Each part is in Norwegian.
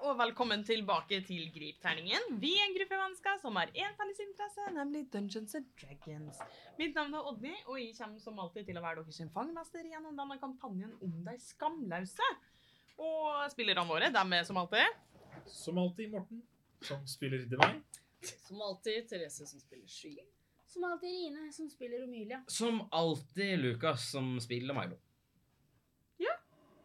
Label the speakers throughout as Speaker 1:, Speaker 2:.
Speaker 1: og velkommen tilbake til Gripterningen. Vi er en gruppe mennesker som har én felles interesse, nemlig Dungeons and Dragons. Mitt navn er Odny, og jeg kommer som alltid til å være deres fangmester gjennom denne kampanjen om de skamløse. Og spillerne våre, dem er som alltid
Speaker 2: Som alltid Morten, som spiller Divine.
Speaker 3: Som alltid Therese som spiller sky.
Speaker 4: Som alltid Rine, som spiller Omilia.
Speaker 5: Som alltid Lukas som spiller Milo.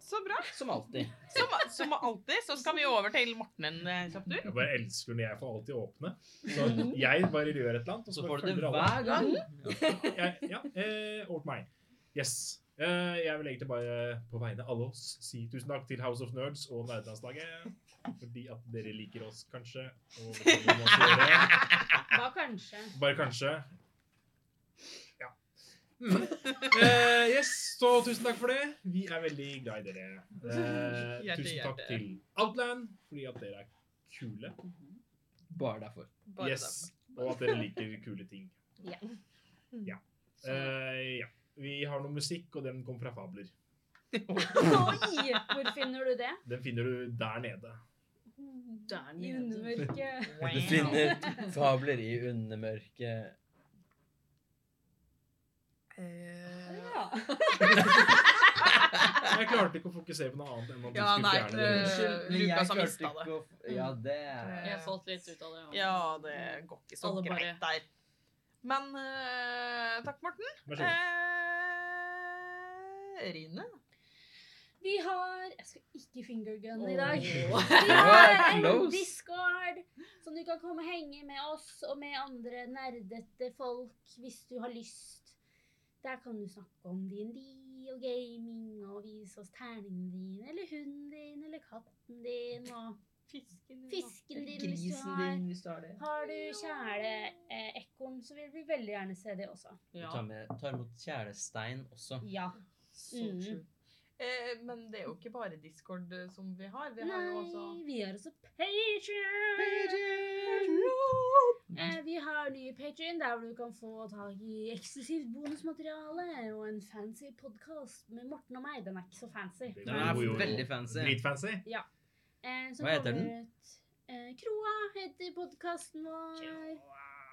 Speaker 1: Så bra.
Speaker 5: Som alltid.
Speaker 1: Som, som alltid så skal vi over til Morten en eh, kjapp tur.
Speaker 2: Jeg bare elsker når jeg får alltid åpne. Så jeg bare gjør et eller annet, og så,
Speaker 5: Så
Speaker 2: bare
Speaker 5: får du det
Speaker 2: følger alle.
Speaker 5: hver gang.
Speaker 4: Mm,
Speaker 2: Jeg, ja, eh, over til meg. Yes. Eh, jeg vil egentlig bare på vegne av alle oss si tusen takk til House of Nerds og Nerdelandslaget. Fordi at dere liker oss, kanskje. Og vi må gjøre.
Speaker 4: Hva kanskje?
Speaker 2: bare kanskje. Ja. Mm. Eh, yes, så tusen takk for det. Vi er veldig glad i dere. Eh,
Speaker 1: Hjerte,
Speaker 2: tusen takk
Speaker 1: hjerte.
Speaker 2: til Outland, fordi at dere er kule.
Speaker 5: Bare derfor.
Speaker 1: Bare
Speaker 2: yes. Og at dere liker kule ting.
Speaker 4: Ja.
Speaker 2: Ja. Eh, ja. Vi har noe musikk, og den kom fra Fabler.
Speaker 4: Oi! Hvor finner du det?
Speaker 2: Den finner du der nede.
Speaker 3: Der
Speaker 4: I
Speaker 3: nede.
Speaker 4: undermørket.
Speaker 1: dem. Wow.
Speaker 5: Du finner fabler i undermørket.
Speaker 1: Eh,
Speaker 4: Ja.
Speaker 2: Jeg klarte ikke å fokusere på noe annet enn at du
Speaker 1: Ja,
Speaker 2: skulle
Speaker 1: nei,
Speaker 2: fjerne den.
Speaker 1: eh, Lukas har
Speaker 5: klarte
Speaker 1: mistet Mm.
Speaker 5: ikke å f- Ja, det er
Speaker 3: Jeg falt litt ut av det. ja.
Speaker 1: Ja, det går ikke så
Speaker 3: Alle bare-
Speaker 1: greit der. Men eh, takk, Morten.
Speaker 2: Vær så god.
Speaker 1: Eh, Rine?
Speaker 4: Vi har Jeg skal ikke fingergun i
Speaker 3: Åh.
Speaker 4: dag. Vi
Speaker 5: Åh,
Speaker 4: har en
Speaker 5: close.
Speaker 4: discord som du kan komme og henge med oss og med andre nerdete folk hvis du har lyst. Der kan du snakke om DND og gaming og vise oss terningene dine eller hunden din eller katten din og
Speaker 3: Fisken
Speaker 4: fisken din hvis du har.
Speaker 3: hvis du har det.
Speaker 4: Har du kjæleekorn, så vil vi veldig gjerne se det også.
Speaker 5: Du
Speaker 3: Ja.
Speaker 5: tar, med, tar imot kjælestein også.
Speaker 4: Ja.
Speaker 3: Så
Speaker 4: Mm.
Speaker 3: sjukt.
Speaker 1: Eh, men det er jo ikke bare Discord eh, som vi har. Vi har jo også
Speaker 4: Nei, vi har også Patrion. Eh, vi har nye Patrion, der hvor du kan få tak i eksklusivt bonusmateriale og en fancy podkast med Morten og meg. Den er ikke så fancy.
Speaker 2: Det
Speaker 5: Den er
Speaker 2: går jo
Speaker 5: veldig fancy.
Speaker 2: Dritfancy.
Speaker 4: Eh, som
Speaker 5: Hva heter
Speaker 4: kommer Ut, eh, Kroa heter podkasten vår.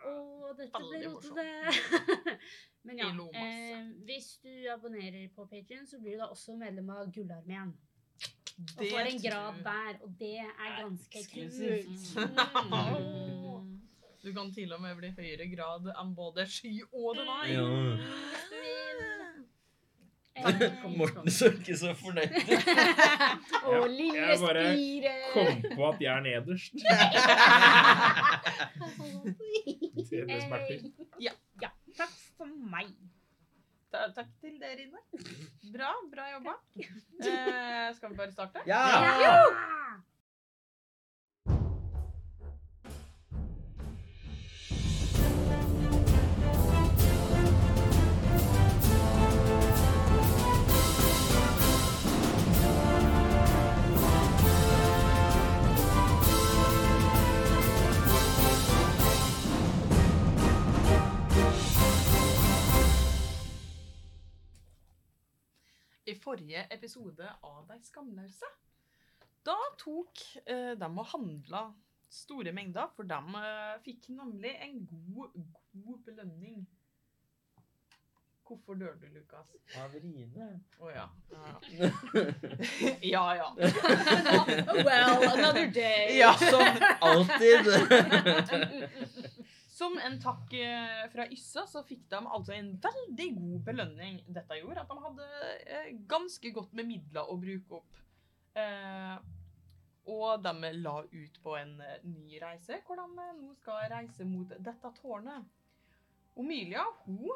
Speaker 4: Og dette ble
Speaker 1: Veldig
Speaker 4: rotete. Men ja,
Speaker 1: Vi lo masse.
Speaker 4: eh, hvis du abonnerer på Patrion, så blir du da også medlem av Gullarmeen. Og
Speaker 1: Det
Speaker 4: får en grad
Speaker 1: tror-
Speaker 4: der, og det er ganske
Speaker 5: eksklusivt.
Speaker 4: kult. Mm.
Speaker 1: Du kan til og med bli høyere grad enn både sky og det var.
Speaker 5: Ja.
Speaker 4: Eh,
Speaker 5: Morten så ikke så fornøyd ut.
Speaker 4: Og lille
Speaker 2: Jeg bare
Speaker 4: spire.
Speaker 2: Kom på at jeg er nederst. Det, det smerter.
Speaker 4: Eh, ja, ja. Takk for meg.
Speaker 1: Ta- Takk til deg, Rine. Bra, bra jobba. Eh, skal vi bare starte?
Speaker 5: Ja!
Speaker 1: I forrige episode av De skamløse, da tok eh, de og handla store mengder, for de eh, fikk nemlig en god, god belønning. Hvorfor dør du, Lukas?
Speaker 5: Av Rine.
Speaker 1: Å ja. Ja ja. ja.
Speaker 3: Well, another day.
Speaker 1: ja.
Speaker 5: Som alltid.
Speaker 1: Som en takk eh, fra Yssa, så fikk de altså en veldig god belønning. Dette gjorde at de hadde eh, ganske godt med midler å bruke opp. Eh, og de la ut på en eh, ny reise, hvor de eh, nå skal reise mot dette tårnet. Omilia, hun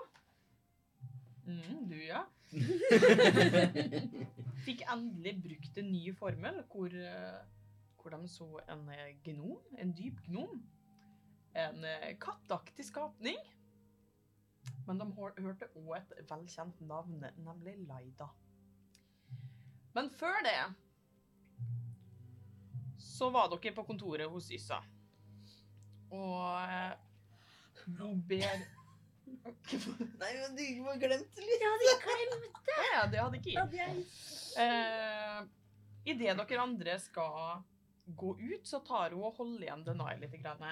Speaker 1: mm, Du, ja. fikk endelig brukt en ny formel, hvor, eh, hvor de så en eh, gnom, en dyp gnom en eh, kattaktig skapning. Men de hør- hørte òg et velkjent navn, nemlig Laida. Men før det så var dere på kontoret hos Yssa. Og eh, hun ber
Speaker 5: Nei, men du har glemt litt.
Speaker 4: Ja, de glemte
Speaker 1: Ja, det hadde ikke jeg.
Speaker 4: at jeg
Speaker 1: Eh, Idet dere andre skal gå ut, så tar hun og holder igjen Denai litt. Grann.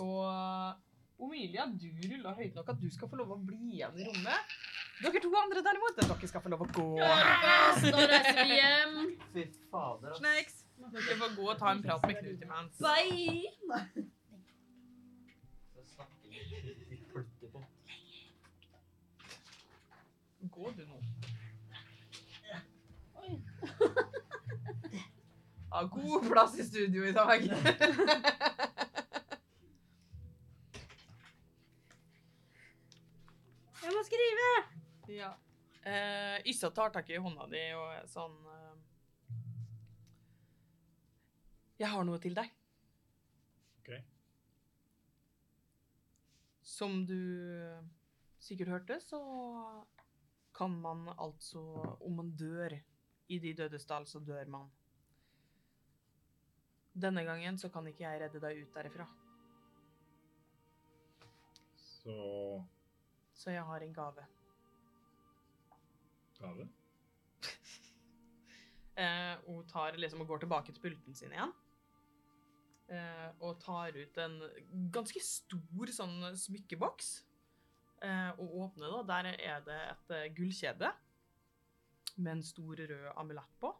Speaker 1: Og Omilia, du ruller høyt nok at du skal få lov å bli igjen i rommet. Dere to andre derimot, dere skal få lov å gå.
Speaker 3: Nå reiser vi hjem.
Speaker 5: Fy fader, altså. ass.
Speaker 1: Snakes. Dere får gå og ta en prat med Knut imens.
Speaker 3: Bye!
Speaker 5: Så snakker vi i flyttebåt.
Speaker 1: Gå du nå. Ja, god plass i studio i dag.
Speaker 4: Jeg må skrive!
Speaker 1: Ja. Eh, Yssa tar tak i hånda di og er sånn eh, Jeg har noe til deg.
Speaker 2: Ok.
Speaker 1: Som du sikkert hørte, så kan man altså Om man dør i De dødes dal, så dør man. Denne gangen så kan ikke jeg redde deg ut derifra,
Speaker 2: Så
Speaker 1: så jeg har en gave.
Speaker 2: gave.
Speaker 1: Eh, hun tar liksom og går tilbake til pulten sin igjen. Eh, og tar ut en ganske stor sånn smykkeboks. Eh, og åpner, da. Der er det et eh, gullkjede med en stor rød amulett på.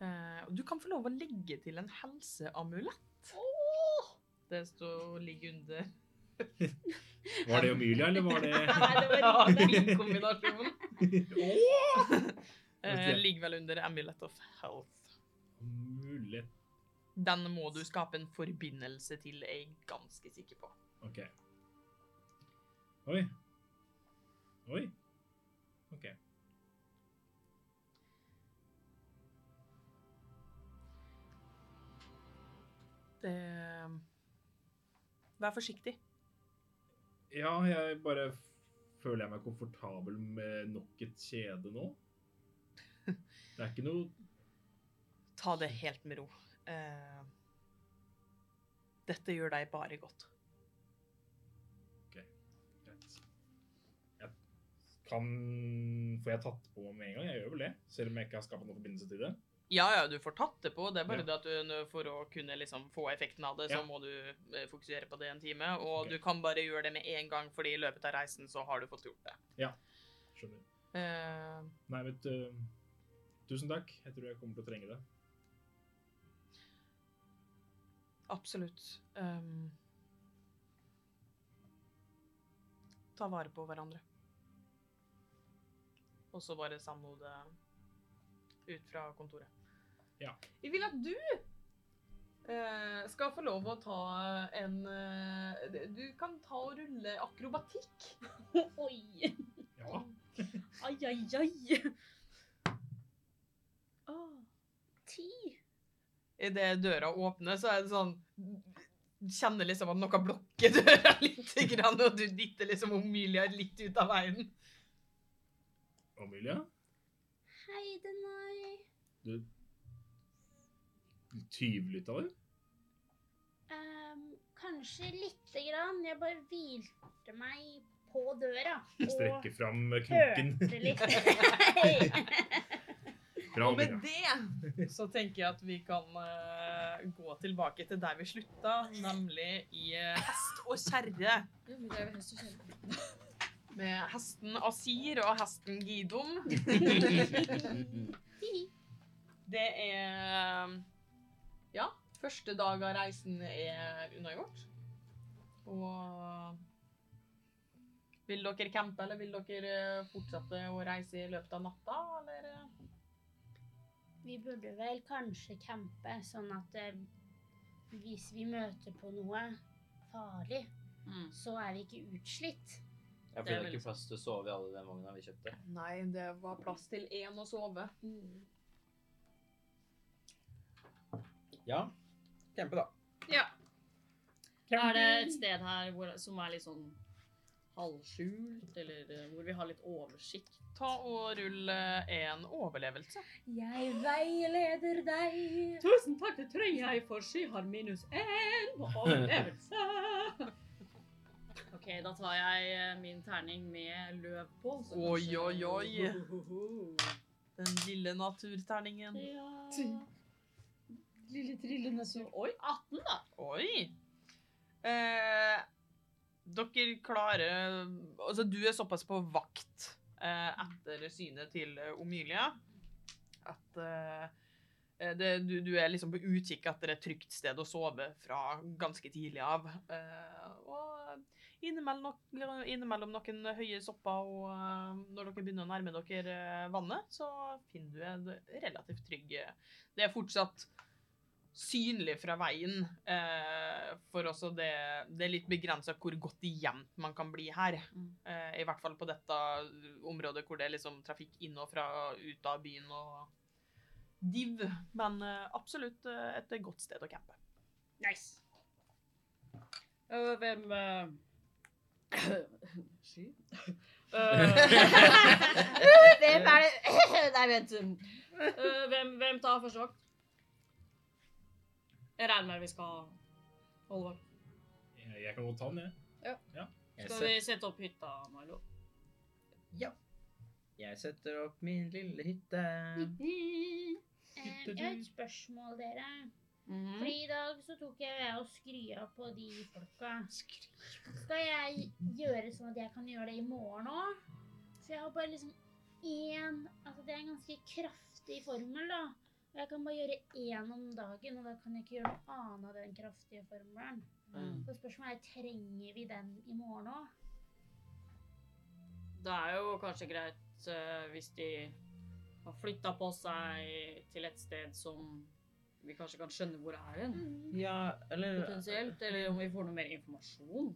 Speaker 1: Eh, og du kan få lov å legge til en helseamulett. Det står, ligger under
Speaker 2: Var det Omilia, eller var det
Speaker 1: Ja, det er en kombinasjon. Eh,
Speaker 2: Vet du.
Speaker 1: ligger vel under Amulet of Health.
Speaker 2: Mulig.
Speaker 1: Den må du skape en forbindelse til, er jeg ganske sikker på.
Speaker 2: OK. Oi. Oi. OK.
Speaker 1: Det... Vær forsiktig.
Speaker 2: Ja, jeg bare føler jeg meg komfortabel med nok et kjede nå. Det er ikke noe
Speaker 1: Ta det helt med ro. Eh, dette gjør deg bare godt.
Speaker 2: greit. Jeg kan Får jeg tatt på meg med en gang? Jeg gjør vel det. Selv om jeg ikke har skapt noen forbindelse til det.
Speaker 1: Ja, ja, du får tatt det på. Det er bare
Speaker 2: Ja.
Speaker 1: det at du, nå for å kunne liksom få effekten av det, så
Speaker 2: Ja.
Speaker 1: må du eh, fokusere på det en time. Og
Speaker 2: Ok.
Speaker 1: du kan bare gjøre det med en gang, fordi i løpet av reisen så har du fått gjort det.
Speaker 2: Skjønner.
Speaker 1: Eh,
Speaker 2: Nei, vet du Tusen takk. Jeg tror jeg kommer til å trenge det.
Speaker 1: absolutt. Ehm, ta vare på hverandre. Og så bare samle det ut fra kontoret.
Speaker 2: Ja.
Speaker 1: Jeg vil at du eh, skal få lov å ta en eh, Du kan ta og rulle akrobatikk.
Speaker 3: Oi.
Speaker 2: Ja.
Speaker 3: Ai, ai, ai.
Speaker 4: Åh, Ti.
Speaker 1: Idet døra åpner, så er det sånn Kjenner liksom at noe blokker døra litt, grann, og du dytter liksom Omilia litt ut av veien.
Speaker 2: Amelia?
Speaker 4: Hei, Denai.
Speaker 2: Du Tyvlytta du?
Speaker 4: Ehm, kanskje lite grann. Jeg bare hvilte meg på døra.
Speaker 2: Strekker fram knoken.
Speaker 4: hørte litt. Hei.
Speaker 2: Bra,
Speaker 1: Og med
Speaker 2: Amelia.
Speaker 1: det så tenker jeg at vi kan eh, gå tilbake til der vi slutta, nemlig i eh, hest og kjerre. Med hesten Asir og hesten Gidom. Det er Ja, første dag av reisen er unnagjort. Og Vil dere campe, eller vil dere eh, fortsette å reise i løpet av natta, eller? eh?
Speaker 4: Vi burde vel kanskje campe, sånn at eh, hvis vi møter på noe farlig,
Speaker 3: Mm.
Speaker 4: så er vi ikke utslitt.
Speaker 5: Jeg
Speaker 1: Det er
Speaker 5: ble
Speaker 1: veldig
Speaker 5: ikke plass til å sove i alle den vogna vi kjøpte.
Speaker 1: Nei, det var plass til én å sove.
Speaker 5: Ja.
Speaker 1: Kjempe, da.
Speaker 3: Ja. Er det et sted her hvor, som er litt sånn halvskjult, eller eh, hvor vi har litt oversikt?
Speaker 1: Ta og rull eh, en overlevelse.
Speaker 4: Jeg veileder deg.
Speaker 3: Tusen takk, det trenger jeg, for sky har minus én på overlevelse. OK, da tar jeg eh, min terning med løv på. så
Speaker 1: Oi,
Speaker 3: kanskje-
Speaker 1: oi, oi. Den lille naturterningen.
Speaker 3: Ja.
Speaker 4: Lille trillende
Speaker 3: Så, oi, 18 da.
Speaker 1: Oi! Eh, dere klarer Altså, du er såpass på vakt eh, etter synet til eh, Omilia at eh, eh, det, du, du er liksom på utkikk etter et trygt sted å sove fra ganske tidlig av. Eh, og innimellom, nok- innimellom noen høye sopper og eh, når dere begynner å nærme dere eh, vannet, så finner du en relativt trygg eh, Det er fortsatt synlig fra veien. Eh, for også det, det er litt begrensa hvor godt gjemt man kan bli her.
Speaker 3: Mm.
Speaker 1: Eh, I hvert fall på dette området hvor det er liksom trafikk inn og fra ut av byen og div. Men eh, absolutt eh, et godt sted å campe.
Speaker 3: Nice. Eh, hvem eh, Sky? Øh. Eh, hvem er det Nei, vent. Eh, hvem, hvem tar første vakt? Jeg regner med vi skal holde vakt.
Speaker 2: Jeg, jeg kan godt ta den, jeg.
Speaker 6: Jeg,
Speaker 3: Skal
Speaker 6: set,
Speaker 3: vi sette opp hytta, Milo?
Speaker 6: jeg setter opp min lille hytte.
Speaker 4: Jeg har et spørsmål, dere.
Speaker 3: Mhm.
Speaker 4: For i dag så tok jeg og skrya på de folka. Skal jeg gjøre sånn at jeg kan gjøre det i morgen òg? Så jeg har bare liksom én Altså det er en ganske kraftig formel, da. Og jeg kan bare gjøre én om dagen, og da kan jeg ikke gjøre noe annet av den kraftige formelen.
Speaker 3: Mm.
Speaker 4: Så spørsmålet er trenger vi den i morgen òg?
Speaker 3: Det er jo kanskje greit eh, hvis de har flytta på seg til et sted som vi kanskje kan skjønne hvor er hen,
Speaker 6: Ja,
Speaker 1: Mm.
Speaker 6: eller
Speaker 3: potensielt. Eller om vi får noe mer informasjon.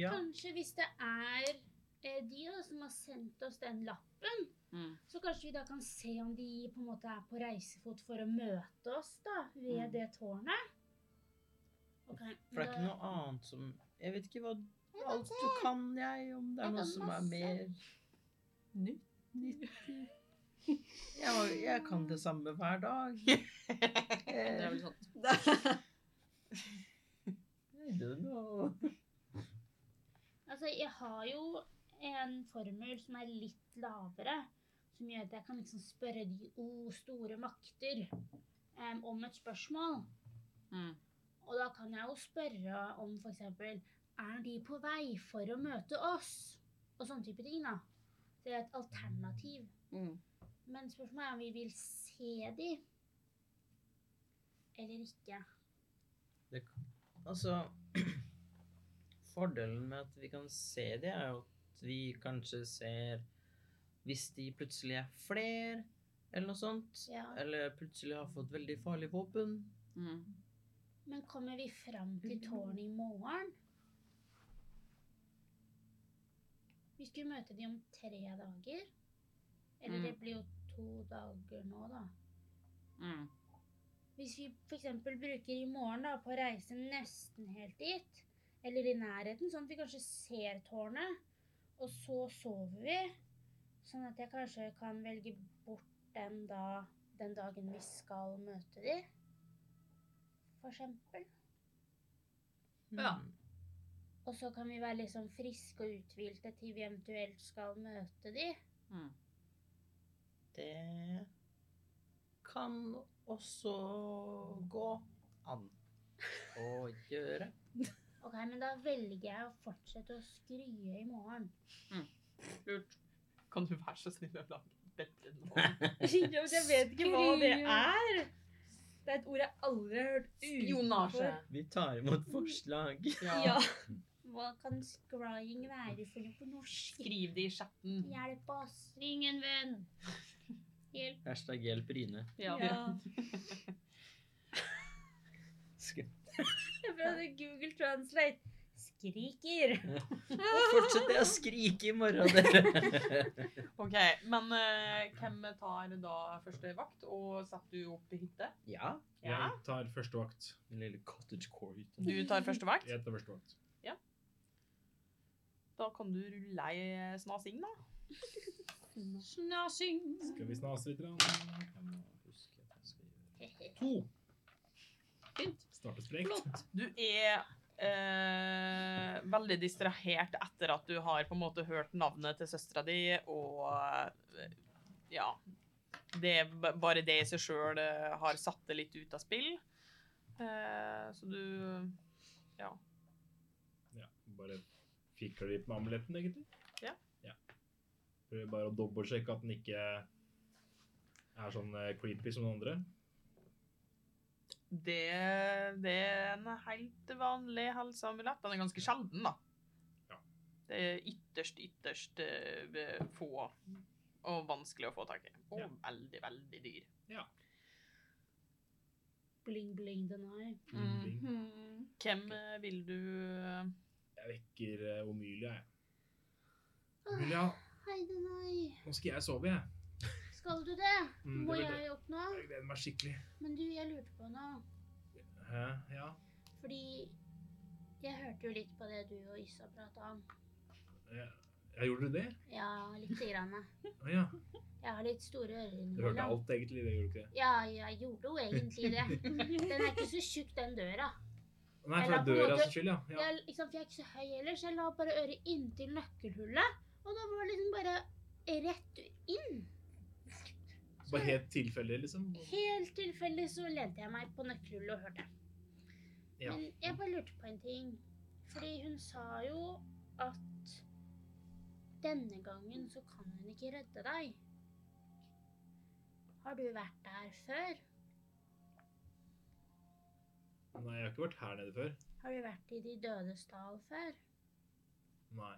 Speaker 6: Ja.
Speaker 4: Kanskje hvis det er eh, de da, som har sendt oss den lappen,
Speaker 3: Mm.
Speaker 4: Så kanskje vi da kan se om de på en måte er på reisefot for å møte oss da, ved
Speaker 3: Mm.
Speaker 4: det tårnet. Ok,
Speaker 6: For det er ikke
Speaker 4: da-
Speaker 6: noe annet som Jeg vet ikke hva alt du kan, jeg, om det er
Speaker 4: Jeg
Speaker 6: noe
Speaker 4: kan
Speaker 6: som er
Speaker 4: masse.
Speaker 6: mer nytt. nyttig. Jeg, har- jeg kan det samme hver dag.
Speaker 3: Det er
Speaker 6: Eh,
Speaker 3: vel sant.
Speaker 6: I don't know.
Speaker 4: Altså, jeg har jo en formel som er litt lavere, som gjør at jeg kan liksom spørre de o store makter em, om et spørsmål.
Speaker 3: Mm.
Speaker 4: Og da kan jeg jo spørre om for eksempel, er de på vei for å møte oss? Og sånne type ting da. Det er et alternativ.
Speaker 3: Mm.
Speaker 4: Men spørsmålet er om vi vil se de. Eller ikke.
Speaker 6: Det, altså Fordelen med at vi kan se det, er jo at vi kanskje ser Hvis de plutselig er fler, eller noe sånt.
Speaker 4: Ja.
Speaker 6: Eller plutselig har fått veldig farlig våpen.
Speaker 3: Mm.
Speaker 4: Men kommer vi fram til tårnet i morgen? Vi skulle møte de om tre dager. Eller
Speaker 3: Mm.
Speaker 4: det blir jo to dager nå, da.
Speaker 3: Mm.
Speaker 4: Hvis vi f.eks. bruker i morgen da, på å reise nesten helt dit, eller i nærheten, sånn at vi kanskje ser tårnet, og så sover vi, sånn at jeg kanskje kan velge bort den, da, den dagen vi skal møte de, for eksempel.
Speaker 3: Ja.
Speaker 4: Og så kan vi være liksom friske og uthvilte til vi eventuelt skal møte de.
Speaker 3: Mm.
Speaker 6: Det kan også gå an å gjøre.
Speaker 4: Ok, men da velger jeg å fortsette å skrye i morgen.
Speaker 3: Lurt.
Speaker 1: Kan du være så snill å lage et bedre nå?
Speaker 4: jeg vet ikke hva det er. Det er et ord jeg aldri har hørt
Speaker 1: Spionasje.
Speaker 6: Vi tar imot forslag.
Speaker 1: Ja.
Speaker 4: Hva kan scrying være for noe på norsk?
Speaker 1: Skriv det i chatten.
Speaker 4: Hjelp oss. Ring en venn. Hjelp.
Speaker 6: Hashtag hjelp Rine.
Speaker 3: Ja.
Speaker 6: Skal-
Speaker 4: Jeg prøvde Google Translate. Skriker.
Speaker 6: Fortsett det å skrike i morgen, dere.
Speaker 1: OK, men eh, hvem tar da første vakt, og setter du opp i hytte?
Speaker 6: ja.
Speaker 1: Ja.
Speaker 2: Jeg tar første vakt.
Speaker 6: Min lille cottagecore-hytte.
Speaker 1: Du tar første vakt?
Speaker 2: Jeg tar første vakt.
Speaker 1: Da kan du rulle ei snasing, da.
Speaker 3: Snasing.
Speaker 2: Skal vi snase litt? grann?
Speaker 6: Jeg må huske at jeg skal gjøre
Speaker 2: To.
Speaker 3: Fint.
Speaker 2: Starter sprekt.
Speaker 3: Flott.
Speaker 1: Du er eh, veldig distrahert etter at du har på en måte hørt navnet til søstera di, og eh, eh, ja Det er b- bare det i seg sjøl har satt det litt ut av spill. Eh, så du Ja.
Speaker 2: Ja, bare fikler litt med amuletten, egentlig.
Speaker 1: Ja.
Speaker 2: Prøver bare å dobbeltsjekke at den ikke er sånn eh, creepy som den andre.
Speaker 1: Det, det er en helt vanlig helseamulett. Den er ganske sjelden, da.
Speaker 2: Ja.
Speaker 1: Det er ytterst, ytterst eh, få og vanskelig å få tak i. Og
Speaker 2: Ja.
Speaker 1: veldig, veldig dyr.
Speaker 4: Bling, bling, den er.
Speaker 1: Mhm.
Speaker 2: Hmm.
Speaker 1: Hvem eh, vil du eh,
Speaker 2: Jeg vekker eh, Omelia, jeg. Omelia,
Speaker 4: Hei, den er.
Speaker 2: nå skal jeg sove, jeg.
Speaker 4: Skal du det?
Speaker 2: Mm,
Speaker 4: Må
Speaker 2: det vil
Speaker 4: jeg opp nå?
Speaker 2: Jeg gleder meg skikkelig.
Speaker 4: Men du, jeg lurte på noe.
Speaker 2: Hæ? Ja.
Speaker 4: Fordi jeg hørte jo litt på det du og Yssa prata om.
Speaker 2: Jeg, jeg gjorde det?
Speaker 4: Ja, lite grann.
Speaker 2: Å ja.
Speaker 4: Jeg har litt store ører
Speaker 2: Du hørte
Speaker 4: innimellom.
Speaker 2: alt, egentlig. Det gjorde du ikke.
Speaker 4: Ja, jeg gjorde jo egentlig det. Den er ikke så tjukk, den døra.
Speaker 2: Nei, for det
Speaker 4: Eller
Speaker 2: er
Speaker 4: på en
Speaker 2: døra
Speaker 4: måte-
Speaker 2: sin skyld, ja. ja.
Speaker 4: Jeg, liksom, for jeg er ikke så høy ellers. Jeg la bare øret inntil nøkkelhullet, og da var det liksom bare rett inn.
Speaker 2: Bare helt tilfeldig, liksom.
Speaker 4: Helt tilfeldig så lente jeg meg på nøkkelhullet og hørte.
Speaker 2: Ja.
Speaker 4: Men jeg bare lurte på en ting. Fordi hun sa jo at denne gangen så kan hun ikke redde deg. Har du vært der før?
Speaker 2: Nei, jeg har ikke vært her nede før.
Speaker 4: Har du vært i De dødes dal før?
Speaker 2: Nei.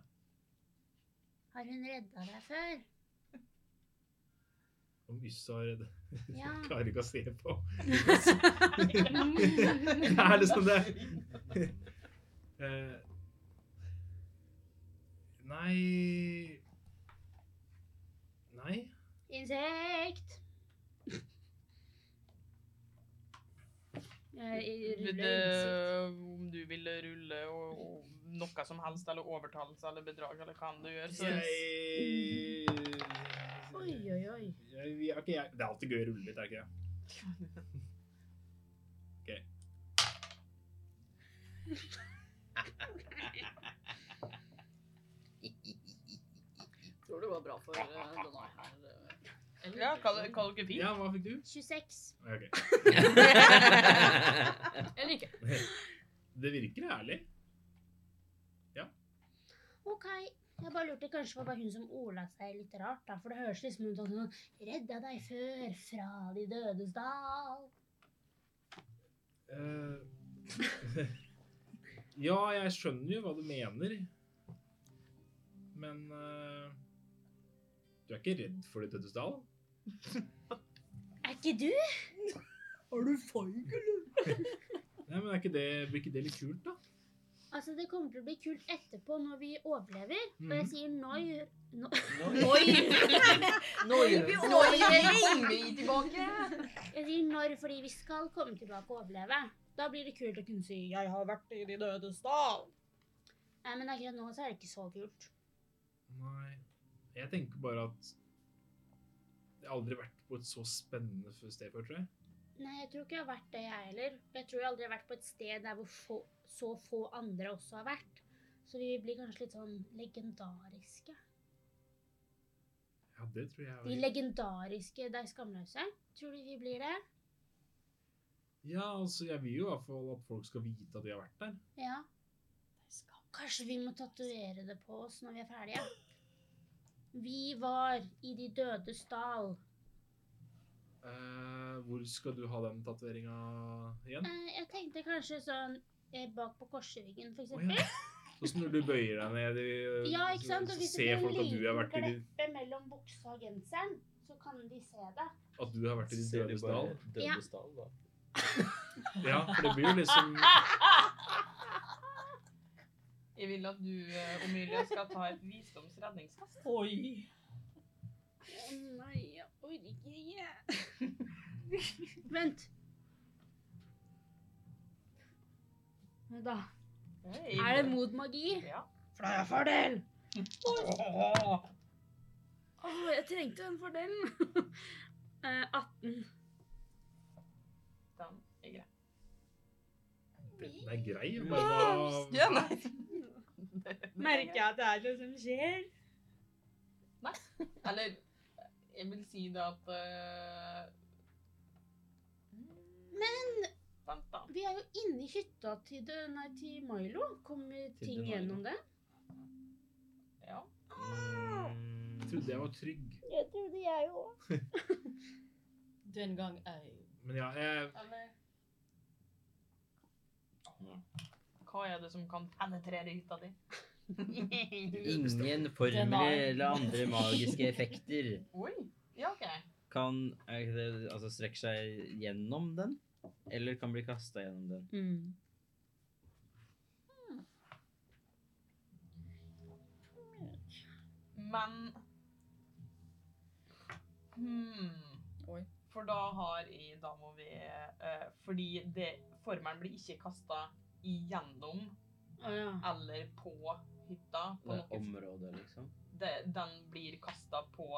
Speaker 4: Har hun redda deg før?
Speaker 2: Om Yssa er redd.
Speaker 4: Ja.
Speaker 2: Jeg klarer ikke å se på. Det er liksom det. Eh, Nei Nei.
Speaker 4: Insekt! Jeg ruller
Speaker 1: vil,
Speaker 4: innsikt.
Speaker 1: eh, Om du vil rulle og, og noe som helst, eller overtalelse eller bedrag, eller hva enn du gjør, så
Speaker 2: Jeg
Speaker 4: Oi, oi, oi.
Speaker 2: Jeg, vi er ikke, jeg, det er alltid gøy å rulle litt, er det ikke det?
Speaker 3: Tror det går bra for eh, denne her. eh, eller?
Speaker 1: Ja, kall, kall dere fint.
Speaker 2: Ja, hva fikk du?
Speaker 4: 26.
Speaker 2: Ok.
Speaker 3: Eller ikke.
Speaker 2: Det virker ærlig.
Speaker 4: Ok. Jeg bare lurte kanskje det var bare hun som ola seg litt rart, da. For det høres liksom ut som hun redda deg før fra de dødes dal.
Speaker 2: Eh, ja, jeg skjønner jo hva du mener. Men eh, du er ikke redd for det dødsdal?
Speaker 4: Er ikke du?
Speaker 5: Har du farg, eller?
Speaker 2: Nei, men er ikke det, blir ikke det litt kult, da?
Speaker 4: Altså, det kommer til å bli kult etterpå når vi overlever.
Speaker 2: Mm. Mhm.
Speaker 4: Og jeg sier noi. No,
Speaker 5: Nå er det lenge tilbake.
Speaker 4: jeg sier når fordi vi skal komme tilbake og overleve. Da blir det kult å kunne si 'jeg har vært i de dødes dal'. Nei, men akkurat nå så er det ikke så kult.
Speaker 2: Nei. Jeg tenker bare at jeg har aldri vært på et så spennende f- sted før, tror jeg.
Speaker 4: Nei, jeg tror ikke jeg har vært det, jeg heller. Jeg tror jeg aldri har vært på et sted der hvor få, så få andre også har vært. Så vi blir kanskje litt sånn legendariske.
Speaker 2: Ja, det tror jeg.
Speaker 4: De
Speaker 2: er-
Speaker 4: legendariske de skamløse. Tror du vi blir det?
Speaker 2: Ja, altså, jeg vil jo i hvert fall at folk skal vite at vi har vært der.
Speaker 4: Ja. Kanskje vi må tatovere det på oss når vi er ferdige? Vi var i De dødes dal.
Speaker 2: Eh, hvor skal du ha den tatoveringa igjen?
Speaker 4: Eh, Jeg tenkte kanskje sånn eh, bak på korsryggen, for
Speaker 2: Å,
Speaker 4: eksempel.
Speaker 2: ja. Sånn som når du bøyer deg ned i øh,
Speaker 4: Ja, ikke sant?
Speaker 2: Så
Speaker 4: Og hvis det
Speaker 2: ser
Speaker 4: blir
Speaker 2: folk
Speaker 4: en
Speaker 2: at du har
Speaker 4: liten
Speaker 2: vært i de-
Speaker 4: kleppe mellom buksa og genseren, så kan de se det.
Speaker 2: at du har vært i de dødes dal.
Speaker 4: Ja.
Speaker 6: dal, da.
Speaker 2: Ja, for det blir jo liksom
Speaker 1: Jeg vil at du, eh, Omelia, skal ta et visdomsredningskast.
Speaker 3: Oi.
Speaker 4: Å nei, jeg orker ikke. Vent. Nei Da. Er det mot magi?
Speaker 1: Ja.
Speaker 4: For da har jeg fordel!
Speaker 1: Åh.
Speaker 4: Å, jeg trengte den fordelen. Eh, 18.
Speaker 1: Den er grei.
Speaker 2: Den er grei. Bare,
Speaker 1: Ja, nei.
Speaker 3: Merker jeg at det er noe som skjer?
Speaker 1: Eller jeg vil si det at eh,
Speaker 4: Men
Speaker 1: Vent, da.
Speaker 4: vi er jo inni hytta til, det- nei, til Milo. Kommer
Speaker 6: Til
Speaker 4: ting
Speaker 6: det Milo.
Speaker 4: gjennom det?
Speaker 1: Ja.
Speaker 2: Jeg
Speaker 6: Mm,
Speaker 2: trodde jeg var trygg.
Speaker 4: Jeg trodde jeg òg.
Speaker 3: Den gang ei.
Speaker 2: Men ja, jeg,
Speaker 3: Eller?
Speaker 1: Hva er det som kan penetrere hytta di?
Speaker 6: ingen formler eller andre magiske effekter
Speaker 1: Oi. Ja, OK.
Speaker 6: kan er ikke det, altså, strekke seg gjennom den, eller kan bli kasta gjennom den.
Speaker 3: Mm.
Speaker 1: Men hmm.
Speaker 3: Oi.
Speaker 1: For da har i Da må vi eh, Fordi det, formelen blir ikke kasta igjennom
Speaker 4: Å ja.
Speaker 1: eller på hytta. På
Speaker 6: Det
Speaker 1: noe.
Speaker 6: området, liksom.
Speaker 1: Det, den blir kasta på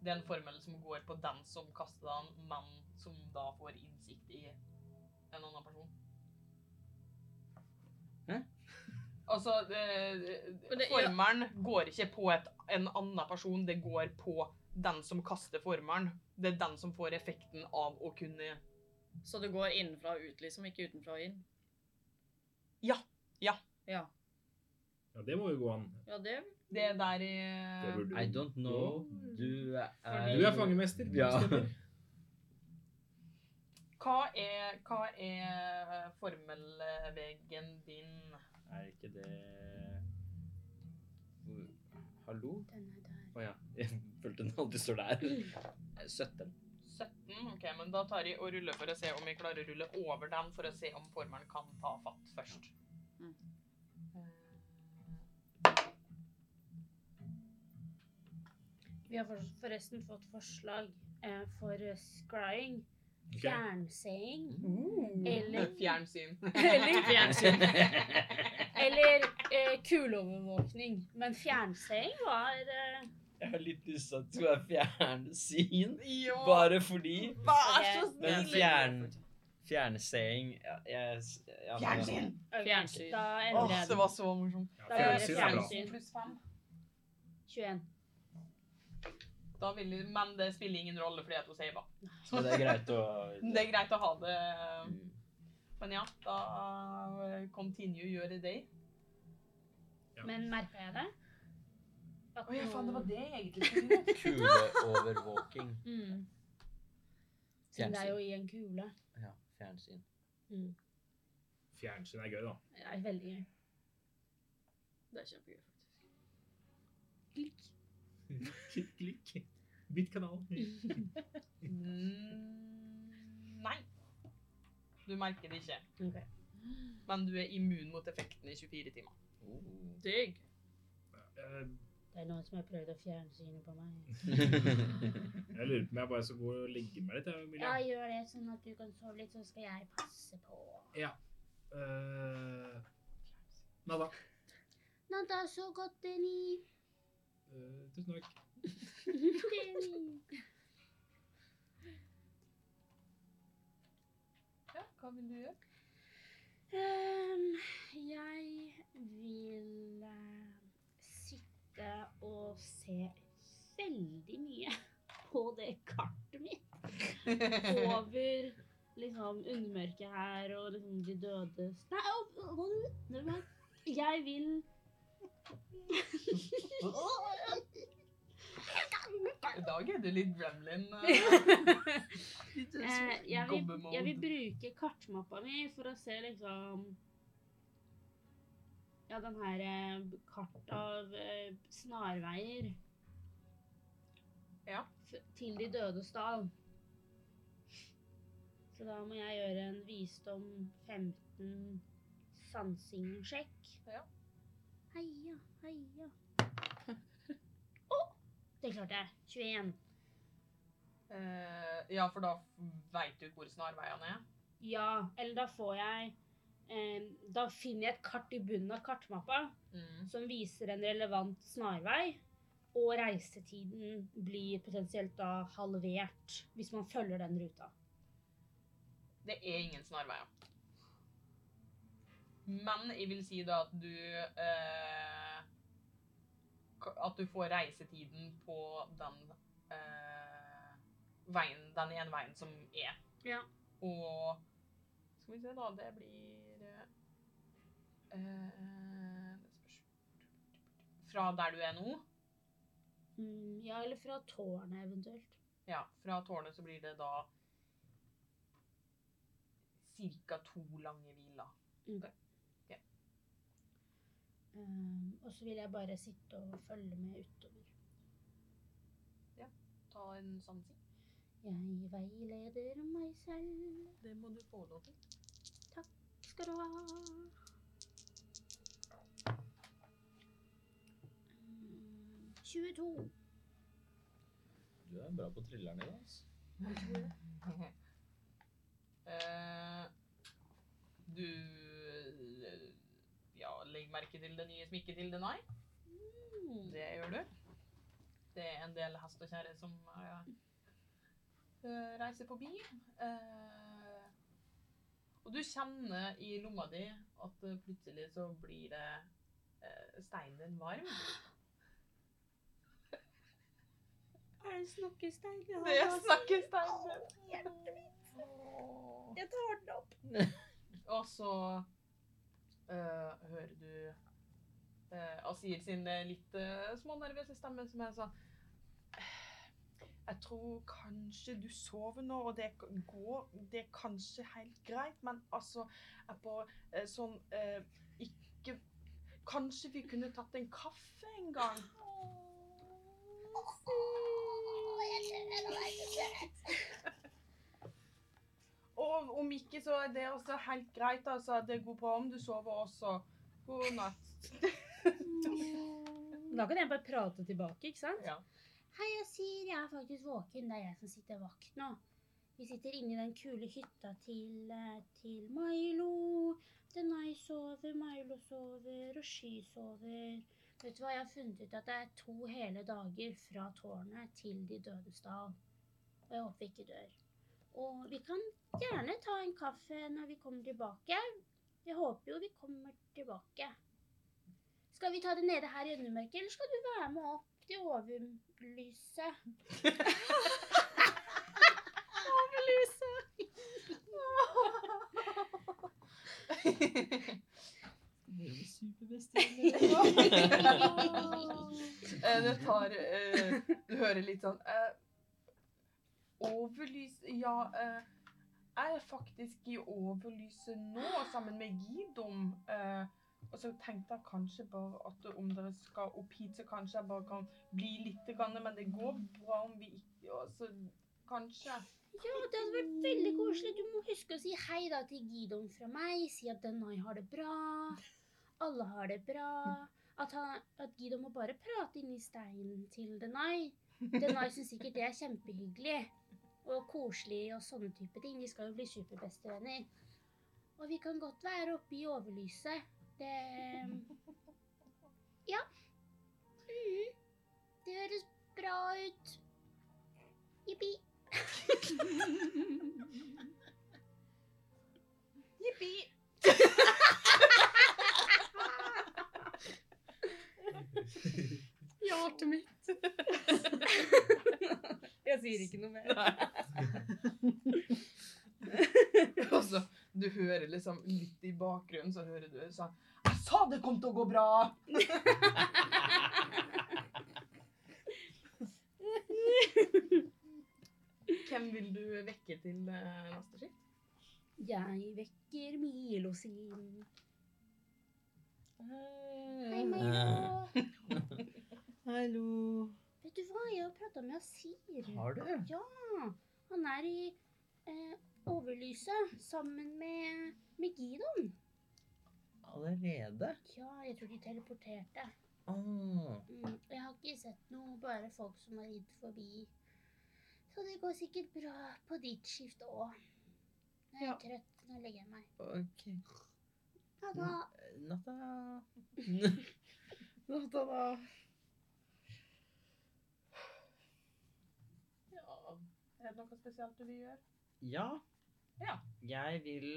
Speaker 1: Det er en formel som går på den som kaster den, men som da får innsikt i en annen person.
Speaker 6: Hæ?
Speaker 1: Altså, det,
Speaker 3: Men det- ja.
Speaker 1: formelen går ikke på et, en annen person, det går på den som kaster formelen. Det er den som får effekten av å kunne
Speaker 3: Så det går innenfra og ut, liksom, ikke utenfra og inn?
Speaker 1: Ja. Ja.
Speaker 3: Ja,
Speaker 2: ja, det må jo gå an.
Speaker 3: ja det
Speaker 1: Det er der i
Speaker 2: Det burde
Speaker 6: I
Speaker 2: jo-
Speaker 6: don't know. Du er
Speaker 2: Du er fangemester. du
Speaker 6: Ja.
Speaker 2: bestemmer.
Speaker 1: Hva er, hva er formelveggen din?
Speaker 6: Er ikke det Hallo?
Speaker 4: Den er der.
Speaker 6: Å ja. Jeg følte den alltid står der. 17.
Speaker 1: 17, ok, men da tar jeg og ruller for å se om jeg klarer å rulle over den, for å se om formelen kan ta fatt først. Eh,
Speaker 3: Mm.
Speaker 4: Vi har for- forresten fått forslag eh, for eh, scrying.
Speaker 2: Ok.
Speaker 4: Fjernseing. Mm. Eller-
Speaker 1: Fjernsyn.
Speaker 4: Eller,
Speaker 3: Fjernsyn.
Speaker 4: eller eh, kuleovervåkning. Men fjernseing var eh,
Speaker 6: Jeg har litt lyst til at du er fjernsyn,
Speaker 1: Jo,
Speaker 6: bare fordi.
Speaker 1: vær så
Speaker 4: Ok.
Speaker 6: Men
Speaker 1: snill!
Speaker 6: fjern... Fjernseing ja, jeg, ja,
Speaker 1: Fjernsyn!
Speaker 4: ok,
Speaker 3: Fjernsyn.
Speaker 4: Da
Speaker 1: Åh,
Speaker 4: endrer jeg
Speaker 1: det
Speaker 4: den.
Speaker 1: var så morsomt.
Speaker 2: Ja,
Speaker 4: Da gjør jeg
Speaker 2: Fjernsyn er bra.
Speaker 4: fjernsyn.
Speaker 1: pluss 5.
Speaker 4: 21.
Speaker 1: Da vil jeg, men det spiller ingen rolle fordi at hun sier hva.
Speaker 6: Så det er greit å
Speaker 1: Det er greit å ha det, eh,
Speaker 6: Mm.
Speaker 1: men ja, da eh, continue your day.
Speaker 2: Ja.
Speaker 4: Men merka jeg det? At
Speaker 1: Åja, faen, det var
Speaker 4: nå-
Speaker 1: det jeg egentlig skulle gjøre.
Speaker 6: Kuleovervåking.
Speaker 4: Mm. Siden det er jo i en kule.
Speaker 6: Ja, fjernsyn.
Speaker 4: Mm.
Speaker 2: Fjernsyn er gøy, da.
Speaker 4: Det er veldig gøy.
Speaker 3: Det er kjempegøy, faktisk.
Speaker 2: Klikk, klikk. Bytt kanal.
Speaker 1: Mm, Nei. Du merker det ikke.
Speaker 4: Ok.
Speaker 1: Men du er immun mot effekten i 24 timer.
Speaker 6: Oh.
Speaker 3: Digg.
Speaker 2: Eh,
Speaker 4: Det er noen som har prøvd å fjerne synet på meg.
Speaker 2: Jeg lurer på om jeg bare skal gå og legge meg litt. jeg,
Speaker 4: Ja,
Speaker 2: Emilia.
Speaker 4: gjør det, sånn at du kan sove litt, så skal jeg passe på.
Speaker 2: Eh, Nada.
Speaker 4: Nada, så godt, Deni.
Speaker 2: Eh, tusen takk.
Speaker 4: Deni.
Speaker 1: Ja, hva vil du gjøre?
Speaker 4: Ehm, jeg vil eh, sitte og se veldig mye på det kartet mitt. Over liksom undermørket her og liksom de dødes Nei, å, å, å, det var- jeg vil
Speaker 1: I dag er du litt gremlin.
Speaker 4: Eh, jeg, vil, jeg vil bruke kartmappa mi for å se liksom Ja, den her eh, kart av eh, snarveier.
Speaker 1: Ja.
Speaker 4: F til de dødes dal. Så da må jeg gjøre en visdom 15 sansing-sjekk.
Speaker 1: Ja.
Speaker 4: Heia, heia. Å! det klarte jeg. 21.
Speaker 1: Eh, ja, for da veit du hvor snarveiene er.
Speaker 4: Ja, eller da får jeg eh, Da finner jeg et kart i bunnen av kartmappa som viser en relevant snarvei. Og reisetiden blir potensielt da halvert hvis man følger den ruta.
Speaker 1: Det er ingen snarveier. Men jeg vil si da at du eh, k- At du får reisetiden på den eh, veien, den ene veien som er.
Speaker 4: Ja.
Speaker 1: Og skal Skal vi se, da. Det blir eh, eh, det spørs- Fra der du er nå?
Speaker 4: Mm, ja, eller fra tårnet eventuelt.
Speaker 1: Ja, fra tårnet så blir det da cirka to lange hvil, da.
Speaker 4: Mm. Um, og så vil jeg bare sitte og følge med utover.
Speaker 1: Ta en sånn samsing.
Speaker 4: Jeg veileder meg selv.
Speaker 1: Det må du få lov til.
Speaker 4: Skal du ha? Mm, 22.
Speaker 7: Du er bra på trilleren i dag. altså.
Speaker 1: Eh, du eh, Ja, legg merke til det nye smykket til Denai. Det gjør du. Det er en del hest og kjerre som eh, eh, reiser forbi. Eh, og du kjenner i lomma di at eh, plutselig så blir det eh, steinen din varm.
Speaker 4: Er det snakkestein?
Speaker 1: Det er snakkesteinen din. Åh.
Speaker 4: Jeg tar den opp.
Speaker 1: Og så eh, hører du eh, Asir sin eh, litt eh, smånervøse stemme som er sånn «Eh, Jeg tror kanskje du sover nå, og det k- går Det er kanskje helt greit, men altså Jeg er på eh, sånn eh, Ikke Kanskje vi kunne tatt en kaffe en gang? Og om ikke, så er det også helt greit. Altså, det går bra om du sover også. God natt.
Speaker 4: Da kan jeg bare prate tilbake, ikke sant?
Speaker 1: Ja.
Speaker 4: Hei, jeg sier jeg er faktisk våken. Det er jeg som sitter vakt nå. Vi sitter inne i den kule hytta til, eh, til Milo. Denai sover, Milo sover, og Sky sover. Vet du hva, jeg har funnet ut at det er to hele dager fra tårnet til De dødes dal. Og jeg håper vi ikke dør. Og vi kan gjerne ta en kaffe når vi kommer tilbake. Jeg håper jo vi kommer tilbake. Skal vi ta det nede her i øynemørket, eller skal du være med opp? til overlyset.
Speaker 1: Eh, Det tar eh, Du hører litt sånn eh, Overlys Ja, eh, jeg er faktisk i overlyset nå sammen med Gidom. Eh, og så tenkte jeg kanskje bare at om dere skal opp hit, så kanskje jeg bare kan bli litt, grann, men det går bra om vi ikke altså, Kanskje.
Speaker 4: Ja, det hadde vært veldig koselig. Du må huske å si hei da til Gidon fra meg. Si at Denai har det bra. Alle har det bra. At, han, at Gidon må bare prate inni steinen til Denai. Denai syns sikkert det er kjempehyggelig og koselig og sånne type ting. Vi skal jo bli superbestevenner. Og vi kan godt være oppe i overlyset. Det Ja. Mhm. Det høres bra ut. Jippi.
Speaker 1: Jippi!
Speaker 3: Hjertet mitt. jeg sier ikke noe mer.
Speaker 1: Og så du hører liksom litt i bakgrunnen, så hører du sånn Jeg sa det kom til å gå bra! Hvem vil du vekke til eh, neste skift?
Speaker 4: Jeg vekker Milo sin. Hei,
Speaker 8: Ah.
Speaker 1: Hei,
Speaker 4: Milo.
Speaker 6: Ah. Hallo.
Speaker 4: Vet du hva, jeg har prata med Asir.
Speaker 6: Har du?
Speaker 4: Han er i eh, Overlyset sammen med, med Gidon.
Speaker 6: Allerede?
Speaker 4: Ja, jeg tror de teleporterte.
Speaker 6: Åh.
Speaker 4: Mm, og jeg har ikke sett noe, bare folk som har ridd forbi. Så det går sikkert bra på ditt skift òg. Nå er jeg trøtt. Nå legger jeg meg.
Speaker 6: ok.
Speaker 4: Ha det.
Speaker 6: Natta. Natta, da.
Speaker 1: Ja. Er det noe spesielt du vil gjøre?
Speaker 6: Ja.
Speaker 1: Ja.
Speaker 6: Jeg vil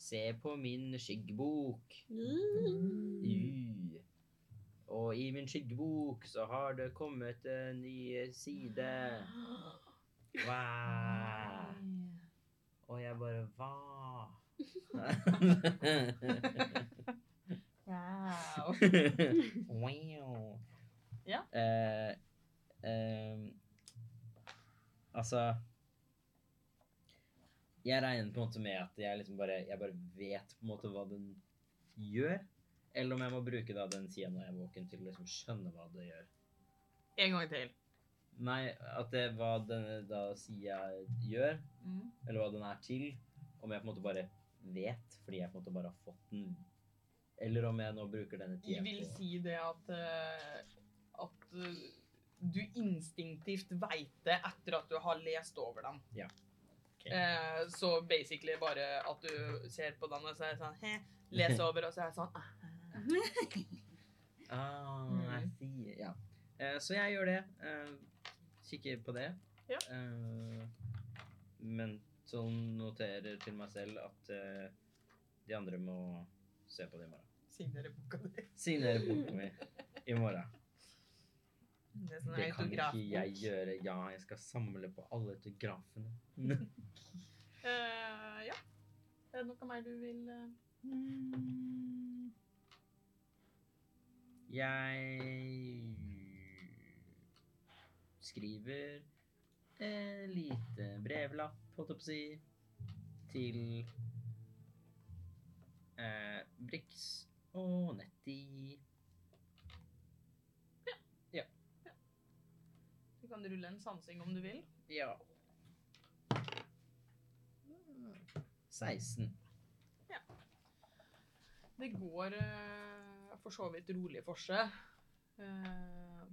Speaker 6: se på min skyggebok. Y. Og i min skyggebok så har det kommet en ny side. Wow. Og jeg bare Hva?
Speaker 1: Wow.
Speaker 6: wow.
Speaker 1: Ja.
Speaker 6: Eh, ehm, altså Jeg regner på en måte med at jeg liksom bare, jeg bare vet på en måte hva den gjør. Eller om jeg må bruke da den sida når jeg er våken, til å liksom skjønne hva det gjør.
Speaker 1: En gang til.
Speaker 6: Nei, at det hva denne da sida gjør,
Speaker 1: Mm.
Speaker 6: eller hva den er til, om jeg på en måte bare vet, fordi jeg på en måte bare har fått den, eller om jeg nå bruker denne
Speaker 1: Jeg
Speaker 6: tiden
Speaker 1: vil si det at eh, at eh, du instinktivt veit det etter at du har lest over den.
Speaker 6: Ja. Ok.
Speaker 1: Eh, så basically bare at du ser på den og så er det sånn Hæ? Les over, og så er det sånn ah.
Speaker 6: Ah,
Speaker 1: Mm.
Speaker 6: I see. Ja. Eh, så jeg gjør det. eh, kikker på det.
Speaker 1: Ja.
Speaker 6: Eh, men sånn noterer til meg selv at eh, de andre må se på det i morgen.
Speaker 1: Signerer boka di.
Speaker 6: Signere boka mi i morgen.
Speaker 1: Det er sånn
Speaker 6: Det kan ikke
Speaker 1: autograf.
Speaker 6: jeg gjøre. Ja, jeg skal samle på alle autografene.
Speaker 1: Eh, ja. Er det noe mer du vil eh,
Speaker 6: Mm. Jeg skriver en lite brevlapp, holdt jeg på å si, til eh, Brix og Nettie.
Speaker 1: Du kan rulle en sansing om du vil.
Speaker 6: Ja. 16.
Speaker 1: Det går eh, for så vidt rolig for seg. Eh,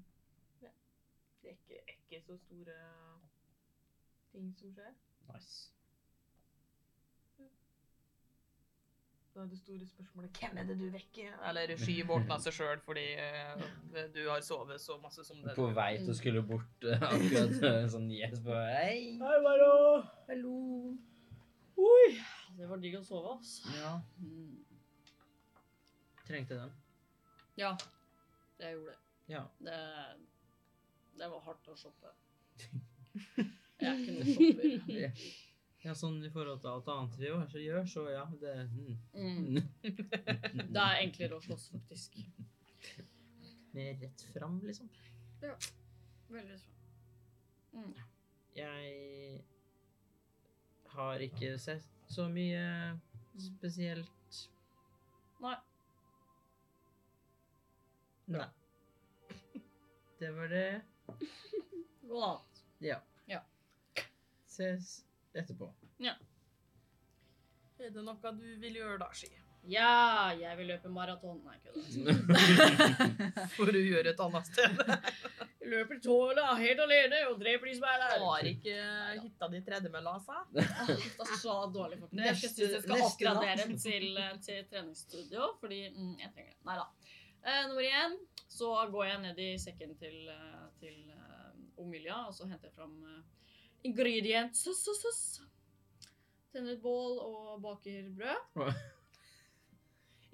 Speaker 1: ja. det er ikke, er ikke så store ting som skjer.
Speaker 6: Nice.
Speaker 1: Da er det store spørsmålet hvem er det du vekker? Eller sky våkna seg sjøl fordi eh, du har sovet så masse som det.
Speaker 6: På vei til å skulle bort eh, akkurat eh, sånn yes på Hei!
Speaker 2: Hei, Varo!
Speaker 6: Hallo!
Speaker 3: Oi, det var digg å sove, altså.
Speaker 6: Ja, trengte den.
Speaker 3: Ja, jeg gjorde det.
Speaker 6: Ja.
Speaker 3: Det, det var hardt å shoppe. Jeg er ikke noen shopper.
Speaker 6: Ja, sånn i forhold til alt annet vi gjør, så, gjør, så ja, det mm.
Speaker 3: Mm. Det er enklere å slåss, faktisk.
Speaker 6: Mer rett fram, liksom.
Speaker 3: Veldig sånn.
Speaker 6: Jeg har ikke sett så mye spesielt.
Speaker 3: Nei.
Speaker 6: Nei. Det var det.
Speaker 3: God natt.
Speaker 6: Ja.
Speaker 3: Ja.
Speaker 6: Ses etterpå.
Speaker 1: Er det noe du vil gjøre da, Sky?
Speaker 3: Ja, jeg vil løpe maraton. Nei, kødda.
Speaker 1: For å gjøre et annet sted.
Speaker 3: Jeg Løper tåla helt alene og dreper de som er der.
Speaker 1: Har ikke hytta di tredemølla, altså?
Speaker 3: Ah, Det er så dårlig, faktisk. Jeg
Speaker 6: Neste-
Speaker 3: synes jeg skal
Speaker 6: neste natt.
Speaker 3: oppgradere den til, eh, til treningsstudio, fordi mm, jeg trenger det. Nei da. Eh, nummer én, så går jeg ned i sekken til, eh, til eh, Omilia, og så henter jeg fram eh, ingredienser. Tenner et bål og baker brød.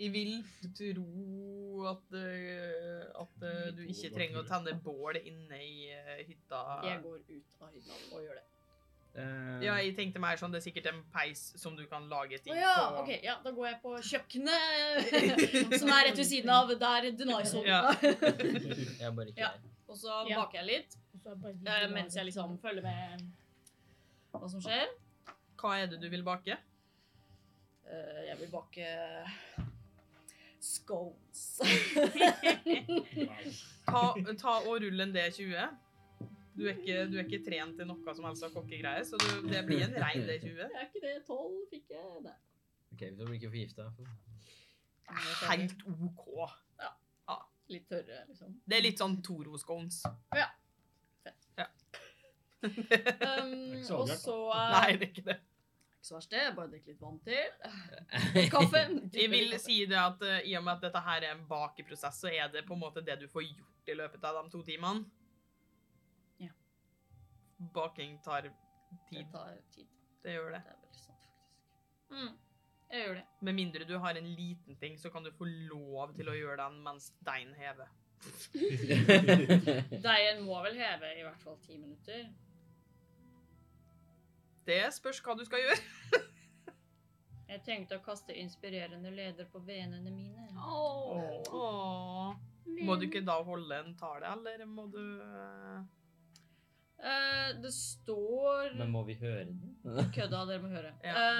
Speaker 1: Jeg vil tro at, eh, at eh, du ikke trenger å tenne bål inne i eh, hytta.
Speaker 3: Jeg går ut av hytta og gjør det.
Speaker 6: Eh,
Speaker 1: Ja, jeg tenkte mer sånn, det er sikkert en peis som du kan lage
Speaker 3: Å
Speaker 1: ting
Speaker 3: ja,
Speaker 1: på.
Speaker 3: ok. Ja, da går jeg på kjøkkenet, som er rett ved siden av der Denai sover.
Speaker 1: Ja.
Speaker 6: Jeg er bare ikke
Speaker 3: Ja.
Speaker 6: der.
Speaker 3: Og så
Speaker 4: Ja.
Speaker 3: baker jeg litt, eh, mens jeg liksom følger med hva som skjer.
Speaker 1: Hva er det du vil bake?
Speaker 3: Eh, jeg vil bake scones.
Speaker 1: Ta, ta og rull en D20. Du er, ikke, du er ikke trent i noe som helst av kokkegreier, så du, det blir en rein D20.
Speaker 3: Det er ikke det. Tolv fikk jeg. Nei.
Speaker 6: Ok, vi blir ikke forgifta.
Speaker 1: Helt OK.
Speaker 3: Litt tørre, liksom.
Speaker 1: Det er litt sånn Toro scones.
Speaker 3: Um,
Speaker 2: ikke så
Speaker 3: og
Speaker 2: avgjort,
Speaker 3: så
Speaker 1: Nei,
Speaker 3: eh,
Speaker 1: det er ikke det.
Speaker 3: Ikke så verst, det. Bare drikke litt vann til. Kaffe.
Speaker 1: Jeg vil si det at eh, i og med at dette her er en bakeprosess, så er det på en måte det du får gjort i løpet av de to timene.
Speaker 3: Ja.
Speaker 1: Baking tar
Speaker 3: Det
Speaker 1: tid.
Speaker 3: tar tid.
Speaker 1: Det gjør det.
Speaker 3: Det er veldig sant, faktisk. Mm. Jeg gjør det.
Speaker 1: Med mindre du har en liten ting, så kan du få lov til å gjøre den mens deigen hever.
Speaker 3: Deigen må vel heve i hvert fall ti minutter.
Speaker 8: Det spørs hva du skal gjøre.
Speaker 3: Jeg tenkte å kaste inspirerende leder på venene mine.
Speaker 8: Åh. Må du ikke da holde en tale, eller må du eh,
Speaker 3: Eh, det står
Speaker 6: Men må vi høre den?
Speaker 3: Kødda, dere må høre.
Speaker 8: Ja.
Speaker 3: Eh,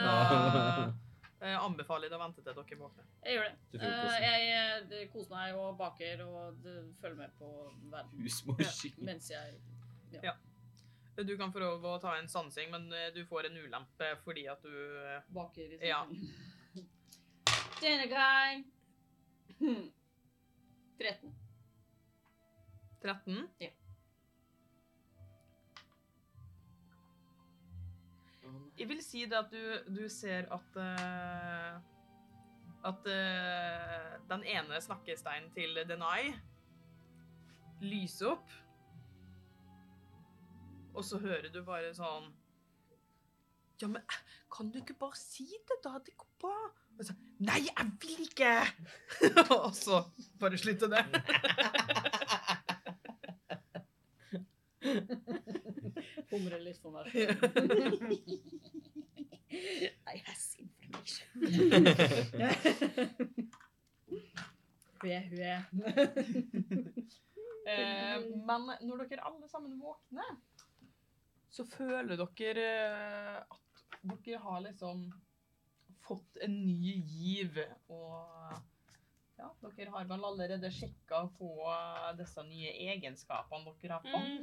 Speaker 8: Da eh, anbefaler jeg deg å vente til dere våkner.
Speaker 3: jeg gjør det.
Speaker 6: Du får jo
Speaker 3: Eh,
Speaker 6: kosen.
Speaker 3: jeg eh, det- koser meg og baker og det- følger med på verden
Speaker 6: Husmorskikk.
Speaker 3: mens jeg
Speaker 8: Du kan få lov å ta en sansing, men eh, du får en ulempe fordi at du eh,
Speaker 3: baker. i
Speaker 8: Ja.
Speaker 3: samfunnet. Denne gang hmm. 13.
Speaker 8: 13?
Speaker 3: Ja.
Speaker 8: Jeg vil si det at du, du ser at eh, At eh, den ene snakkesteinen til Denai lyser opp. Og så hører du bare sånn Ja, men eh, kan du ikke bare si det, da? Det går bra. Og så, Nei, jeg vil ikke! og så bare slutter det.
Speaker 3: Humrer litt for meg.
Speaker 9: I has information.
Speaker 3: Hue, hue.
Speaker 8: Eh, men når dere alle sammen våkner, så føler dere eh, at dere har liksom fått en ny giv. Og ja, dere har vel allerede sjekka på disse nye egenskapene dere har
Speaker 4: Mm.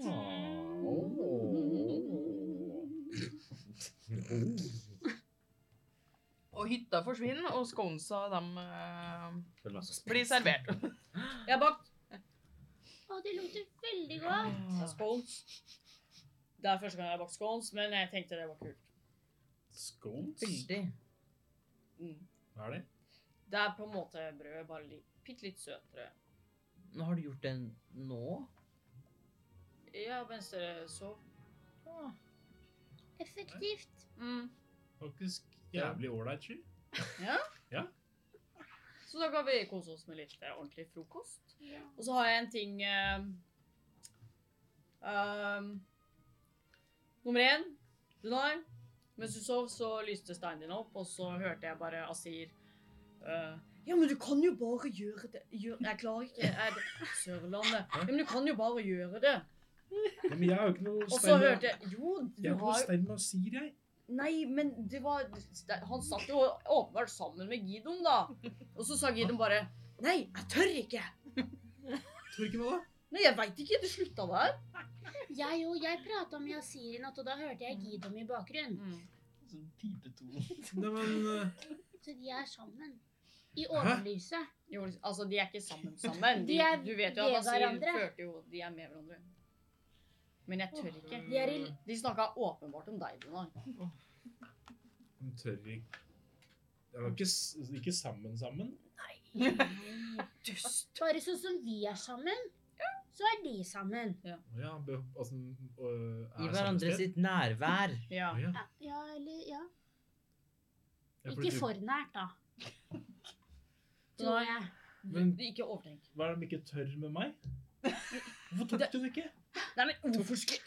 Speaker 8: fått. Og hytta forsvinner, og sconesa de eh,
Speaker 6: Føler meg så
Speaker 8: blir
Speaker 6: spent.
Speaker 8: servert.
Speaker 3: Jeg har bakt
Speaker 4: Å, det lukter veldig godt.
Speaker 6: Mm.
Speaker 3: scones. Det er første gang jeg har bakt scones, men jeg tenkte det var kult.
Speaker 2: Scones?
Speaker 6: Veldig.
Speaker 3: Mm.
Speaker 2: Hva er det?
Speaker 3: Det er på en måte brød, bare litt, bitte litt søtere.
Speaker 6: Nå har du gjort den nå?
Speaker 3: Ja, mens dere sov.
Speaker 6: Ah.
Speaker 4: Effektivt.
Speaker 3: Mm.
Speaker 2: Faktisk jævlig ålreit sky.
Speaker 3: Så da kan vi kose oss med litt eh, ordentlig frokost. Og så har jeg en ting eh, ehm, Nummer én, Dunar. Mens du sov, så lyste steinen din opp, og så hørte jeg bare Asir eh, Ja, men du kan jo bare gjøre det gjør, Jeg klarer ikke jeg, Sørlandet. Ja, men du kan jo bare gjøre det.
Speaker 2: Ja, men jeg har jo ikke noe
Speaker 3: Og så
Speaker 2: med-
Speaker 3: hørte jeg Jo, du
Speaker 2: Jeg har ikke noe
Speaker 3: har jo
Speaker 2: stein med å si det, jeg.
Speaker 3: Nei, men det var Han satt jo åpenbart sammen med Gidon, da. Og så sa Gidon bare Nei, jeg tør ikke.
Speaker 2: Tror ikke hva da?
Speaker 3: Nei, jeg veit ikke. Det slutta der.
Speaker 4: Jeg og jeg prata med Yasir i natt, og da hørte jeg Gidom i bakgrunnen.
Speaker 9: Sånn type to.
Speaker 2: Nei, men eh,
Speaker 4: Så de er sammen. I overlyset.
Speaker 3: Jo, altså, de er ikke sammen sammen. De,
Speaker 4: De er
Speaker 3: du vet jo at
Speaker 4: ved
Speaker 3: Asir
Speaker 4: hverandre.
Speaker 3: følte jo De er med hverandre. Men jeg tør ikke.
Speaker 4: De er i
Speaker 3: De snakka åpenbart om deg, Donar.
Speaker 2: de tør ikke De var ikke, s- ikke sammen sammen.
Speaker 3: Dust.
Speaker 4: Bare sånn som vi er sammen, så er de sammen.
Speaker 2: Ja, be, altså, øh, er
Speaker 6: I
Speaker 2: samme
Speaker 6: hverandre
Speaker 2: sted.
Speaker 6: sitt nærvær.
Speaker 3: Ja.
Speaker 2: Å, ja.
Speaker 4: Ja, Ja, eller ja.
Speaker 2: Ja, fordi
Speaker 4: Ikke
Speaker 2: du-
Speaker 4: for nært, da. Tror jeg.
Speaker 2: Men-
Speaker 3: Du- ikke overtenk.
Speaker 2: Hva er det de ikke tør med meg? Hvorfor tok du det ikke?
Speaker 3: Nei, men hvorfor skulle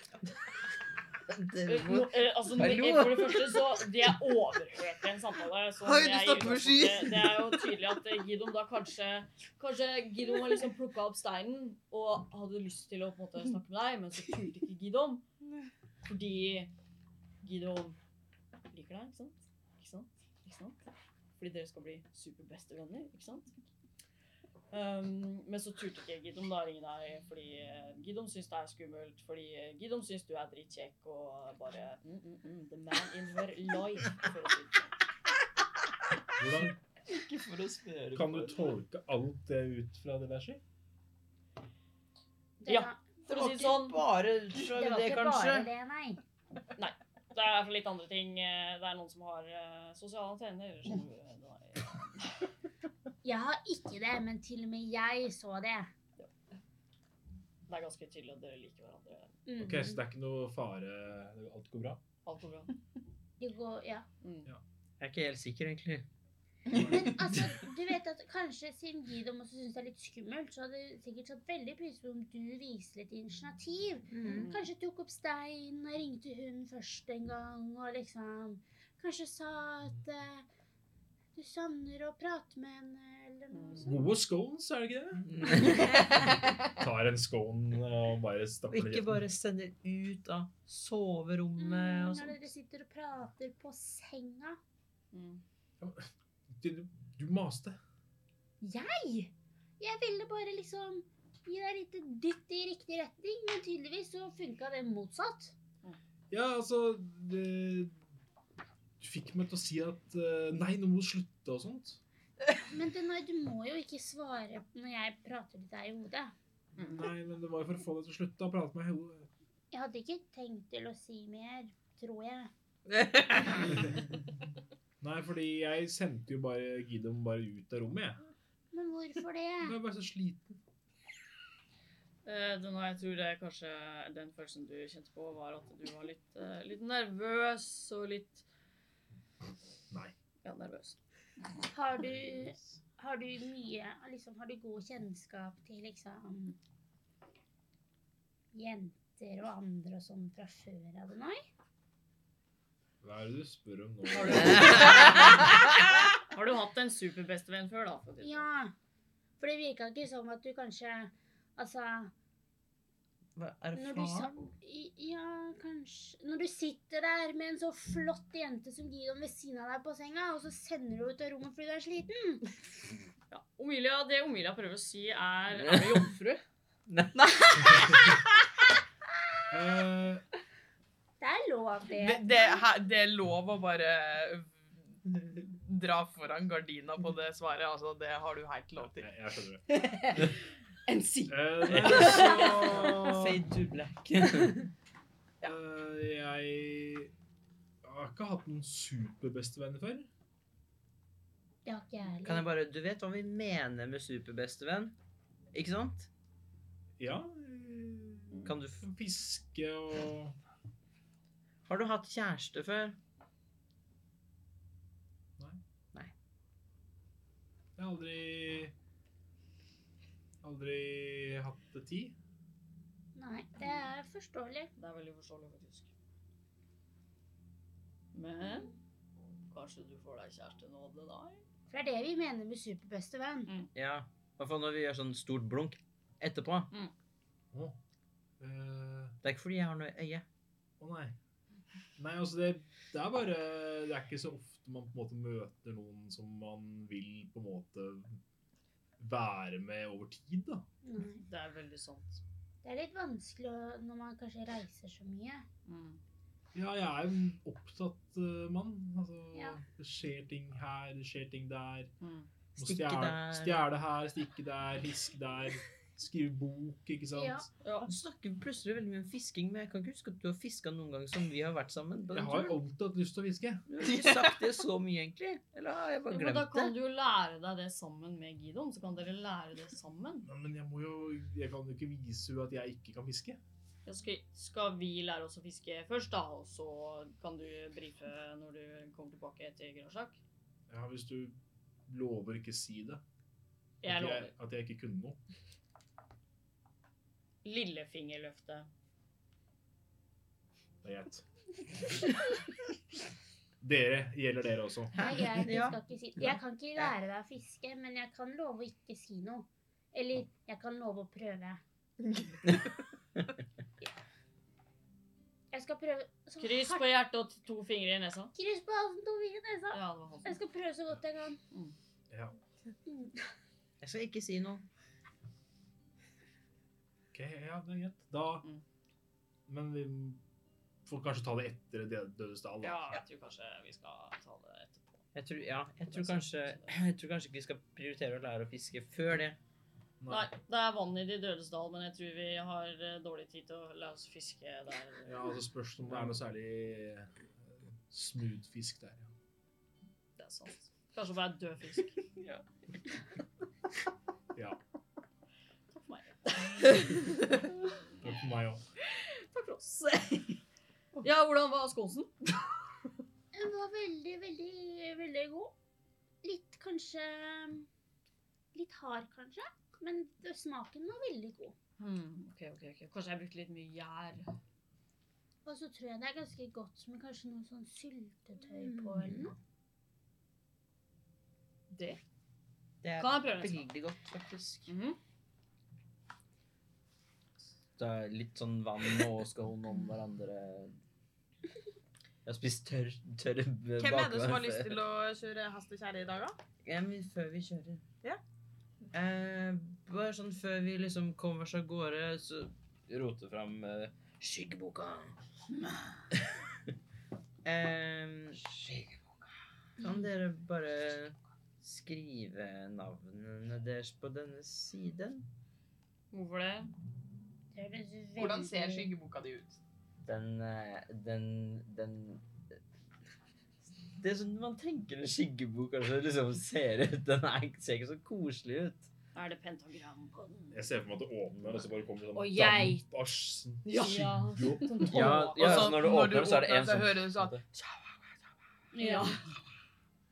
Speaker 9: Det
Speaker 3: Eh,
Speaker 9: må-
Speaker 3: nå- eh, altså, når-
Speaker 6: Hallo?
Speaker 3: eh, For det første, så De er overhørt i en samtale. Så
Speaker 9: Har jo
Speaker 3: jeg
Speaker 9: du
Speaker 3: i
Speaker 9: snakket med sky?
Speaker 3: utgangspunktet- Det er jo tydelig at eh, Gidon da kanskje Kanskje Gidon har liksom plukka opp steinen og hadde lyst til å på en måte snakke med deg, men så turte ikke Gidon. Fordi Gidon liker deg, ikke sant? Ikke sant? Ikke sant? Fordi dere skal bli superbestevenner, ikke sant? Um, men så turte ikke Gidom da ringe deg, fordi eh, Gidom syns det er skummelt. Fordi eh, Gidom syns du er drittkjekk og bare mm, mm, mm, The man in her life. For å si det sånn.
Speaker 2: Hvordan
Speaker 9: Ikke for å spørre
Speaker 2: kan du
Speaker 9: for-
Speaker 2: tolke alt det ut fra det der, Sky?
Speaker 4: Det
Speaker 3: Ja.
Speaker 4: var-
Speaker 9: Det
Speaker 3: For å
Speaker 9: var
Speaker 3: si det
Speaker 9: ikke
Speaker 3: sånn,
Speaker 9: bare
Speaker 4: Det
Speaker 9: fra
Speaker 4: var
Speaker 9: det,
Speaker 4: ikke
Speaker 9: kanskje.
Speaker 4: bare det, nei.
Speaker 3: det er i hvert fall litt andre ting. eh, Det er noen som har eh, sosiale antenner. Som, eh, da er-
Speaker 4: Jeg har ikke det, men til og med jeg så det.
Speaker 3: det er ganske tydelig at dere liker hverandre.
Speaker 4: Mm.
Speaker 2: Ok, Så det er ikke noe fare? Alt går bra?
Speaker 3: Alt går bra.
Speaker 4: Det går, ja.
Speaker 3: Mm.
Speaker 6: Jeg er ikke helt sikker, egentlig.
Speaker 4: Men altså, du vet at kanskje siden Gidom også syns det er litt skummelt, så hadde det sikkert satt veldig pris på om du viste litt initiativ. Kanskje tok opp stein og ringte hun først en gang, og liksom Kanskje sa at eh, du savner å prate med henne, eller noe sånt.
Speaker 8: eh,
Speaker 2: Gode scones, er det ikke det? Tar en scone og bare
Speaker 8: Og
Speaker 2: stapper den i
Speaker 8: ikke
Speaker 2: kjeften.
Speaker 8: bare sender ut av soverommet og
Speaker 4: Mm, Når
Speaker 6: sånn.
Speaker 8: sånt.
Speaker 4: dere sitter og prater på senga.
Speaker 3: Mm.
Speaker 2: Du, du maste.
Speaker 4: Jeg? Jeg ville bare liksom gi deg litt dytt i riktig retning, men tydeligvis så funka det motsatt.
Speaker 2: Ja, altså det, Du fikk meg til å si at eh, Nei, nå må du slutte og sånt.
Speaker 4: Men Denai, du må jo ikke svare når jeg prater til deg i hodet.
Speaker 2: Nei, men det var jo for å få deg til å slutte å prate med henne.
Speaker 4: Jeg hadde ikke tenkt til å si mer, tror jeg.
Speaker 2: Nei, fordi jeg sendte jo bare Gidom bare ut av rommet, jeg.
Speaker 4: Men hvorfor
Speaker 8: Mm.
Speaker 2: Jeg
Speaker 4: det?
Speaker 2: var bare så sliten.
Speaker 3: Eh, Den, jeg tror det er kanskje den følelsen du kjente på, var at du var litt, eh, litt nervøs og litt
Speaker 2: Nei.
Speaker 3: Ja, nervøs.
Speaker 4: Har du, har du mye liksom, Har du god kjennskap til liksom Jenter og andre og sånn fra før av, Denai?
Speaker 2: Hva er det du spør om
Speaker 3: Har
Speaker 2: nå?
Speaker 3: du, har du hatt en superbestevenn før, da? for å si det sånn?
Speaker 4: Ja. For det virka ikke som at du kanskje Altså
Speaker 8: Hva, Er det
Speaker 4: Når du, sa,
Speaker 8: faren?
Speaker 4: i- ja, kanskje. Når du sitter der med en så flott jente som Gidon ved siden av deg på senga, og så sender du henne ut av rommet fordi du er sliten.
Speaker 3: Ja. Omilia, det Omilia prøver å si, er Er du jomfru?
Speaker 2: Eh,
Speaker 4: Det er lov, det.
Speaker 1: Det, det, her- det er lov å bare dra foran gardina på det svaret. Altså, det har du helt lov til.
Speaker 2: jeg, jeg skjønner det.
Speaker 3: En si.
Speaker 2: Eh, nei, så
Speaker 8: Fade to black.
Speaker 2: Eh, Jeg har ikke hatt noen superbestevenner før.
Speaker 4: Det har ikke jeg
Speaker 6: Kan jeg
Speaker 4: heller.
Speaker 6: bare Du vet hva vi mener med superbestevenn? Ikke sant?
Speaker 2: Ja. eh,
Speaker 6: Kan du f
Speaker 2: Fiske og
Speaker 6: Har du hatt kjæreste før?
Speaker 2: Jeg har aldri Aldri hatt det tid.
Speaker 4: Nei, det er forståelig.
Speaker 3: Det er veldig forståelig, faktisk. Men kanskje du får deg kjæreste nå, det da?
Speaker 4: For det er det vi mener med superbestevenn.
Speaker 6: Ja. I hvert fall når vi gjør sånn stort blunk etterpå.
Speaker 2: Å Eh,
Speaker 6: Det er ikke fordi jeg har noe i øyet.
Speaker 2: å nei. Nei, altså det, det er bare Det er ikke så ofte man på en måte møter noen som man vil på en måte være med over tid, da.
Speaker 4: Nei.
Speaker 3: Det er veldig sant.
Speaker 4: Det er litt vanskelig å- når man kanskje reiser så mye.
Speaker 3: Mm.
Speaker 2: Ja, jeg er jo en opptatt eh, mann. Altså,
Speaker 4: Ja.
Speaker 2: Det skjer ting her, det skjer ting der.
Speaker 3: Mm.
Speaker 2: Må
Speaker 6: Stikke
Speaker 2: stjele-
Speaker 6: der.
Speaker 2: Stjele her, stikke der, fiske der. Skrive bok, ikke sant.
Speaker 4: Ja.
Speaker 3: Ja.
Speaker 6: Du snakker plutselig veldig mye om fisking, men jeg kan ikke huske at du har fiska noen gang som vi har vært sammen. på den
Speaker 2: Jeg har jo
Speaker 6: turen.
Speaker 2: alltid hatt lyst til å fiske.
Speaker 6: Du har ikke sagt det så mye, egentlig. Eller har jeg
Speaker 3: Jo,
Speaker 6: bare
Speaker 3: men da
Speaker 6: glemt det?
Speaker 3: kan du jo lære deg det sammen med Gidon. Så kan dere lære det sammen.
Speaker 2: Nei, Men jeg må jo Jeg kan jo ikke vise henne at jeg ikke kan fiske.
Speaker 3: Ja, skal, skal vi lære oss å fiske først, da? Og så kan du brife når du kommer tilbake til Grasjak?
Speaker 2: Ja, Hvis du lover ikke si det.
Speaker 3: Jeg
Speaker 2: at,
Speaker 3: lover.
Speaker 2: jeg, at jeg ikke kunne noe.
Speaker 3: Lillefingerløftet.
Speaker 2: Det er greit. Dere gjelder dere også.
Speaker 4: Det er greit, jeg,
Speaker 8: Ja.
Speaker 4: skal ikke si. jeg kan ikke lære deg å fiske, men jeg kan love å ikke si noe. Eller jeg kan love å prøve. Jeg skal prøve så
Speaker 3: Kryss på
Speaker 4: hardt-
Speaker 3: hjertet og to fingre i nesa.
Speaker 4: Kryss på halsen, to fingre i nesa.
Speaker 3: Ja, det var sånn. han
Speaker 4: Jeg
Speaker 3: som
Speaker 4: skal prøve så godt jeg kan.
Speaker 2: Ja,
Speaker 4: Mm.
Speaker 6: Jeg skal ikke si noe.
Speaker 2: ok, ja det er greit. Da
Speaker 3: Mm.
Speaker 2: Men vi får kanskje ta det etter det dødes dal,
Speaker 3: Ja,
Speaker 2: da.
Speaker 3: jeg tror kanskje vi skal ta det etterpå.
Speaker 6: Jeg tror, ja, jeg tror, kanskje, jeg tror kanskje ikke vi skal prioritere å lære å fiske før det.
Speaker 3: Nei, det er vann i De dødes dal, men jeg tror vi har eh, dårlig tid til å la oss fiske der.
Speaker 2: Ja, altså Spørs om det er noe særlig eh, smooth fisk der. ja.
Speaker 3: Det er sant. Kanskje bare død fisk.
Speaker 2: Ja.
Speaker 3: Takk for meg.
Speaker 2: og For meg òg.
Speaker 3: Takk for oss. Ja, hvordan var skonsen?
Speaker 4: Den var veldig, veldig, veldig god. Litt kanskje litt hard, kanskje. Men det- smaken var veldig god.
Speaker 3: Hmm, ok, ok, ok. Kanskje jeg brukte litt mye gjær.
Speaker 4: Og så tror jeg det er ganske godt med kanskje noe sånn syltetøy
Speaker 3: Mm.
Speaker 4: på eller noe.
Speaker 3: Det
Speaker 8: Det er
Speaker 3: kan jeg prøve neste gang.
Speaker 8: veldig godt, faktisk.
Speaker 3: Mhm.
Speaker 6: Det er litt sånn vann og scone om hverandre. Jeg har spist tørr, tørre b-
Speaker 1: Hvem er det som har
Speaker 6: bakverk.
Speaker 1: lyst til å kjøre hest og kjerre i dag, da?
Speaker 8: Ja, men før vi kjører.
Speaker 1: Ja.
Speaker 8: Eh, bare sånn før vi liksom kommer oss av gårde, så
Speaker 6: Rote fram eh, skyggeboka.
Speaker 8: eh,
Speaker 6: Skyggeboka.
Speaker 8: Kan dere bare skrive navnene deres på denne siden?
Speaker 3: Hvorfor det?
Speaker 4: Det høres veldig-
Speaker 1: Hvordan ser skyggeboka di ut?
Speaker 6: Den, eh, den, den Det er sånn man tenker en skyggebok altså, liksom ser ut. Den er, ser ikke så koselig ut.
Speaker 3: Er det pentagram på den?
Speaker 2: Jeg ser for meg at det åpner, og så bare kommer det sånn
Speaker 3: Og jeg-
Speaker 2: damp av s-
Speaker 3: Ja.
Speaker 2: skygge
Speaker 3: Sånn
Speaker 2: opp.
Speaker 6: Ja, ja
Speaker 1: Og
Speaker 6: så når du åpner opp, så er det en
Speaker 1: så
Speaker 6: sånn
Speaker 1: hører du sånn
Speaker 3: Ja.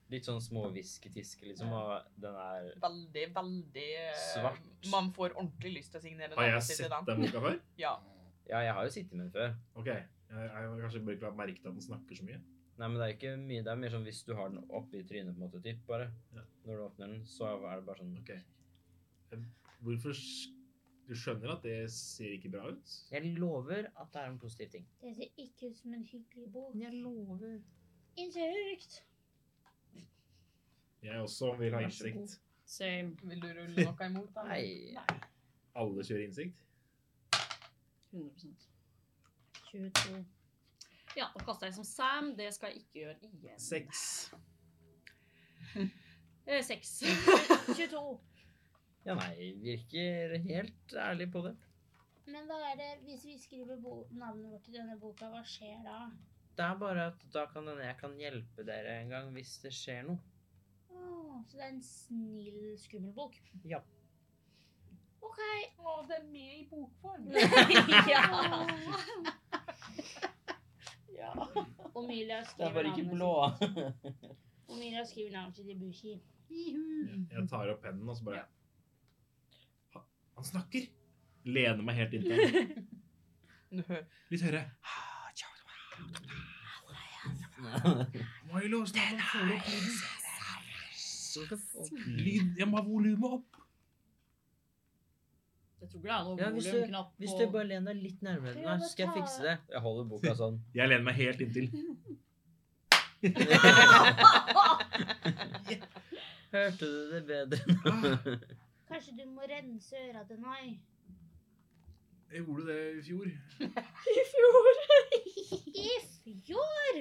Speaker 6: Litt sånn småhvisketiske, liksom. Og den er
Speaker 1: Veldig, veldig eh,
Speaker 6: Svart.
Speaker 1: Man får ordentlig lyst til å signere
Speaker 2: Har jeg
Speaker 1: navnet sitt i den.
Speaker 2: sett den boka før?
Speaker 1: Ja.
Speaker 6: Ja, jeg har jo sittet med den før.
Speaker 2: Ok, jeg, jeg har kanskje bare ikke merket at den snakker så mye.
Speaker 6: Nei, men det er ikke mye. Det er mer sånn hvis du har den oppi trynet, på en måte, typ, bare.
Speaker 2: Ja.
Speaker 6: Når du åpner den, så er det bare sånn
Speaker 2: Ok. Em, Hvorfor sk- Du skjønner at det ser ikke bra ut?
Speaker 6: Jeg lover at det er en positiv ting.
Speaker 4: Det ser ikke ut som en hyggelig bok.
Speaker 8: Jeg lover.
Speaker 4: Innsøkt.
Speaker 2: Jeg også vil ha
Speaker 8: Vær så
Speaker 2: innsikt.
Speaker 3: Same.
Speaker 1: Vil du rulle noe imot? da?
Speaker 6: Nei.
Speaker 2: Alle kjører innsikt.
Speaker 3: 100
Speaker 4: 22.
Speaker 3: Ja, nå kasta jeg som Sam. Det skal jeg ikke gjøre igjen.
Speaker 2: Seks.
Speaker 3: Eh, seks.
Speaker 4: 22.
Speaker 6: Ja, nei, virker helt ærlig på det.
Speaker 4: Men hva er det, hvis vi skriver bo navnet vårt i denne boka, hva skjer da?
Speaker 8: Det er bare at da kan denne jeg kan hjelpe dere en gang hvis det skjer noe.
Speaker 4: Åh, så det er en snill, skummel bok.
Speaker 8: Ja.
Speaker 4: Ok.
Speaker 1: Å, det er med i bokform.
Speaker 3: ja.
Speaker 1: Ja.
Speaker 4: Omilia
Speaker 6: Det er
Speaker 4: skriver
Speaker 6: bare ikke
Speaker 4: navnet
Speaker 6: blå.
Speaker 4: sitt. Omilia skriver navnet sitt i Bushi.
Speaker 2: Jeg tar opp pennen og så bare Ha- Han snakker! Lener meg helt inntil ham. Litt høyere. Milo, snakk om å få opp lyden.
Speaker 8: Så skal folk-
Speaker 2: Lyd, jeg må ha volumet opp.
Speaker 3: Jeg tror ikke det er noe
Speaker 8: Ja, hvis du-
Speaker 3: volumknapp
Speaker 8: Hvis
Speaker 3: på-
Speaker 8: du bare lener deg litt nærmere meg, så skal jeg fikse det.
Speaker 6: Jeg holder boka sånn.
Speaker 2: Jeg lener meg helt inntil.
Speaker 8: Hørte du det bedre nå?
Speaker 4: Kanskje du må rense øra til Noi?
Speaker 2: Jeg gjorde det i fjor.
Speaker 4: I fjor!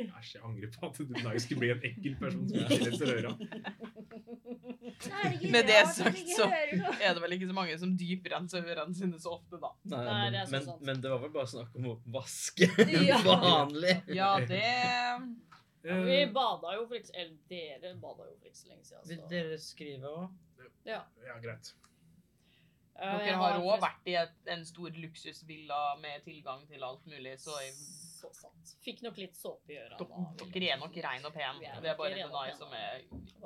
Speaker 2: Æsj, jeg angrer på at du i dag skulle bli en ekkel person som ikke renser øra.
Speaker 4: Da er ikke
Speaker 1: Med det
Speaker 4: rart at
Speaker 1: sagt,
Speaker 4: vi ikke
Speaker 1: så-
Speaker 4: hører noe.
Speaker 1: Er det vel ikke så mange som dyprenser ørene sine så ofte, da?
Speaker 6: Nei,
Speaker 3: Nei,
Speaker 6: men,
Speaker 3: det er så
Speaker 6: men,
Speaker 3: sant.
Speaker 6: men det var vel bare snakk om å vaske
Speaker 3: Ja.
Speaker 6: vanlig.
Speaker 1: Ja, det
Speaker 3: Vi
Speaker 2: Eh,
Speaker 3: bada jo for ikke så Eller dere bada jo for ikke så lenge siden.
Speaker 8: Vil
Speaker 3: Så.
Speaker 8: dere skrive òg?
Speaker 2: ja, greit.
Speaker 3: Eh, jeg
Speaker 1: Dere har òg
Speaker 3: forresten-
Speaker 1: vært i et, en stor luksusvilla med tilgang til alt mulig, så jeg,
Speaker 3: Så sant. Fikk nok litt såpe i øra. da,
Speaker 1: dere
Speaker 3: vil
Speaker 1: dere
Speaker 3: jeg
Speaker 1: er nok
Speaker 3: si.
Speaker 1: rein og pen.
Speaker 3: Vi er
Speaker 1: Det er
Speaker 3: nok
Speaker 1: bare
Speaker 3: ren og
Speaker 1: Denai
Speaker 3: pen.
Speaker 1: som er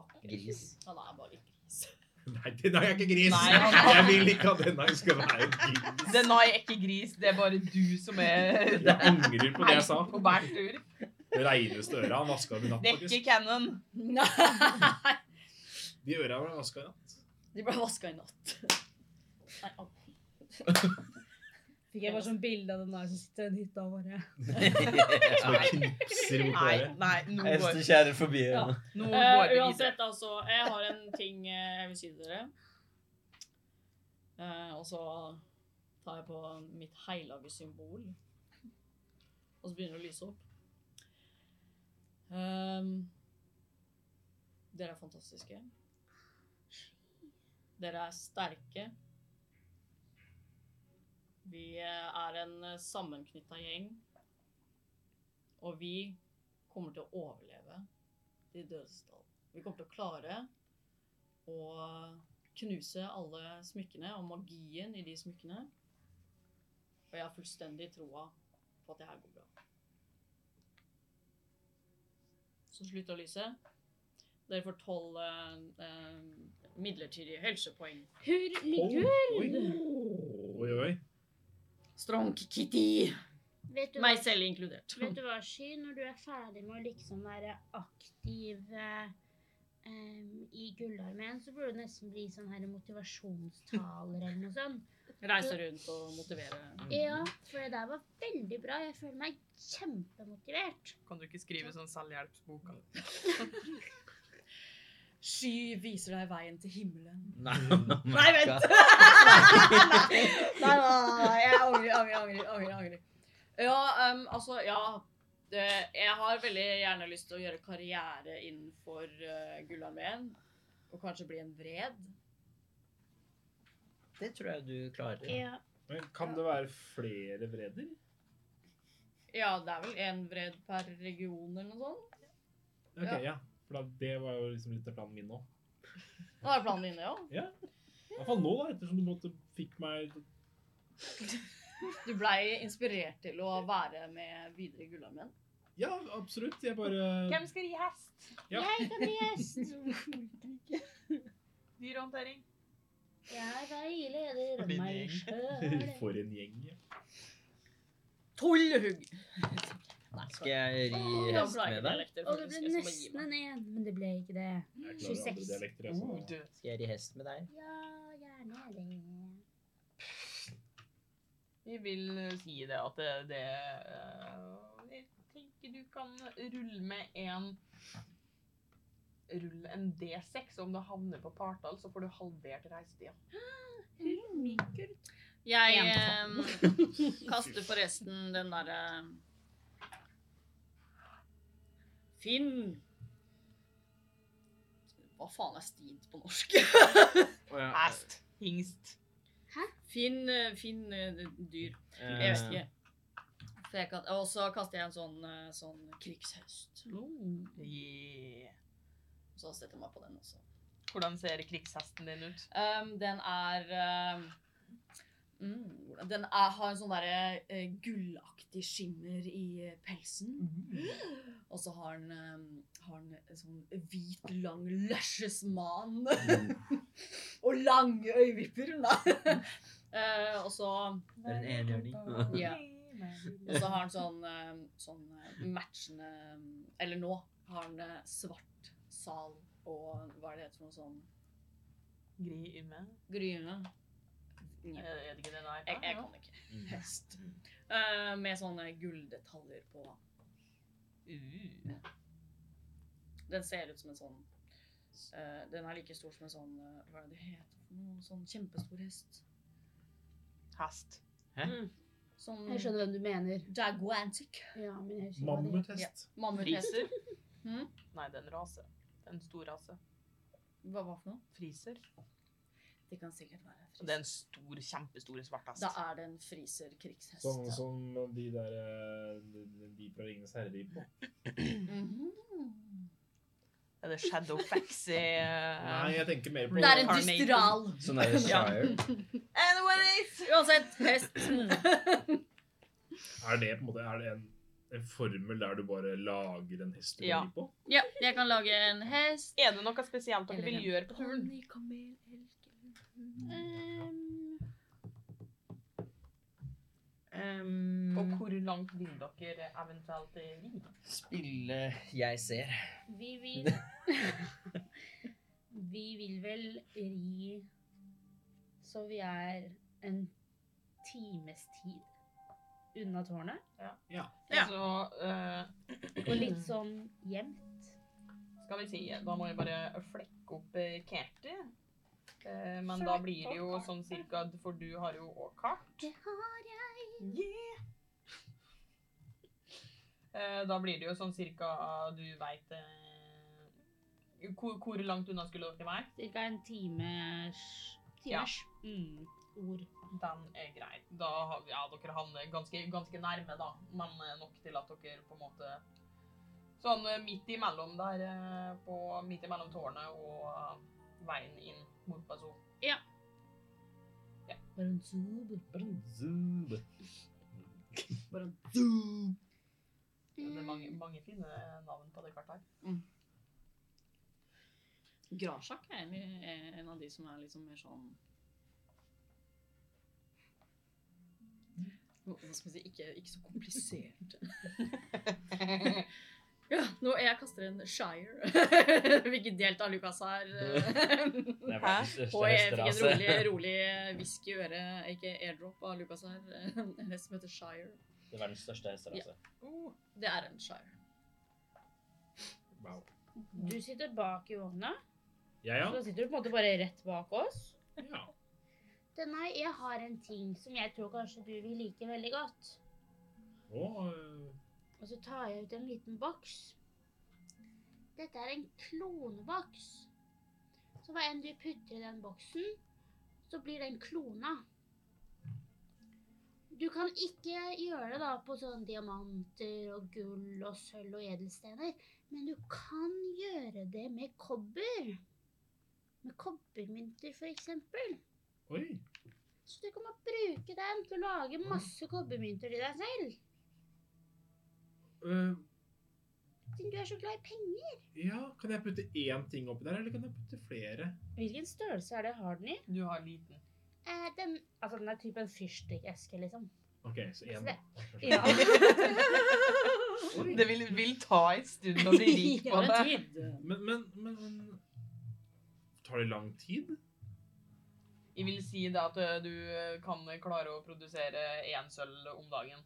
Speaker 3: Vakker.
Speaker 6: Gris.
Speaker 3: Han er bare gris.
Speaker 2: Nei, den er jeg ikke gris.
Speaker 1: Nei, han-
Speaker 2: Jeg vil ikke at denne skal være en gris.
Speaker 1: Denai er ikke gris, det er bare du som er
Speaker 2: Jeg angrer på det jeg sa.
Speaker 1: på bærtur.
Speaker 2: Det reineste øra han vaska i natt,
Speaker 1: Det er ikke
Speaker 2: faktisk.
Speaker 1: Cannon.
Speaker 3: Nei!
Speaker 2: De øra var vaska i natt.
Speaker 3: De ble vaska i natt. Nei, au.
Speaker 10: Fikk jeg bare sånn bilde av den der som sitter i den hytta og bare
Speaker 2: Så det knipser mot
Speaker 1: Nei,
Speaker 2: øret.
Speaker 1: nei, nå går,
Speaker 6: Hester kjærer forbi.
Speaker 3: Ja.
Speaker 1: nå
Speaker 3: Eh,
Speaker 1: går vi videre.
Speaker 3: uansett, altså. Jeg har en ting eh, jeg vil si til dere. Eh, og så tar jeg på mitt heilage symbol. Og så begynner det å lyse opp. Ehm, dere er fantastiske. Dere er sterke. Vi eh, er en eh, sammenknytta gjeng. Og vi kommer til å overleve til Dødsdal. Vi kommer til å klare å knuse alle smykkene og magien i de smykkene. Og jeg har fullstendig troa på at det her går bra. Så slutt å lyse. Dere får tolv eh, eh, midlertidige helsepoeng.
Speaker 4: Hurlurur!
Speaker 2: Oi, oi, oi.
Speaker 3: Strong Kitty!
Speaker 4: Vet du hva
Speaker 3: Meg selv inkludert.
Speaker 4: Vet du hva, Sky? Når du er ferdig med å liksom være aktiv eh, em, i Gullarmeen, så burde du nesten bli sånn her motivasjonstaler eller noe sånt.
Speaker 3: Reise rundt og motivere.
Speaker 4: Ja, for det der var veldig bra. Jeg føler meg kjempemotivert.
Speaker 1: Kan du ikke skrive sånn selvhjelpsbok? da?
Speaker 3: Sky viser deg veien til himmelen.
Speaker 6: Nei, oh my
Speaker 3: Nei, vent.
Speaker 6: God.
Speaker 3: Nei, nei, nei, nei, jeg angrer, angrer, angrer. angrer, angrer. Ja, ehm, altså, ja. Det, jeg har veldig gjerne lyst til å gjøre karriere innenfor uh, Gullarmeen. Og kanskje bli en vred.
Speaker 6: Det tror jeg du klarer.
Speaker 4: Ja.
Speaker 2: Men kan det være flere vreder?
Speaker 3: Ja, det er vel en vred per region eller noe sånt.
Speaker 2: Ok,
Speaker 3: Ja.
Speaker 2: ja. For da, det var jo liksom litt av planen min nå.
Speaker 3: Nå er planen din, det òg.
Speaker 2: I hvert fall nå, da, ettersom du måtte fikk meg
Speaker 3: Du blei inspirert til å være med videre i Gullarmeen.
Speaker 2: Ja, absolutt. Jeg bare
Speaker 1: Hvem skal ri hest?
Speaker 2: Ja.
Speaker 4: Jeg kan bli hest!
Speaker 1: Dyrehåndtering.
Speaker 4: Jeg er i leder
Speaker 1: Blir
Speaker 4: meg
Speaker 1: det
Speaker 4: sjøl.
Speaker 2: For en gjeng. ja.
Speaker 3: Tullhugg!
Speaker 6: Skal jeg ri hest med deg?
Speaker 4: Og det ble nesten en én, men det ble ikke det.
Speaker 2: Jeg klarer andre
Speaker 4: 26.
Speaker 2: dialekter. jeg,
Speaker 1: Oh,
Speaker 2: så-
Speaker 1: død.
Speaker 6: Skal jeg ri hest med deg?
Speaker 4: Ja, gjerne det.
Speaker 1: Vi vil si det at det, det eh, Jeg tenker du kan rulle med en Rull en D6, og om du havner på partall, så får du halvert reisetida.
Speaker 3: Jeg eh, kaster forresten den derre Finn Hva faen er stid på norsk?
Speaker 1: Hest. Hingst.
Speaker 3: Finn, eh, finn eh, dyr.
Speaker 6: Eh,
Speaker 3: Jeg vet ikke. For jeg kan- Og så kaster jeg en sånn, eh, sånn krigshøst.
Speaker 1: Oh. Yeah.
Speaker 3: Så setter jeg meg på den også.
Speaker 1: Hvordan ser krigshesten din ut?
Speaker 3: Um, den er um, mm, hvordan- Den er, har en sånn derre eh, gullaktig skimmer i eh, pelsen. Og så har den, um, har den en sånn hvit, lang løsjesman. og lange øyevipper. Nei. Eh, og så
Speaker 6: Det er en E enhjørning.
Speaker 3: ja. Og så har han sånn, eh, sånn eh, matchende Eller nå har han eh, svart sal og hva er det heter for noe sånn
Speaker 1: Gri ymme?
Speaker 3: gryne?
Speaker 1: Er
Speaker 3: Jeg,
Speaker 1: det ikke det den er?
Speaker 3: jeg kan ikke.
Speaker 6: Mm.
Speaker 3: Hest. Eh, med sånne gulldetaljer på.
Speaker 1: Uh.
Speaker 3: Den ser ut som en sånn eh, Den er like stor som en sånn eh, Hva er det det heter? for noe? Sånn kjempestor hest.
Speaker 1: Hest.
Speaker 3: Sånn
Speaker 4: Jeg skjønner hvem du mener.
Speaker 3: Jaguantic.
Speaker 4: Ja, men jeg husker ikke hva det heter.
Speaker 2: Mammuthest.
Speaker 3: Mammuthest.
Speaker 1: Friser?
Speaker 3: Hm?
Speaker 1: Nei, det er en rase. Det er en stor rase.
Speaker 3: Hva var det for noe?
Speaker 1: Friser.
Speaker 3: Det kan sikkert være
Speaker 1: Og det er en stor, kjempestor svart hest.
Speaker 3: Da er det en friser krigshest.
Speaker 2: Sånn som de der eh, de- De fra Ringenes herre driver på.
Speaker 1: Mm.
Speaker 3: Mhm.
Speaker 1: Er det Shadow eh, Faxy?
Speaker 2: Nei, jeg tenker mer på
Speaker 3: Det er en
Speaker 1: Reincarnated.
Speaker 3: dystral.
Speaker 6: Sånn er det Shire.
Speaker 1: Anyways!
Speaker 3: Uansett, Mm. hest.
Speaker 2: Er det på en måte er det en, en formel der du bare lager en hest du
Speaker 1: Ja.
Speaker 2: rir på?
Speaker 3: ja, jeg kan lage en hest.
Speaker 1: Er det noe spesielt dere vil gjøre på turen?
Speaker 8: Ehm,
Speaker 1: Og hvor langt vil dere eventuelt ri?
Speaker 6: Spille jeg ser.
Speaker 4: Vi vil Vi vil vel ri så vi er en times tid unna tårnet.
Speaker 3: Ja.
Speaker 1: Så eh,
Speaker 4: Og litt sånn jevnt.
Speaker 1: skal vi si Da må jeg bare flekke opp eh, kartet. Eh, men da blir det jo sånn cirka For du har jo òg kart.
Speaker 4: Det har jeg.
Speaker 1: Yeah. Eh, da blir det jo sånn cirka Du veit eh, hvor, hvor langt unna skulle dere være?
Speaker 4: Cirka en timers Timers. Mm, ord.
Speaker 1: Den er grei. Da har vi- ja, dere havner ganske, ganske nærme, da. Men eh, nok til at dere på en måte Sånn eh, midt imellom der, eh, på, midt imellom tårnet og eh, veien inn mot Bazo. eh, Det er mange, mange fine navn på det kartet her.
Speaker 3: Mm. Grasjak er en, er en av de som er liksom mer sånn Hva skal man si Ikke, ikke så komplisert. ja, nå jeg kaster en Shire. Hvilket delt av Lucas har.
Speaker 6: Det
Speaker 1: Hæ?
Speaker 6: er verdens største
Speaker 3: Og jeg fikk en
Speaker 6: hesterase.
Speaker 3: rolig, rolig whisky i øret, ikke airdrop av Lucas her. En hest som heter Shire.
Speaker 6: Det er verdens største altså. hesterase.
Speaker 3: Det er en Shire.
Speaker 2: Wow.
Speaker 10: Du sitter bak i vogna,
Speaker 2: Ja,
Speaker 10: så
Speaker 2: ja.
Speaker 10: da sitter du på en måte bare rett bak oss.
Speaker 2: ja.
Speaker 4: Det, nei, jeg har en ting som jeg tror kanskje du vil like veldig godt.
Speaker 2: Og eh,
Speaker 4: Og så tar jeg ut en liten boks. Dette er en kloneboks. Så hva enn du putter i den boksen, så blir den klona. Du kan ikke gjøre det da på sånn diamanter og gull og sølv og edelstener, men du kan gjøre det med kobber. Med kobbermynter, for eksempel.
Speaker 2: Oi.
Speaker 4: Så du kan bare bruke den til å lage masse kobbermynter til deg selv.
Speaker 2: Eh,
Speaker 4: Siden du er så glad i penger.
Speaker 2: ja, kan jeg putte én ting oppi der, eller kan jeg putte flere?
Speaker 10: Hvilken størrelse er det har den i?
Speaker 1: Du har liten.
Speaker 4: Eh, den
Speaker 10: Altså, den er typ en fyrstikkeske, liksom.
Speaker 2: OK, så én.
Speaker 1: Altså,
Speaker 10: Ja.
Speaker 2: Oi.
Speaker 1: Det vil, vil ta en stund å bli rik på
Speaker 3: For
Speaker 1: det.
Speaker 3: en tid.
Speaker 2: Men, men, men, men Tar det lang tid?
Speaker 1: Jeg vil si da at ø, du eh, kan klare å produsere én sølv om dagen.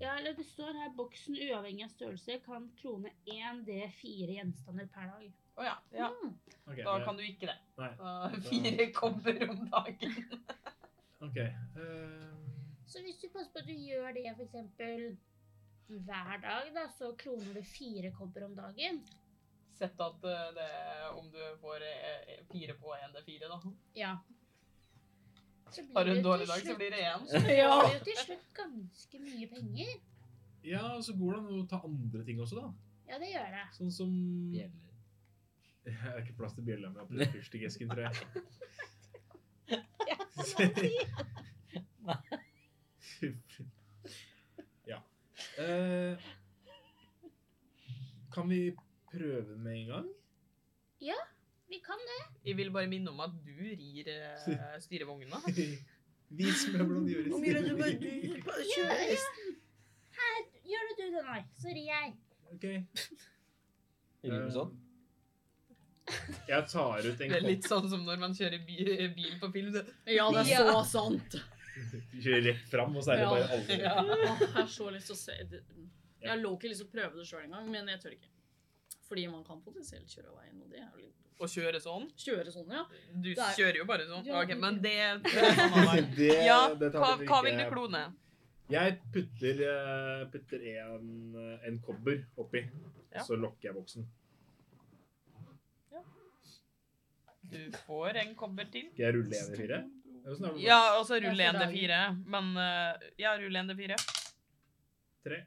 Speaker 4: Ja, eller det står her boksen uavhengig av størrelse kan klone 1D4 gjenstander per dag.
Speaker 1: Å ja. ja.
Speaker 4: Mm.
Speaker 2: Ok,
Speaker 1: Da
Speaker 2: det-
Speaker 1: kan du ikke det.
Speaker 2: Nei.
Speaker 1: Da- Fire kobber om dagen.
Speaker 2: OK. eh,
Speaker 4: Så hvis du passer på at du gjør det for eksempel hver dag, da, så kloner du fire kobber om dagen.
Speaker 1: Sett at ø, det om du får ø, fire på en D4, da.
Speaker 4: Ja. Så
Speaker 1: Har du en
Speaker 4: det jo
Speaker 1: dårlig
Speaker 4: til
Speaker 1: dag, så
Speaker 4: slutt-
Speaker 1: blir det én.
Speaker 4: så blir det jo til slutt ganske mye penger.
Speaker 2: ja, så går det an å ta andre ting også, da.
Speaker 4: Ja, det gjør det.
Speaker 2: Sånn som Jeg
Speaker 6: Bjeller.
Speaker 2: har ikke plass til bjella med apelsinfyrstikesken, tror jeg. ja. Eh, kan vi prøve med en gang?
Speaker 4: Vi kan det.
Speaker 1: Jeg vil bare minne om at du rir eh, ø, styrevogna.
Speaker 2: Vis meg hvordan de gjør
Speaker 5: Hvor mye er det du bare du bare kjører
Speaker 4: Ja, ja.
Speaker 5: hesten?
Speaker 4: Her, gjør det du det, nei. Så rir jeg.
Speaker 2: Ok.
Speaker 6: Rimer det sånn?
Speaker 2: Jeg tar ut en
Speaker 1: Det er
Speaker 2: kopp.
Speaker 1: litt sånn som når man kjører bi- bil på film. så-
Speaker 3: Ja, det er så sant.
Speaker 2: Du kjører rett fram, og så er det
Speaker 3: Ja.
Speaker 2: bare alvor.
Speaker 1: Ja.
Speaker 3: Åh, jeg har så lyst til å se det. Jeg har lov til å liksom prøve det sjøl en gang, men jeg tør ikke. Fordi man kan potensielt kjøre av veien, og det er jo litt
Speaker 1: Å kjøre sånn.
Speaker 3: Kjøre sånn, ja.
Speaker 1: Du
Speaker 3: Det er-
Speaker 1: kjører jo bare sånn.
Speaker 3: Ja,
Speaker 1: Ok, men det
Speaker 2: Det,
Speaker 1: Ja,
Speaker 2: det tar
Speaker 1: hva,
Speaker 2: vi
Speaker 1: hva
Speaker 2: ikke-
Speaker 1: vil du klone?
Speaker 2: Jeg putter, eh, putter en, eh, en kobber oppi,
Speaker 1: Ja.
Speaker 2: så lokker jeg boksen.
Speaker 1: Du får en kobber til.
Speaker 2: Skal jeg rulle en i fire? Det er jo snart-
Speaker 1: Ja, og så
Speaker 10: Det er
Speaker 1: rull
Speaker 10: for
Speaker 1: en D4. Men eh, Ja, rull en D4.
Speaker 2: Tre.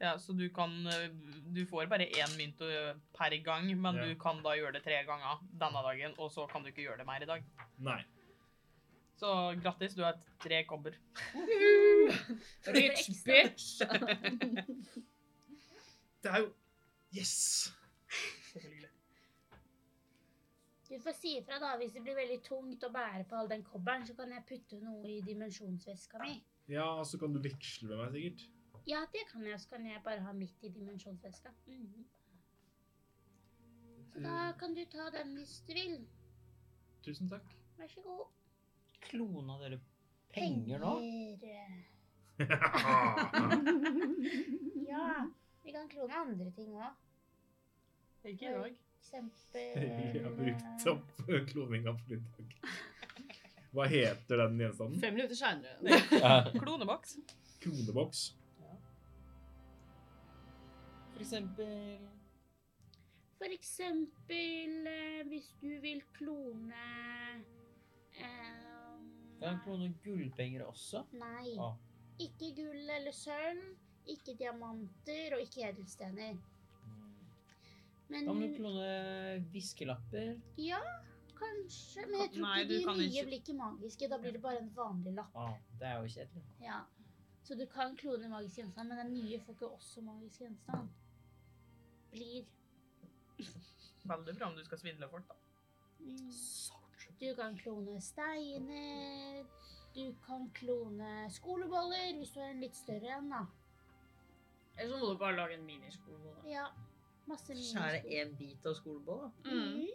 Speaker 1: Ja, så du kan eh, Du får bare én mynt eh, per gang, men
Speaker 2: Ja.
Speaker 1: du kan da gjøre det tre ganger denne dagen, og så kan du ikke gjøre det mer i dag.
Speaker 2: Nei.
Speaker 1: Så grattis, du har tre kobber.
Speaker 3: Rich bitch!
Speaker 2: Det er jo Yes!
Speaker 1: Selvfølgelig.
Speaker 4: Du får si ifra da hvis det blir veldig tungt å bære på all den kobberen, så kan jeg putte noe i dimensjonsveska mi.
Speaker 2: Ja, så kan du veksle med meg, sikkert.
Speaker 4: Ja, det kan jeg, så kan jeg bare ha midt i dimensjonsveska. Mhm. Så da kan du ta den hvis du vil.
Speaker 2: Tusen takk.
Speaker 4: Vær så god.
Speaker 6: Klona dere penger nå?
Speaker 4: Penger. Ja, vi kan klone andre ting òg.
Speaker 1: Ikke i dag.
Speaker 4: For eksempel eh,
Speaker 2: Jeg har brukt opp kloninga for i dag. Hva heter den gjenstanden?
Speaker 3: Fem minutter seinere.
Speaker 1: Kloneboks.
Speaker 2: Kroneboks.
Speaker 6: For eksempel
Speaker 4: For eksempel eh, hvis du vil klone eh,
Speaker 6: Kan jeg klone gullpenger også?
Speaker 4: Nei.
Speaker 6: Ah.
Speaker 4: Ikke gull eller sølv. Ikke diamanter og ikke edelstener. Men
Speaker 6: Da må du klone viskelapper.
Speaker 4: ja, kanskje. Men jeg tror
Speaker 1: Nei,
Speaker 4: ikke
Speaker 1: du
Speaker 4: de
Speaker 1: kan
Speaker 4: nye
Speaker 1: ikke-
Speaker 4: blir ikke magiske. Da blir det bare en vanlig lapp.
Speaker 6: Ah, det er jo kjedelig.
Speaker 4: Ja. Så du kan klone magisk gjenstand, men den nye får ikke også magisk gjenstand. Blir.
Speaker 8: Veldig bra om du skal svindle folk, da.
Speaker 4: mm. Du kan klone steiner. Du kan klone skoleboller, hvis du er en litt større en, da.
Speaker 3: Eller så må du bare lage en miniskole. da.
Speaker 4: Ja. Masse
Speaker 6: Skjære
Speaker 4: minisko.
Speaker 6: én bit av skoleboll, da.
Speaker 3: Mm.
Speaker 4: Mhm.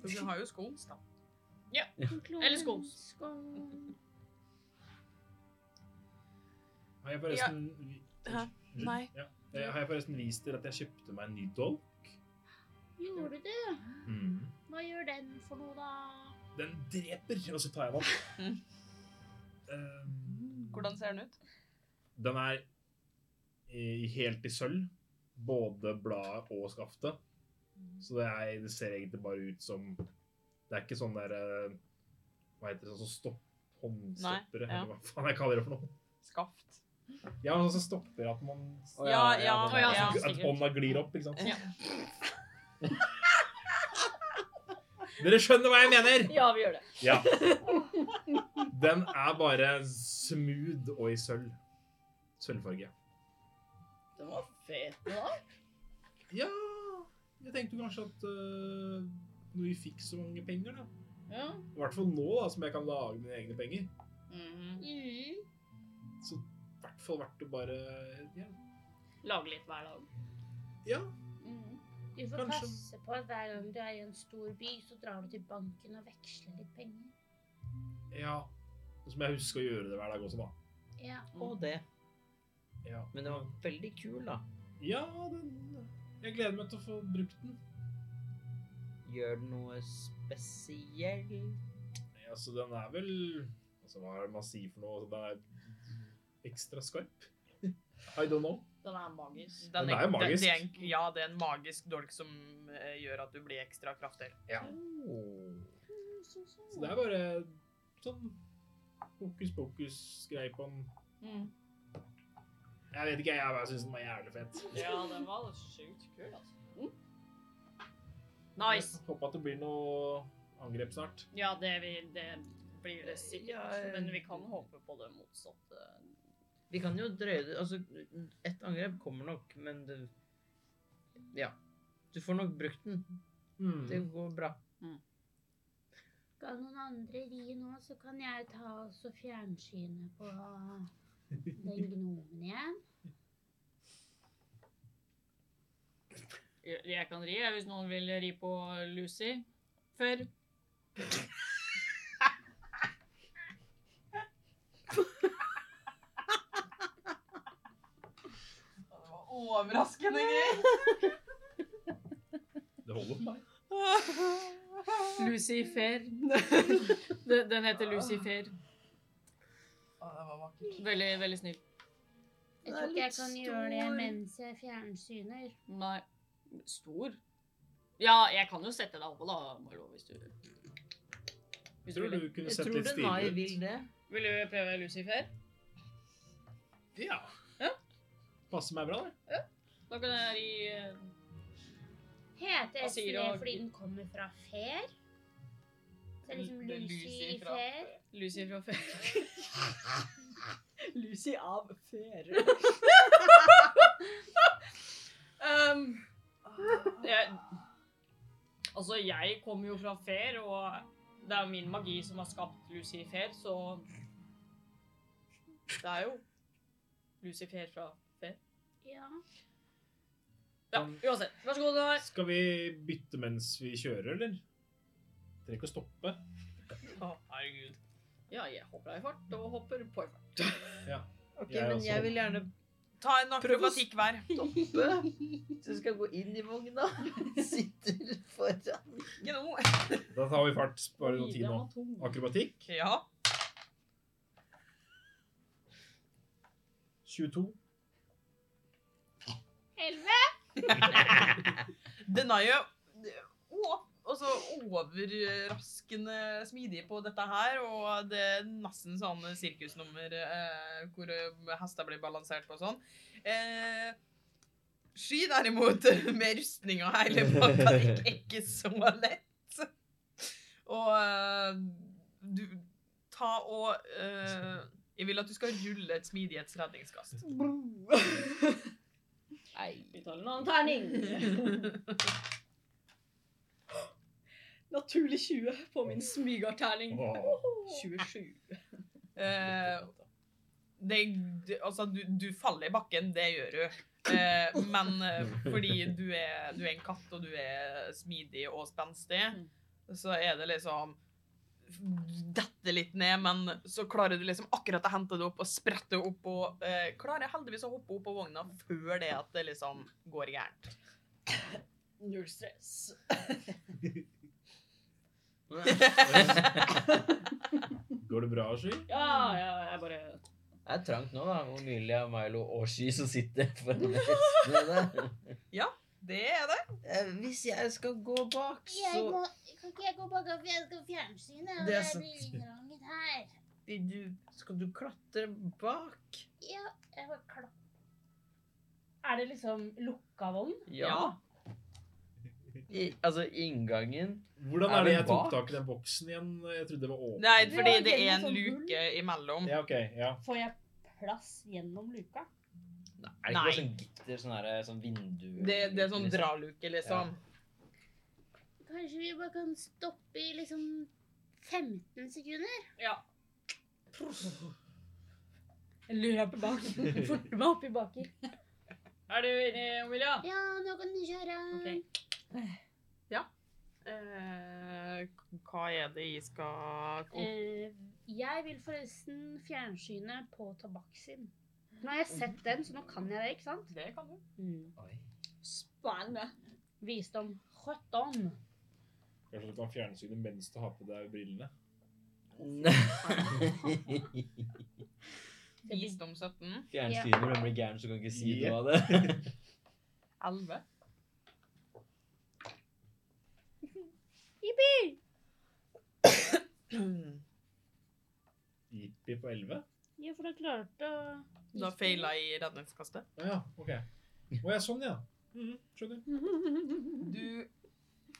Speaker 8: For vi har jo skons, da.
Speaker 4: Du kan klone
Speaker 3: Eller skons.
Speaker 4: skons.
Speaker 2: Har jeg forresten
Speaker 8: Hæ?
Speaker 2: Unnskyld.
Speaker 8: Nei.
Speaker 2: Ja. Eh, Har jeg forresten vist dere at jeg kjøpte meg en ny dolk?
Speaker 4: Gjorde du? Hva gjør den for noe, da?
Speaker 2: Den dreper, og så tar jeg den opp. Eh,
Speaker 8: Hvordan ser den ut?
Speaker 2: Den er i- helt i sølv, både bladet og skaftet. Så det, er, det ser egentlig bare ut som Det er ikke sånn der eh, Hva heter det? Sånn som stopp, håndstoppere,
Speaker 8: Nei, ja.
Speaker 2: eller hva faen jeg kaller det for noe.
Speaker 8: Skaft.
Speaker 2: Ja, men sånn som stopper at man
Speaker 11: Å
Speaker 8: Ja, ja,
Speaker 11: det er
Speaker 3: å ja,
Speaker 11: det.
Speaker 3: sånn.
Speaker 2: At
Speaker 3: sikkert.
Speaker 2: hånda glir opp, ikke sant?
Speaker 8: Ja.
Speaker 2: Dere skjønner hva jeg mener!
Speaker 3: Ja, vi gjør det.
Speaker 2: Ja. Den er bare smooth og i sølv. Sølvfarge.
Speaker 3: Den var fet. da.
Speaker 2: Ja Jeg tenkte kanskje at øh, når vi fikk så mange penger, da
Speaker 3: Ja.
Speaker 2: I hvert fall nå, da, som jeg kan lage mine egne penger.
Speaker 3: Mhm.
Speaker 4: Mm.
Speaker 2: Så i hvert fall verdt å bare Ja.
Speaker 3: Lage litt hver dag.
Speaker 2: ja.
Speaker 3: Mhm.
Speaker 12: Du får
Speaker 2: Kanskje-
Speaker 12: passe på at hver gang du er i en stor by, så drar du til banken og veksler litt penger.
Speaker 2: ja. Så må jeg huske å gjøre det hver dag også, da.
Speaker 4: Ja.
Speaker 11: Og det.
Speaker 2: Ja,
Speaker 11: Men den var veldig kul, da.
Speaker 2: ja den Jeg gleder meg til å få brukt den.
Speaker 11: Gjør den noe spesielt?
Speaker 2: Nei, Altså, den er vel Altså, hva er det man sier for noe? Altså, Den er ekstra skarp. I don't know.
Speaker 3: Den er magisk.
Speaker 2: Den er jo magisk.
Speaker 8: Det, det er en, ja, det er en magisk dolk som eh, gjør at du blir ekstra kraftig.
Speaker 2: Så det er bare sånn hokus pokus-greie på den.
Speaker 3: Mm.
Speaker 2: Jeg vet ikke, jeg bare syns den var jævlig fet.
Speaker 3: Ja, den var sjukt kul, altså. Mm. Nice.
Speaker 2: Jeg Håper at det blir noe angrep snart.
Speaker 3: Ja, det, vi, det blir det sikkert.
Speaker 6: Ja,
Speaker 3: men vi kan håpe på det motsatte.
Speaker 6: Vi kan jo drøye det Altså, ett angrep kommer nok, men det Ja. Du får nok brukt den.
Speaker 2: Hmm.
Speaker 6: Det går bra.
Speaker 4: Skal noen andre ri nå, så kan jeg ta også fjernsynet på den gnomen igjen.
Speaker 3: Jeg jeg kan ri, jeg, hvis noen vil ri på Lucy. Før.
Speaker 8: Det var overraskende gøy.
Speaker 2: Det holder for meg.
Speaker 3: Lucifer. Den den heter Lucifer.
Speaker 8: det var vakkert.
Speaker 3: Veldig, veldig snill.
Speaker 4: Jeg tror ikke jeg kan gjøre det mens jeg fjernsyner.
Speaker 3: Nei. Stor. Ja, jeg kan jo sette deg oppå, da, Marlo, hvis du hvis
Speaker 2: Tror
Speaker 3: vil.
Speaker 2: du kunne
Speaker 6: Jeg
Speaker 2: sett
Speaker 6: tror
Speaker 2: litt
Speaker 6: det Nai
Speaker 2: stilig
Speaker 6: vil
Speaker 2: ut?
Speaker 6: det.
Speaker 3: Vil du prøve Lucifer?
Speaker 2: Ja.
Speaker 3: Ja.
Speaker 2: Passer meg bra, det.
Speaker 3: Da kan jeg ri eh,
Speaker 4: Heter
Speaker 3: Hva
Speaker 4: Espen
Speaker 3: sier
Speaker 4: det
Speaker 3: du?
Speaker 4: fordi den kommer fra fer? Så det er liksom
Speaker 8: Det er
Speaker 4: Lucy
Speaker 8: Lucy
Speaker 4: i
Speaker 8: fra-
Speaker 4: fer?
Speaker 3: Lucy fra før. Lucy av før. um, jeg, altså, jeg kommer jo fra før, og det er min magi som har skapt Lucifer, så det er jo Lucifer fra før.
Speaker 4: Ja.
Speaker 3: Ja, uansett. Vær så god, Gunnar.
Speaker 2: Skal vi bytte mens vi kjører, eller? Trenger ikke å stoppe.
Speaker 8: herregud.
Speaker 3: Ja, jeg hopper av i fart, og hopper på i fart.
Speaker 6: Ok,
Speaker 2: Jeg
Speaker 6: men
Speaker 2: også.
Speaker 6: jeg vil gjerne
Speaker 8: Ta en akrobatikk hver.
Speaker 13: Toppe. Så skal jeg gå inn i vogna. Sitter foran.
Speaker 8: Ikke noe.
Speaker 2: Da tar vi fart. Sparer
Speaker 3: Oi,
Speaker 2: noe tid
Speaker 3: den
Speaker 2: nå.
Speaker 3: var tung.
Speaker 2: Akrobatikk.
Speaker 8: Ja.
Speaker 2: 22.
Speaker 4: Elleve?
Speaker 8: Den er jo å- altså, overraskende smidig på dette her, og det er nesten sånn sirkusnummer eh, hvor eh, hester blir balansert på og sånn. Eh, sky derimot, med rustning og hele pakka, det gikk ikke så lett. Og eh, du ta og eh, Jeg vil at du skal rulle et smidighetsredningskast.
Speaker 3: Nei, vi tar en annen terning. naturlig 20 på min smygarterning.
Speaker 2: Åh.
Speaker 3: 27.
Speaker 1: Eh, det, du, altså, du, du faller i bakken, det gjør du. Eh, men eh, fordi du er, du er en katt, og du er smidig og spenstig,
Speaker 3: Mm.
Speaker 1: så er det liksom du detter litt ned, men så klarer du liksom akkurat å hente det opp og sprette opp og eh, klarer heldigvis å hoppe opp på vogna før det at det liksom går gærent.
Speaker 3: Null stress.
Speaker 2: Går det bra, Sky?
Speaker 3: Ja, ja, jeg bare
Speaker 6: Det er trangt nå, da. Omilia, Milo og Sky som sitter foran hestene der.
Speaker 1: Det er det.
Speaker 6: Eh, Hvis jeg skal gå bak,
Speaker 4: Jeg må,
Speaker 6: så
Speaker 4: kan ikke jeg gå bak og jeg skal fjernsynet? og
Speaker 8: Det er
Speaker 4: jeg
Speaker 8: sant.
Speaker 4: blir innranget her.
Speaker 8: Vil du- Skal du klatre bak?
Speaker 4: Ja, jeg bare klapp.
Speaker 10: Er det liksom lukka vogn?
Speaker 6: Ja. I, altså, inngangen
Speaker 2: Hvordan
Speaker 6: Er
Speaker 2: er det
Speaker 6: det
Speaker 2: jeg tok
Speaker 6: bak?
Speaker 2: tak i den boksen igjen? Jeg trodde det var åpen.
Speaker 1: Nei,
Speaker 10: Du
Speaker 1: fordi
Speaker 10: har
Speaker 1: det er
Speaker 10: gjennom
Speaker 1: en
Speaker 10: sånn hull.
Speaker 1: luke imellom.
Speaker 2: Ja, ok. Ja.
Speaker 10: Får jeg plass gjennom luka?
Speaker 6: Nei, Er det ikke bare sånn gitter, sånn, her, sånn vindu
Speaker 1: Det, det er sånn draluke, liksom.
Speaker 4: Kanskje vi bare kan stoppe i liksom 15 sekunder?
Speaker 3: Ja.
Speaker 10: Jeg løper bak. Forter meg oppi baker.
Speaker 3: Er du enig, Omilia?
Speaker 4: Ja, nå kan du kjøre.
Speaker 3: Ok.
Speaker 1: Eh, hva er det jeg skal
Speaker 4: Eh, jeg vil forresten fjernsyne på tabakksinn. Nå har jeg sett den, så nå kan jeg det, ikke sant? Mm.
Speaker 1: Det kan du.
Speaker 3: Spennende.
Speaker 4: Visdom. Rødt om.
Speaker 2: Kanskje du kan fjernsyne mens du har på deg brillene?
Speaker 6: Nei.
Speaker 1: Visdom 17.
Speaker 6: Fjernstyrer og blir gæren, så kan ikke si noe av det.
Speaker 1: 11.
Speaker 2: Jippi på 11?
Speaker 4: Ja, for da klarte å
Speaker 1: Da feila jeg i redningskastet.
Speaker 2: Ja, ja, ok. Å, ja, sånn, ja. Mhm, skjønner.
Speaker 1: Du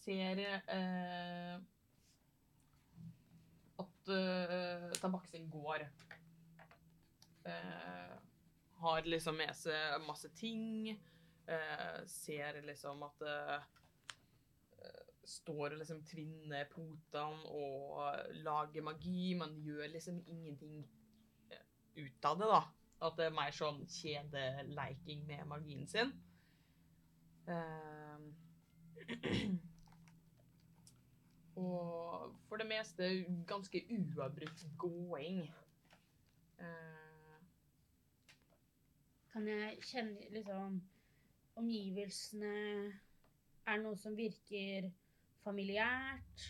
Speaker 1: ser eh, at eh, tabakksen går. Eh, har liksom med seg masse ting. Eh, ser liksom at det står og liksom tvinner potene og eh, lager magi, men gjør liksom ingenting eh, ut av det, da. At det er mer sånn kjedeleiking med magien sin. Ehm. og for det meste ganske uavbrutt gåing. Eh,
Speaker 4: Kan jeg kjenne liksom omgivelsene Er det noe som virker familiært?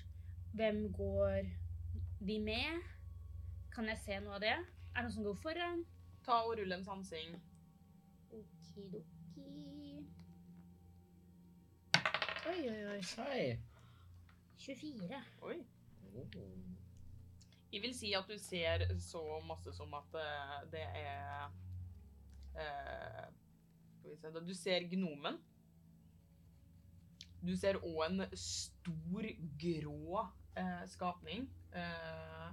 Speaker 4: Hvem går de med? Kan jeg se noe av det? Er det noe som går foran?
Speaker 1: ta og rulle en sansing.
Speaker 4: Okidoki. Oi, oi, oi.
Speaker 6: Hei. Oh,
Speaker 4: 24.
Speaker 1: Oi. Jeg vil si at du ser så masse som at eh, det er eh, Skal vi se da, Du ser gnomen. Du ser òg en stor, grå eh, skapning eh,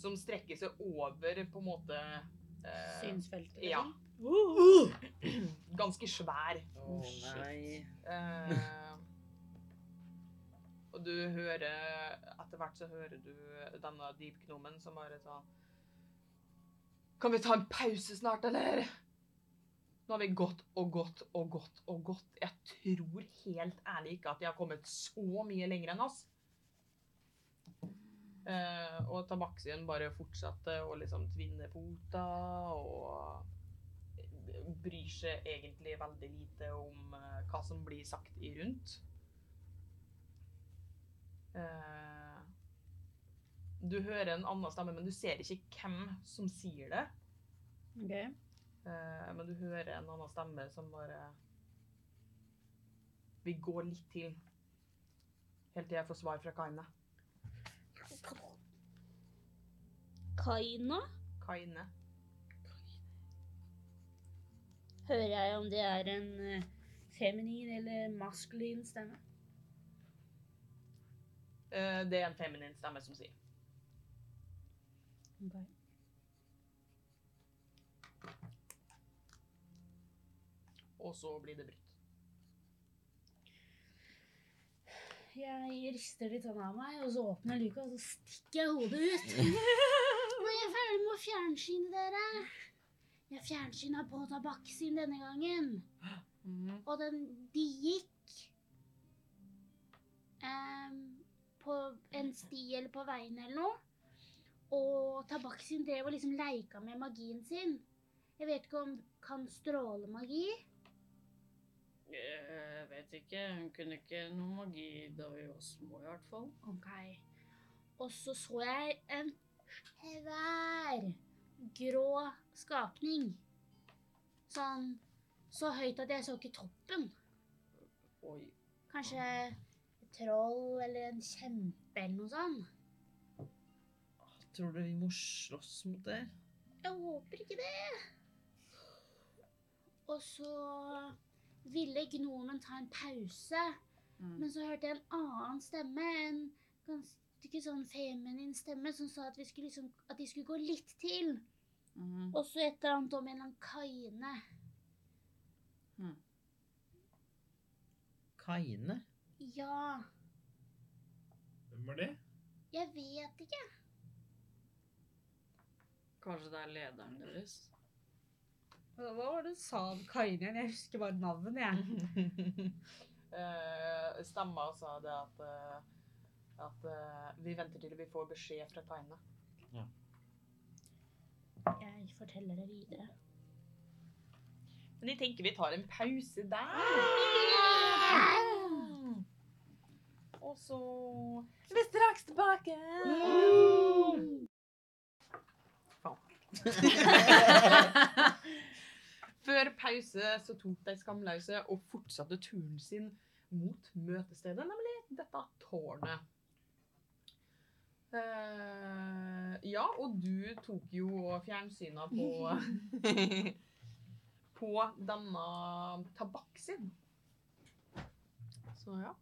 Speaker 1: som strekker seg over på en måte eh,
Speaker 4: Synsfeltet.
Speaker 10: liksom?
Speaker 1: Ja. Ganske svær.
Speaker 6: Å nei.
Speaker 1: Eh, og du hører Etter hvert så hører du denne dypgnomen som bare sånn Kan vi ta en pause snart, eller? Nå har vi gått og gått og gått og gått. Jeg tror helt ærlig ikke at de har kommet så mye lenger enn oss. Eh, og tabaksien bare fortsatte å liksom tvinne pota og bryr seg egentlig veldig lite om eh, hva som blir sagt i rundt. Eh, Du hører en annen stemme, men du ser ikke hvem som sier det. Eh, Men du hører en annen stemme som bare Vi går litt til. Helt til jeg får svar fra Kaine.
Speaker 4: Kaina?
Speaker 1: Kaine.
Speaker 4: Hører jeg om det er en eh, feminin eller maskulin stemme?
Speaker 1: Eh, Det er en feminin stemme som sier. Og så blir det brutt.
Speaker 4: Jeg rister litt sånn av meg, og så åpner jeg luka, og så stikker jeg hodet ut. Nå er jeg ferdig med å fjernsyne dere. Jeg fjernsyna på tabakksyn denne gangen.
Speaker 3: Mhm.
Speaker 4: Og den, de gikk ehm, på en sti eller på veien eller noe. Og tabakksyn drev og liksom leika med magien sin. Jeg vet ikke om kan stråle magi.
Speaker 3: Jeg Eh, vet ikke. Hun kunne ikke noe magi da vi var små, i hvert fall.
Speaker 4: Ok. Og så så jeg en svær grå skapning. Sånn så høyt at jeg så ikke toppen.
Speaker 3: Oi.
Speaker 4: Kanskje et troll eller en kjempe eller noe sånt.
Speaker 8: Tror du vi må slåss mot det?
Speaker 4: Jeg håper ikke det. Og så ville gnomen ta en pause,
Speaker 10: Mm.
Speaker 4: men så hørte jeg en annen stemme, en ganske sånn feminin stemme, som sa at, vi skulle liksom, at de skulle gå litt til.
Speaker 3: Mhm.
Speaker 4: Og så et eller annet om en eller annen kaine.
Speaker 8: Kaine?
Speaker 4: Ja,
Speaker 2: Hvem var det?
Speaker 4: jeg vet ikke.
Speaker 3: Kanskje det er lederen deres?
Speaker 10: Hva var det du sa om Kaine igjen? Jeg husker bare navnet, jeg.
Speaker 1: Eh, Stemma sa det at, eh, at eh, vi venter til vi får beskjed fra Kaine.
Speaker 4: Jeg forteller det videre.
Speaker 1: Men jeg tenker vi tar en pause der. Ah! Og så er vi straks tilbake. Faen. Før pause så tok de skamløse og fortsatte turen sin mot møtestedet, nemlig dette tårnet. Eh, ja, og du tok jo fjernsyna på på denne tabakk sin. Så ja.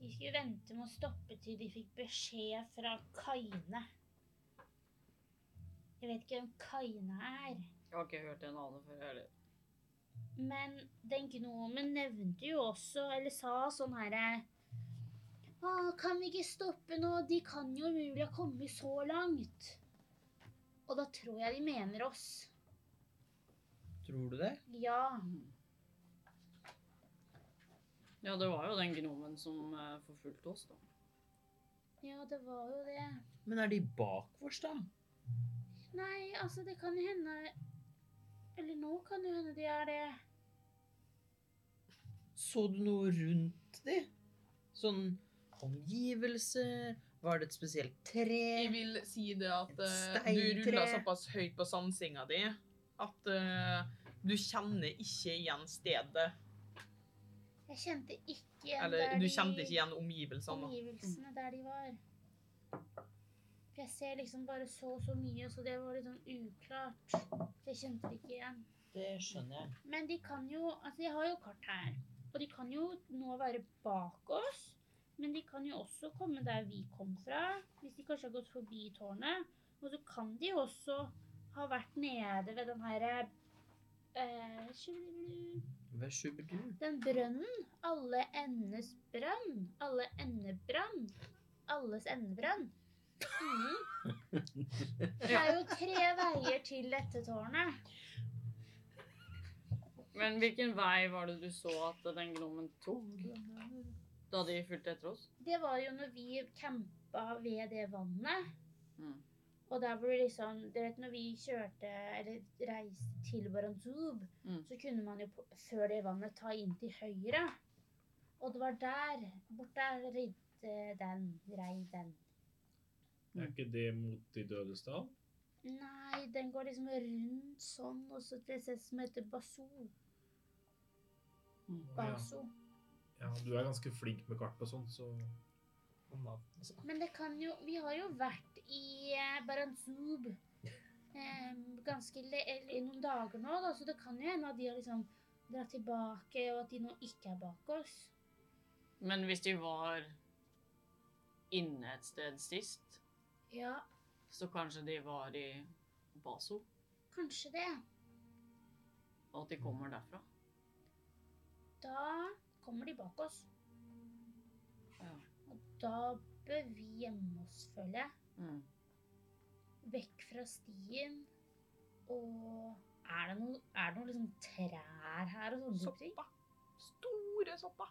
Speaker 4: De skulle vente med å stoppe til de fikk beskjed fra Kaine. Jeg vet ikke hvem Kaine er,
Speaker 3: Jeg har ikke hørt en annen før. Eller.
Speaker 4: men den gnomen nevnte jo også, eller sa sånn herre Å, kan vi ikke stoppe nå? De kan jo umulig ha kommet så langt. Og da tror jeg de mener oss.
Speaker 8: Tror du det?
Speaker 4: Ja.
Speaker 3: Ja, det var jo den gnomen som eh, forfulgte oss, da.
Speaker 4: Ja, det var jo det.
Speaker 8: Men er de bak oss, da?
Speaker 4: Nei, altså, det kan jo hende Eller nå kan det jo hende de er det.
Speaker 8: Så du noe rundt de? Sånn omgivelser? Var det et spesielt
Speaker 1: Jeg
Speaker 8: tre?
Speaker 1: vil si det at eh, du
Speaker 8: Steintre.
Speaker 1: ruller såpass høyt på sansinga di at eh, du kjenner ikke igjen stedet.
Speaker 4: Jeg kjente ikke igjen
Speaker 1: Eller du
Speaker 4: de-
Speaker 1: kjente ikke igjen sånn omgivelsene. da.
Speaker 4: omgivelsene der de var. For Jeg ser liksom bare så og så mye, så det var litt sånn uklart. Det kjente de ikke igjen.
Speaker 8: Det skjønner jeg.
Speaker 4: Men de kan jo Altså, de har jo kart her. Og de kan jo nå være bak oss. Men de kan jo også komme der vi kom fra, hvis de kanskje har gått forbi tårnet. Og så kan de jo også ha vært nede ved den her eh, skjul-
Speaker 8: Hva skjubber du?
Speaker 4: den brønnen. Alle endes brann. Alle endebrann. Alles endebrann. Mm. Det er jo tre veier til dette tårnet.
Speaker 3: Men hvilken vei var det du så at den gnomen tok? Da de fulgte etter oss?
Speaker 4: Det var jo når vi campa ved det vannet.
Speaker 3: Mm.
Speaker 4: Og der hvor det liksom Du vet når vi kjørte eller reiste til Baranzub,
Speaker 3: Mm.
Speaker 4: så kunne man jo på- før det vannet ta inn til høyre. Og det var der. Bort der ridde den. Rei den.
Speaker 2: Er ikke det mot De dødes dal?
Speaker 4: Nei, den går liksom rundt sånn, og så til et sted som heter Baso.
Speaker 2: Ja.
Speaker 4: Baso.
Speaker 2: ja, du er ganske flink med kart og sånn, så
Speaker 4: Men det kan jo Vi har jo vært i eh, Baranzub eh, ganske le eller i noen dager nå, da, så det kan jo hende at de har liksom dratt tilbake, og at de nå ikke er bak oss.
Speaker 3: Men hvis de var inne et sted sist,
Speaker 4: Ja,
Speaker 3: så kanskje de var i Baso,
Speaker 4: kanskje det.
Speaker 3: og at de kommer derfra?
Speaker 4: Da kom kommer de bak oss.
Speaker 3: Ja.
Speaker 4: Og da bør vi gjemme oss, føler jeg. Vekk fra stien. Og er det noen noe liksom trær her og sånne type ting?
Speaker 1: Soppa. Store soppa.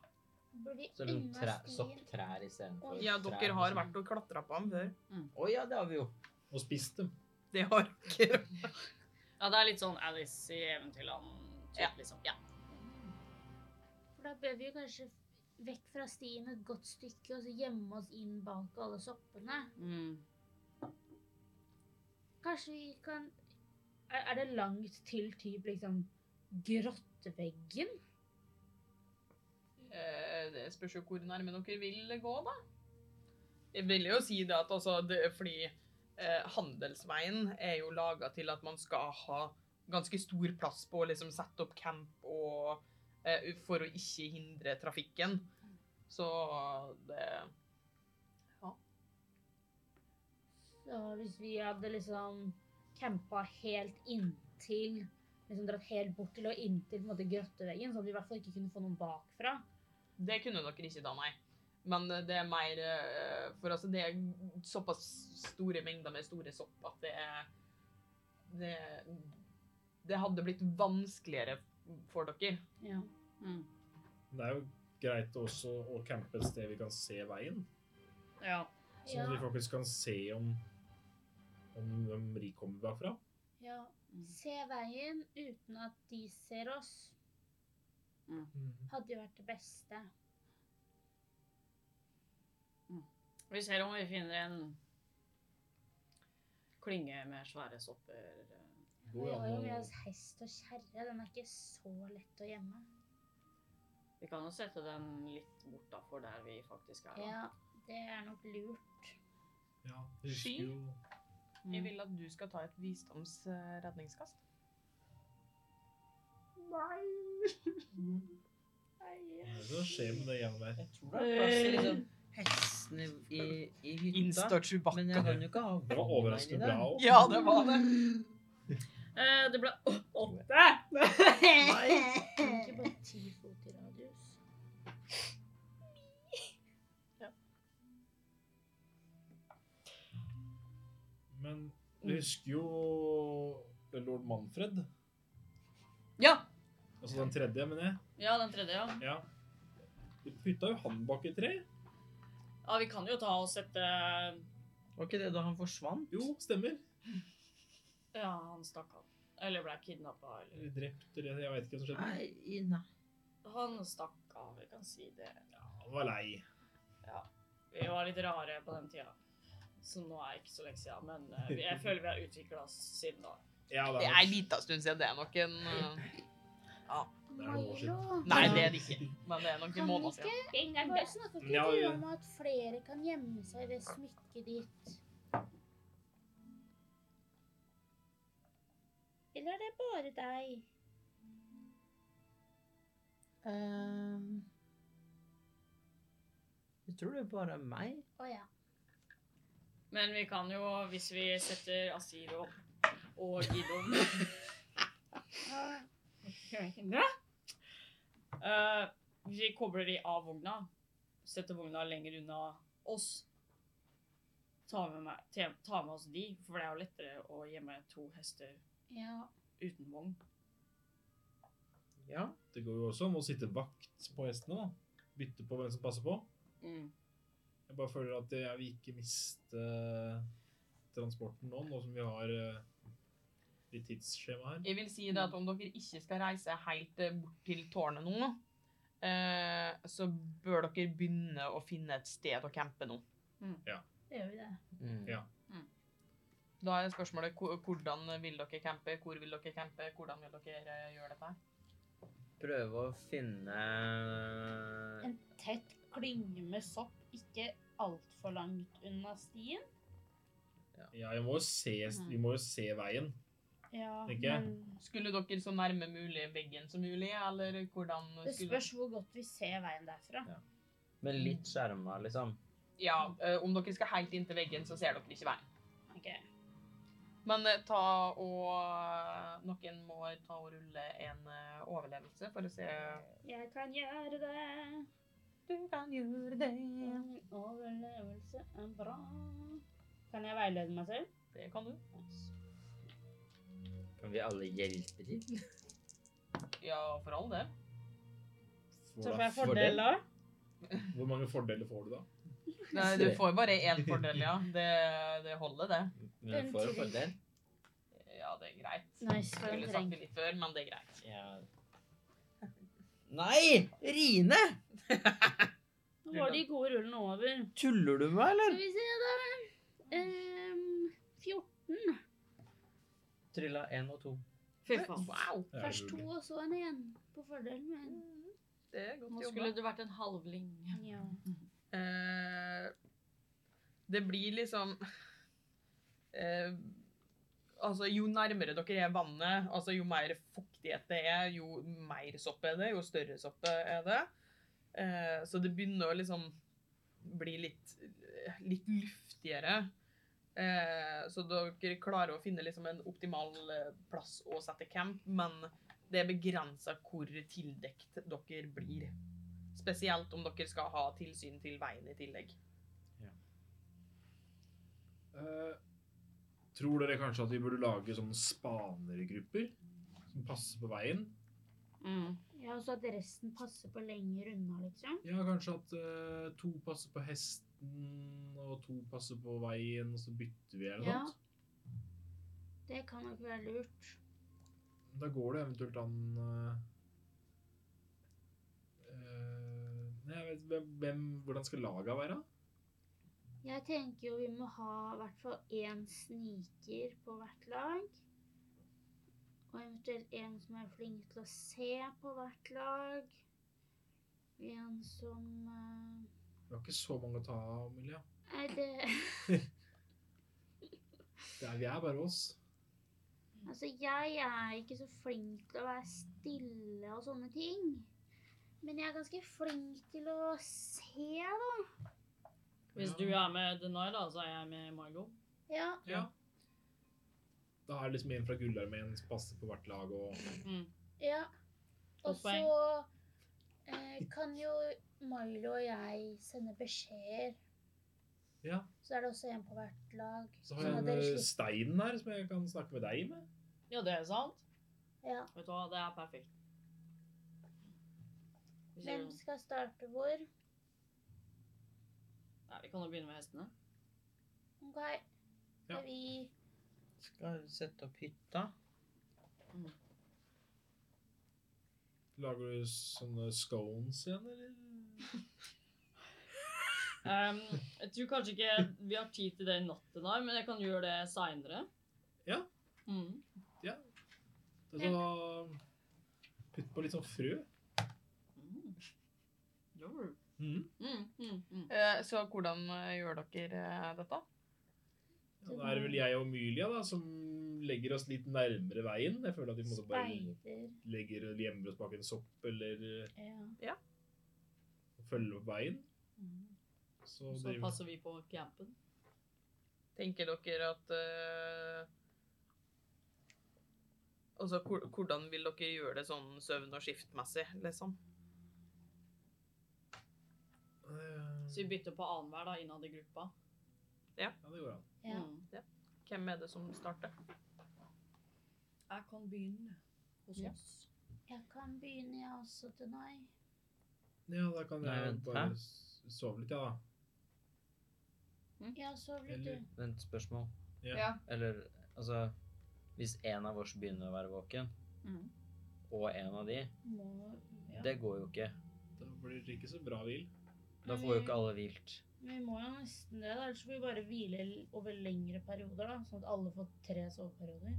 Speaker 4: Bør vi
Speaker 14: Så er det noen
Speaker 4: unna
Speaker 14: trær,
Speaker 4: stien?
Speaker 14: sopptrær istedenfor
Speaker 1: Ja,
Speaker 14: trær,
Speaker 1: dere har
Speaker 14: liksom.
Speaker 1: vært og klatra på ham før.
Speaker 14: Å ja, det har vi jo.
Speaker 2: Og spist dem.
Speaker 1: Det har dere.
Speaker 3: Ja, det er litt sånn Alice i Eventyrland. typ,
Speaker 1: Ja.
Speaker 3: Liksom. Ja.
Speaker 4: For da bør vi jo kanskje vekk fra stien et godt stykke, og så gjemme oss inn bak alle soppene. Kanskje vi kan Er, er det langt til typ liksom grotteveggen?
Speaker 1: Eh, Det spørs jo hvor nærme dere vil gå, da. Jeg vil jo si det at altså det, Fordi eh, handelsveien er jo laga til at man skal ha ganske stor plass på å liksom sette opp camp og eh, For å ikke hindre trafikken. Så eh, det
Speaker 4: Så hvis vi hadde liksom campa helt inntil liksom Dratt helt bort til og inntil på en måte, grotteveggen, sånn at vi i hvert fall ikke kunne få noen bakfra.
Speaker 1: Det kunne dere ikke da, nei. Men eh, det er mer eh, For altså, det er såpass store mengder med store sopp at det er Det, det hadde blitt vanskeligere for dere.
Speaker 4: Ja.
Speaker 2: Men Det er jo greit også å campe et sted vi kan se veien.
Speaker 3: ja.
Speaker 2: Sånn at vi faktisk kan se om, om hvem de kommer bakfra.
Speaker 4: ja. Se veien uten at de ser oss,
Speaker 1: Mm.
Speaker 4: hadde jo vært det beste.
Speaker 3: Vi ser om vi finner en klynge med svære sopper.
Speaker 4: Vi har jo med oss hest og kjerre. Den er ikke så lett å gjemme.
Speaker 3: Vi kan jo sette den litt bortafor der vi faktisk er. da.
Speaker 4: Ja, det er nok lurt.
Speaker 2: Ja,
Speaker 1: Sky?
Speaker 2: husker jo
Speaker 3: Mm.
Speaker 1: Jeg vil at du skal ta et eh, visdomsredningskast.
Speaker 2: Hva er det som skjer med det gjennom der?
Speaker 6: Jeg tror det er plass til liksom hesten i, i, i hytta.
Speaker 1: Chewbacca.
Speaker 6: Men jeg kan jo ikke ha
Speaker 2: Det var overraskende bra òg.
Speaker 1: Ja, det var det.
Speaker 3: Eh, det ble å- åtte!
Speaker 4: Tenker på ti fot i radius.
Speaker 2: Men vi husker jo lord Manfred.
Speaker 3: Ja.
Speaker 2: Altså den tredje, mener jeg.
Speaker 3: ja, den tredje, ja.
Speaker 2: Ja. Vi putta jo han bak i tre.
Speaker 3: Ja, Vi kan jo ta og sette
Speaker 6: Var ikke det da han forsvant?
Speaker 2: Jo, stemmer.
Speaker 3: Ja, han stakk av. Eller ble kidnappa, eller
Speaker 2: Eller drept, eller jeg veit ikke hva som skjedde.
Speaker 6: Nei, i- nei.
Speaker 3: Han stakk av, vi kan si det.
Speaker 2: Ja, han var lei.
Speaker 3: Vi var litt rare på den tida. Så nå er ikke så lenge siden, men eh, vi- jeg føler vi har utvikla oss siden da.
Speaker 2: Ja,
Speaker 1: Det
Speaker 2: det
Speaker 1: er
Speaker 2: er
Speaker 1: en liten stund siden. Det er nok en eh,
Speaker 2: Det er noe
Speaker 4: Milo,
Speaker 1: Nei, det er det ikke. Men det er nok en måned siden.
Speaker 4: en gang bare snakker ikke
Speaker 2: Ja,
Speaker 4: du
Speaker 2: ja.
Speaker 4: om at flere kan gjemme seg i det smykket ditt? Eller er det bare deg?
Speaker 6: Ehm, jeg tror det er bare meg.
Speaker 4: Å ja.
Speaker 3: Men vi kan jo, hvis vi setter Asiro og Gidon Eh, Vi kobler de av vogna, setter vogna lenger unna oss. Ta med, meg, te- ta med oss de, for det er jo lettere å gjemme to hester
Speaker 4: ja.
Speaker 3: uten vogn.
Speaker 6: Ja.
Speaker 2: Det går jo også an å sitte vakt på hestene, da. Bytte på hvem som passer på. Jeg bare føler at jeg vil ikke miste transporten nå, nå som vi har eh, litt tidsskjema her.
Speaker 1: Jeg vil si det at om dere ikke skal reise helt eh, bort til tårnet nå, eh, så bør dere begynne å finne et sted å campe nå.
Speaker 4: Det gjør vi det.
Speaker 14: Mm.
Speaker 2: Ja.
Speaker 1: Da er spørsmålet ko- hvordan vil dere campe, hvor vil dere campe, hvordan vil dere eh, gjøre dette? her?
Speaker 14: Prøve å finne
Speaker 4: En tett klynge med sopp, ikke altfor langt unna stien.
Speaker 2: Ja, jeg må jo se,
Speaker 4: Mm.
Speaker 2: vi må jo se veien.
Speaker 4: Ja,
Speaker 2: Tenker jeg.
Speaker 1: Skulle dere så nærme mulig veggen som mulig, eller hvordan
Speaker 4: det
Speaker 1: skulle
Speaker 4: spørs hvor godt vi ser veien derfra.
Speaker 14: Men litt skjerma, liksom.
Speaker 1: Ja, eh, om dere skal helt inn til veggen, så ser dere ikke veien.
Speaker 4: Ok.
Speaker 1: Men eh, ta og Noen må ta og rulle en eh, overlevelse for å se
Speaker 4: Jeg kan gjøre det.
Speaker 1: Du kan gjøre det.
Speaker 4: En overlevelse er bra. Kan jeg veilede meg selv?
Speaker 1: Det kan du.
Speaker 6: Kan vi alle hjelpe til?
Speaker 1: Ja, for all del.
Speaker 4: Så får jeg fordel da.
Speaker 2: Hvor mange fordeler får du da?
Speaker 1: Nei, du får bare én fordel, ja. Det, det holder, det.
Speaker 6: Men får jo fordel.
Speaker 1: Ja, det er greit.
Speaker 4: Nice. for en
Speaker 1: Skulle
Speaker 4: treng.
Speaker 1: sagt det litt før, men det er greit.
Speaker 6: Ja. Nei! Rine!
Speaker 4: Nå var de gode rullene over.
Speaker 8: Tuller du med meg, eller?
Speaker 4: Skal vi se, da. Ehm, 14.
Speaker 6: Trylla én og to.
Speaker 3: Fy faen.
Speaker 4: Wow.
Speaker 2: Det er
Speaker 4: Først to,
Speaker 2: rolig.
Speaker 4: og så en igjen. På fordel med en.
Speaker 1: Det er
Speaker 3: Nå
Speaker 1: godt jobba.
Speaker 3: skulle du vært en halvling.
Speaker 4: Ja.
Speaker 1: Eh, det blir liksom eh, Altså, jo nærmere dere er vannet, altså jo mer fuktighet det er, jo mer sopp er det, jo større sopp er det. Eh, så det begynner å liksom bli litt, litt luftigere. Eh, så dere klarer å finne liksom en optimal eh, plass å sette camp, men det er begrensa hvor tildekt dere blir. Spesielt om dere skal ha tilsyn til veien i tillegg.
Speaker 2: Eh, tror dere kanskje at vi burde lage sånne spanergrupper som passer på veien?
Speaker 3: Mm.
Speaker 4: ja, og så at resten passer på lenger unna, liksom.
Speaker 2: Ja, kanskje at eh, to passer på hesten, og to passer på veien, og så bytter vi eller noe
Speaker 4: Ja.
Speaker 2: sånt.
Speaker 4: Det kan nok være lurt.
Speaker 2: Da går det eventuelt an eh, eh, Nei, jeg vet hvem, hvem, Hvordan skal laga være?
Speaker 4: Jeg tenker jo vi må ha i hvert fall én sniker på hvert lag. Og eventuelt en som er flink til å se på hvert lag. En som eh,
Speaker 2: Vi har ikke så mange å ta av, Emilia.
Speaker 4: Nei, det
Speaker 2: Det er, vi er bare oss.
Speaker 4: Altså, jeg er ikke så flink til å være stille og sånne ting. Men jeg er ganske flink til å se, da.
Speaker 3: Hvis du er med Denai, da, så er jeg med Margot.
Speaker 4: Ja.
Speaker 2: Ja. Da er det liksom en fra Gullarmeen som passer på hvert lag, og
Speaker 3: Mm.
Speaker 4: ja. Og
Speaker 3: Godt
Speaker 4: så
Speaker 3: poeng.
Speaker 4: eh, kan jo Milo og jeg sende beskjeder.
Speaker 2: Ja.
Speaker 4: Så er det også en på hvert lag.
Speaker 2: Så har jeg
Speaker 4: at
Speaker 2: en
Speaker 4: dere
Speaker 2: eh,
Speaker 4: slipper-
Speaker 2: stein her som jeg kan snakke med deg med.
Speaker 3: Ja, det er sant.
Speaker 4: Ja.
Speaker 3: Vet du hva, det er perfekt. Hvis
Speaker 4: Hvem
Speaker 3: jeg-
Speaker 4: skal starte hvor?
Speaker 3: Nei, vi kan jo begynne med hestene.
Speaker 4: Ok.
Speaker 2: Ja.
Speaker 4: Skal vi
Speaker 8: Skal sette opp hytta.
Speaker 2: Lager du sånne scones igjen, eller?
Speaker 3: Um, jeg tror kanskje ikke vi har tid til det i natt, Denai, men jeg kan gjøre det seinere.
Speaker 2: Ja.
Speaker 3: Mm.
Speaker 2: Altså, putt på litt sånn frø.
Speaker 3: Mm. Jo.
Speaker 2: Mhm.
Speaker 3: Mm, mm, mm.
Speaker 1: så hvordan eh, gjør dere eh, dette?
Speaker 2: Ja, Da er det vel jeg og Mylia da, som legger oss litt nærmere veien. Jeg føler at vi på en måte bare
Speaker 4: speider?
Speaker 2: legger gjemmer oss bak en sopp eller eh,
Speaker 4: Ja.
Speaker 2: følger opp veien.
Speaker 3: Mm.
Speaker 2: Så,
Speaker 3: Og Så
Speaker 2: driver-
Speaker 3: passer vi på campen.
Speaker 1: Tenker dere at eh, Altså, hvor- hvordan vil dere gjøre det sånn søvn- og skiftmessig, liksom?
Speaker 2: Eh,
Speaker 3: Så vi bytter på annenhver da, innad i gruppa.
Speaker 2: Ja, det går an.
Speaker 4: Ja.
Speaker 3: Mm.
Speaker 1: Hvem er det som starter?
Speaker 3: Jeg kan begynne hos
Speaker 1: Ja.
Speaker 3: oss.
Speaker 4: Jeg kan begynne, jeg også, Denai.
Speaker 2: Ja, da kan
Speaker 8: Nei,
Speaker 2: jeg
Speaker 8: vent,
Speaker 2: bare
Speaker 8: hæ?
Speaker 2: s- sove litt, ja da.
Speaker 4: Ja, sov litt,
Speaker 2: Mm. Eller-
Speaker 4: du.
Speaker 6: Vent, spørsmål.
Speaker 2: Ja.
Speaker 3: Ja.
Speaker 6: Eller altså Hvis en av oss begynner å være våken,
Speaker 3: Mm.
Speaker 6: og en av de
Speaker 4: Må
Speaker 6: Det går jo ikke.
Speaker 2: Da blir det ikke så bra hvil.
Speaker 6: Da får jo ikke alle hvilt.
Speaker 4: Vi må jo nesten det, da. ellers får vi bare hvile l- over lengre perioder. da, Sånn at alle får tre soveperioder.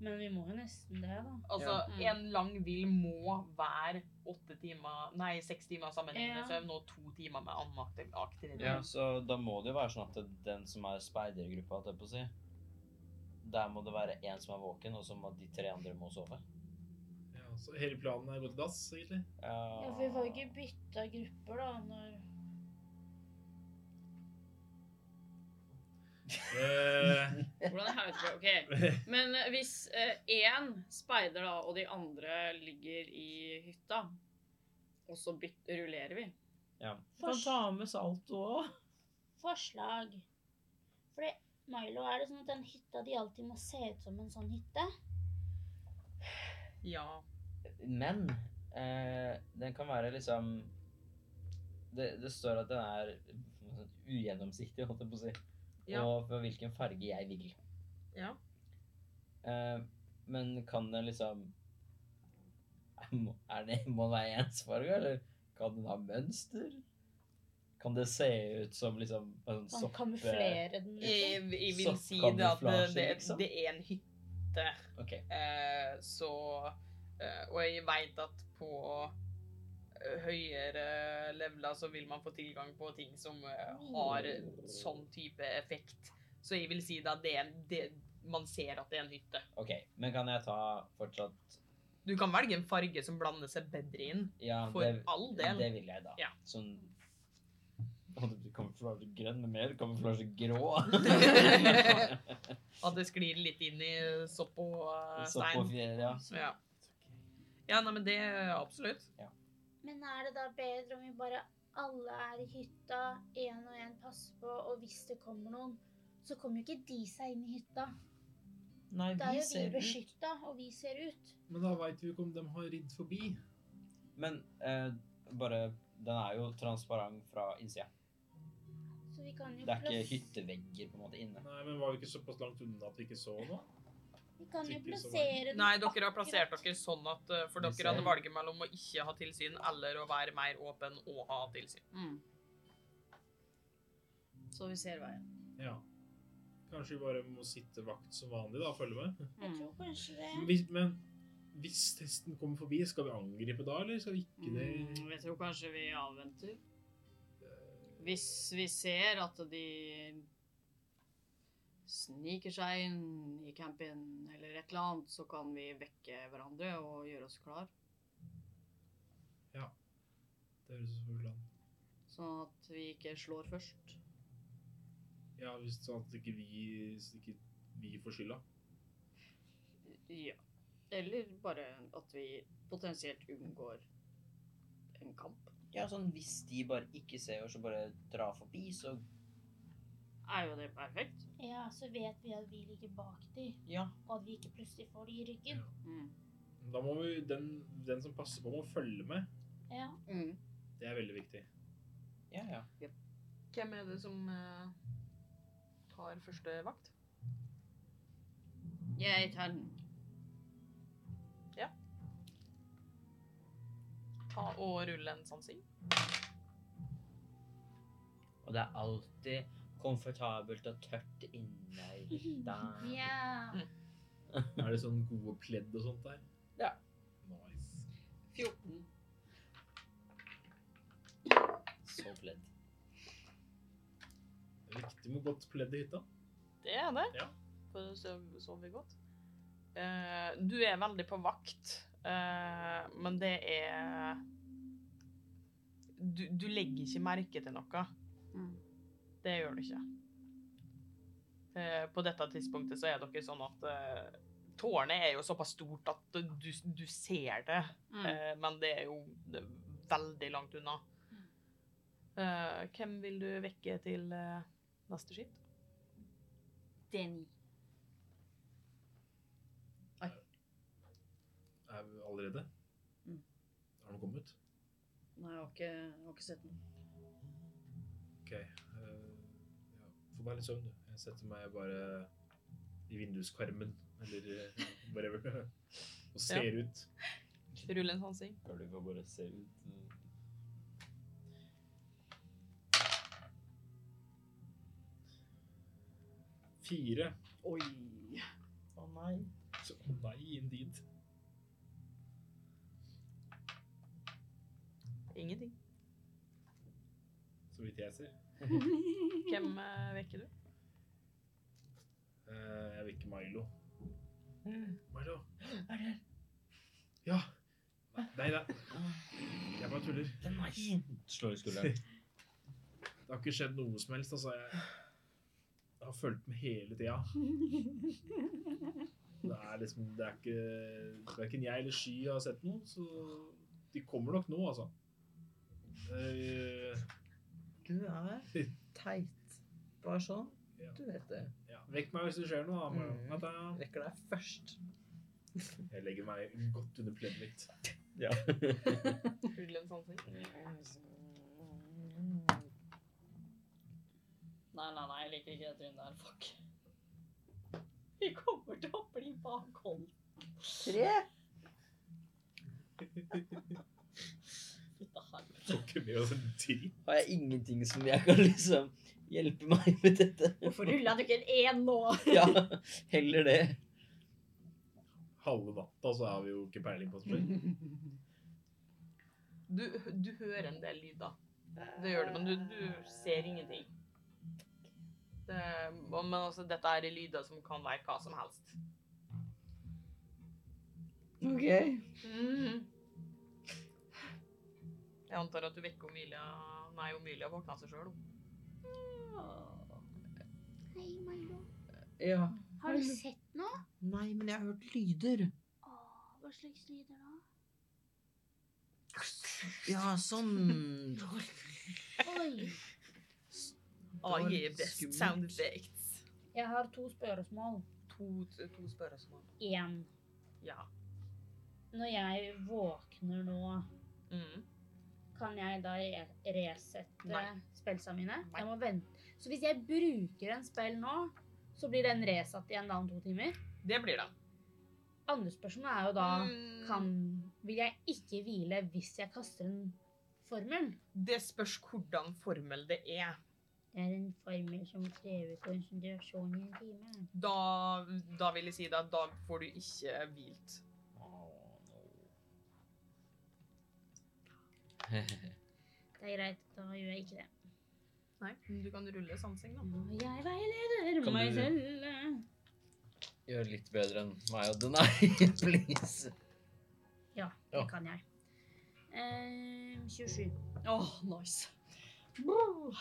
Speaker 4: Men vi må jo nesten det, da.
Speaker 1: Altså,
Speaker 3: Ja.
Speaker 1: en lang hvil må være åtte timer Nei, seks timer sammenhengende
Speaker 4: Ja.
Speaker 1: søvn og to timer med annen aktiv- aktivitet.
Speaker 6: Ja, så da må det jo være sånn at det- den som er speidergruppa, holdt jeg på å si Der må det være en som er våken, og så må de tre andre må sove.
Speaker 2: Ja, så hele planen er å gå til dass, egentlig.
Speaker 4: Ja, For vi får jo ikke bytta grupper, da, når
Speaker 2: Eh,
Speaker 3: Hvordan er helvete? Ok. Men eh, hvis eh, én speider, da, og de andre ligger i hytta, og så byt- rullerer vi
Speaker 4: Fors-
Speaker 1: med salto òg.
Speaker 4: forslag. Fordi, Milo, er det sånn at den hytta de alltid må se ut som en sånn hytte?
Speaker 1: Ja.
Speaker 6: Men eh, den kan være liksom det, det står at den er sånn ugjennomsiktig, holdt jeg på å si.
Speaker 1: Ja.
Speaker 6: Og for hvilken farge jeg vil.
Speaker 1: Ja.
Speaker 6: Eh, men kan den liksom er det, Må den være ensfarga, eller kan den ha mønster? Kan det se ut som liksom en
Speaker 4: Kan
Speaker 6: soppe-
Speaker 4: Sånn kamuflere den litt?
Speaker 1: Jeg, jeg vil si
Speaker 6: Soppkamuflasje,
Speaker 1: det at det, det,
Speaker 6: liksom?
Speaker 1: det er en hytte.
Speaker 6: Ok.
Speaker 1: Eh, så eh, Og jeg veit at på eh, høyere leveler så vil man få tilgang på ting som eh, har sånn type effekt. Så jeg vil si det at det er en det, Man ser at det er en hytte.
Speaker 6: ok, Men kan jeg ta fortsatt
Speaker 1: Du kan velge en farge som blander seg bedre inn.
Speaker 6: Ja,
Speaker 1: For
Speaker 6: det,
Speaker 1: all del.
Speaker 6: Det vil jeg, da.
Speaker 1: Ja.
Speaker 6: Sånn Du kamuflasje grønn med mer, kamuflasje grå.
Speaker 1: At det sklir litt inn i sopp og eh,
Speaker 6: Sopp og
Speaker 1: stein.
Speaker 6: fjær, ja.
Speaker 1: Ja. ja, nei, men det absolutt.
Speaker 4: Men er det da bedre om vi bare alle er i hytta, én og én passer på, og hvis det kommer noen, så kommer jo ikke de seg inn i hytta.
Speaker 8: Nei,
Speaker 4: Da er
Speaker 8: vi
Speaker 4: jo vi
Speaker 8: ser ut.
Speaker 4: beskytta, og vi ser ut.
Speaker 2: men da veit vi ikke om de har ridd forbi.
Speaker 6: Men eh, bare Den er jo transparent fra innsida.
Speaker 4: Så vi kan jo
Speaker 6: Det er ikke
Speaker 4: plass-
Speaker 6: hyttevegger på en måte inne.
Speaker 2: Nei, men Var vi ikke såpass langt unna at vi ikke så noe?
Speaker 4: Vi kan jo
Speaker 2: Typisk som
Speaker 4: plassere den
Speaker 1: Nei, dere har plassert dere sånn at eh, For
Speaker 6: Vi
Speaker 1: dere hadde
Speaker 6: ser.
Speaker 1: valget mellom å ikke ha tilsyn eller å være mer åpen og ha tilsyn.
Speaker 3: Så vi ser veien.
Speaker 2: Ja. Kanskje vi bare må sitte vakt som vanlig, da, og følge med.
Speaker 4: Jeg tror kanskje
Speaker 2: Men
Speaker 4: det.
Speaker 2: hvis, men hvis testen kommer forbi, skal vi angripe da, eller skal vi ikke det?
Speaker 3: Mm, jeg tror kanskje vi avventer. Hvis vi ser at de sniker seg inn i campen eller et eller annet, så kan vi vekke hverandre og gjøre oss klar.
Speaker 2: Det høres selvfølgelig an.
Speaker 3: Sånn at vi ikke slår først.
Speaker 2: Ja, hvis sånn at ikke vi, så ikke vi får skylda.
Speaker 3: Ja. Eller bare at vi potensielt unngår en kamp.
Speaker 6: Ja, sånn Hvis de bare ikke ser oss og bare drar forbi, så
Speaker 3: Er jo det perfekt?
Speaker 4: Ja, så vet vi at vi ligger bak de,
Speaker 6: Ja.
Speaker 4: og at vi ikke plutselig får de i ryggen.
Speaker 3: Mm.
Speaker 2: Da må vi, den, den som passer på, må følge med.
Speaker 4: Ja.
Speaker 3: Mm.
Speaker 2: Det er veldig viktig.
Speaker 6: Ja, ja.
Speaker 1: Hvem er det som eh, tar første vakt?
Speaker 3: Jeg tar den.
Speaker 1: Ta og rulle en sånn sansing.
Speaker 6: Og det er alltid komfortabelt og tørt inne i hytta.
Speaker 4: Ja.
Speaker 2: Er det sånn gode pledd og sånt der?
Speaker 6: Ja.
Speaker 2: Nice.
Speaker 3: 14.
Speaker 6: Så pledd.
Speaker 2: Det er viktig med godt pledd i hytta.
Speaker 1: Det er det.
Speaker 2: Ja.
Speaker 1: For da sov- sover vi godt. Eh, du er veldig på vakt, eh, men det er du, du legger ikke merke til noe.
Speaker 3: Mm.
Speaker 1: Det gjør du ikke. Eh, på dette tidspunktet så er dere sånn at eh, tårnet er jo såpass stort at du, du ser det,
Speaker 3: Mm.
Speaker 1: eh, men det er jo det er veldig langt unna. Mm. Eh, hvem vil du vekke til eh, neste skift?
Speaker 3: Den.
Speaker 2: Er vi allerede?
Speaker 3: Mm.
Speaker 2: Har den kommet?
Speaker 3: Nei, jeg har ikke, jeg har ikke sett den.
Speaker 2: Ok. eh, ja. Få deg litt søvn, du. Jeg setter meg bare i vinduskarmen, eller eh, whatever, og ser ut.
Speaker 1: Rull en sansing.
Speaker 6: Bør du ikke bare se ut?
Speaker 2: Fire.
Speaker 3: Oi.
Speaker 8: Å nei.
Speaker 2: Så, nei, indeed.
Speaker 1: Ingenting.
Speaker 2: Så vidt jeg ser.
Speaker 1: Hvem eh, vekker du?
Speaker 2: Eh, jeg vil ikke Milo. Milo. Ja. Nei, nei. Jeg bare tuller.
Speaker 6: Slår i skulderen.
Speaker 2: Det har ikke skjedd noe som helst, altså. Jeg, har fulgt med hele tida. Det er liksom Det er ikke Verken jeg eller Sky har sett noe, så de kommer nok nå, altså. Eh,
Speaker 15: Du er teit. Bare sånn.
Speaker 2: Ja.
Speaker 15: Du vet det.
Speaker 2: ja. Vekk meg hvis det skjer noe. da, Marion.
Speaker 15: Mm.
Speaker 2: Natt, da.
Speaker 15: Rekker deg først.
Speaker 2: Jeg legger meg godt under pleddet mitt.
Speaker 6: Ja.
Speaker 1: Ullens ansikt.
Speaker 3: Nei, nei, nei, jeg liker ikke det trynet der. Fuck. Vi kommer til å bli bakholdt.
Speaker 16: Tre?
Speaker 3: Fytte helvete.
Speaker 2: Tok ikke med oss en dritt.
Speaker 6: Har jeg ingenting som jeg kan liksom hjelpe meg med dette?
Speaker 3: Hvorfor rulla du ikke en én nå?
Speaker 6: Ja, heller det.
Speaker 2: Halve natta så har vi jo ikke peiling på spill.
Speaker 1: Du, du hører en del lyd, da. Det gjør det, men du, du ser ingenting. Det, men altså, dette er lyder som kan være hva som helst.
Speaker 6: Ok.
Speaker 3: Mm.
Speaker 1: Mhm. Jeg antar at du vekker Omilia Nei, Omilia våkna seg sjøl.
Speaker 17: Hei, Milo.
Speaker 15: Ja.
Speaker 17: Har du sett noe?
Speaker 15: Nei, men jeg har hørt lyder.
Speaker 17: Åh, hva slags lyder da?
Speaker 15: Ja, sånn
Speaker 17: Oi,
Speaker 1: Ah,
Speaker 15: Det var
Speaker 1: yeah, best
Speaker 15: skummelt.
Speaker 1: sound effects.
Speaker 4: Jeg har to spørsmål.
Speaker 1: To, to spørsmål.
Speaker 4: Én.
Speaker 1: Ja.
Speaker 4: Når jeg våkner nå,
Speaker 1: Mhm.
Speaker 4: kan jeg da re resette
Speaker 1: Nei.
Speaker 4: spellsa mine?
Speaker 1: Nei.
Speaker 4: Jeg må vente. Så hvis jeg bruker en spell nå, så blir den resatt igjen da om to timer?
Speaker 1: Det blir det.
Speaker 4: Andre spørsmål er jo da
Speaker 1: Mm.
Speaker 4: kan, Vil jeg ikke hvile hvis jeg kaster en formel?
Speaker 1: Det spørs hvordan formel det er.
Speaker 4: Det er en formel som krever konsentrasjon i en time.
Speaker 1: Da, da vil jeg si det at da får du ikke hvilt.
Speaker 4: Det er greit, da gjør jeg ikke det.
Speaker 1: Nei, men du kan rulle sansing, da.
Speaker 4: Nå er Jeg veileder
Speaker 6: Kan
Speaker 4: meg
Speaker 6: du-
Speaker 4: selv.
Speaker 6: Gjør litt bedre enn meg og Denai, please.
Speaker 4: Ja,
Speaker 6: Ja.
Speaker 4: det kan jeg. Eh, 27.
Speaker 3: Åh, nice. Brr.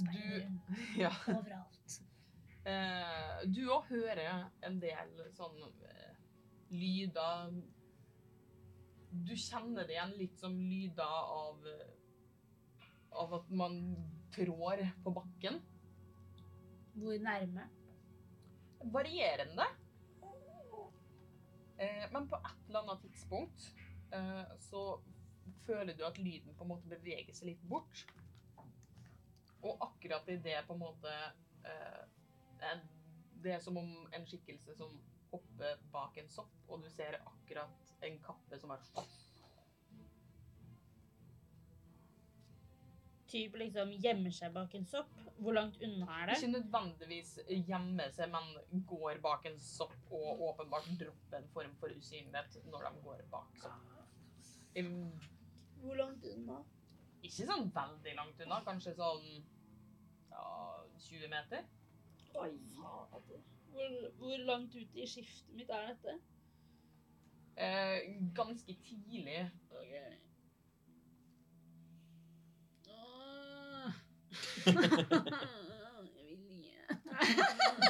Speaker 1: Du, ja.
Speaker 4: Overalt.
Speaker 1: Eh, du òg hører en del sånn eh, lyder Du kjenner det igjen litt som lyder av eh, Av at man trår på bakken.
Speaker 4: Hvor nærme?
Speaker 1: Varierende. Eh, men på et eller annet tidspunkt eh, så føler du at lyden på en måte beveger seg litt bort. Og akkurat i det på en måte eh, en- Det er som om en skikkelse som hopper bak en sopp, og du ser akkurat en kappe som er
Speaker 4: Typ liksom gjemmer seg bak en sopp. Hvor langt unna er det?
Speaker 1: Ikke nødvendigvis gjemmer seg, men går bak en sopp og åpenbart dropper en form for usynlighet når de går bak sopp. Im-
Speaker 4: Hvor langt unna?
Speaker 1: Ikke sånn veldig langt unna, kanskje sånn ja, 20 meter.
Speaker 4: Oi, fader. Hvor, hvor langt ute i skiftet mitt er dette?
Speaker 1: Eh, ganske tidlig.
Speaker 3: Ah. Jeg vil ikke.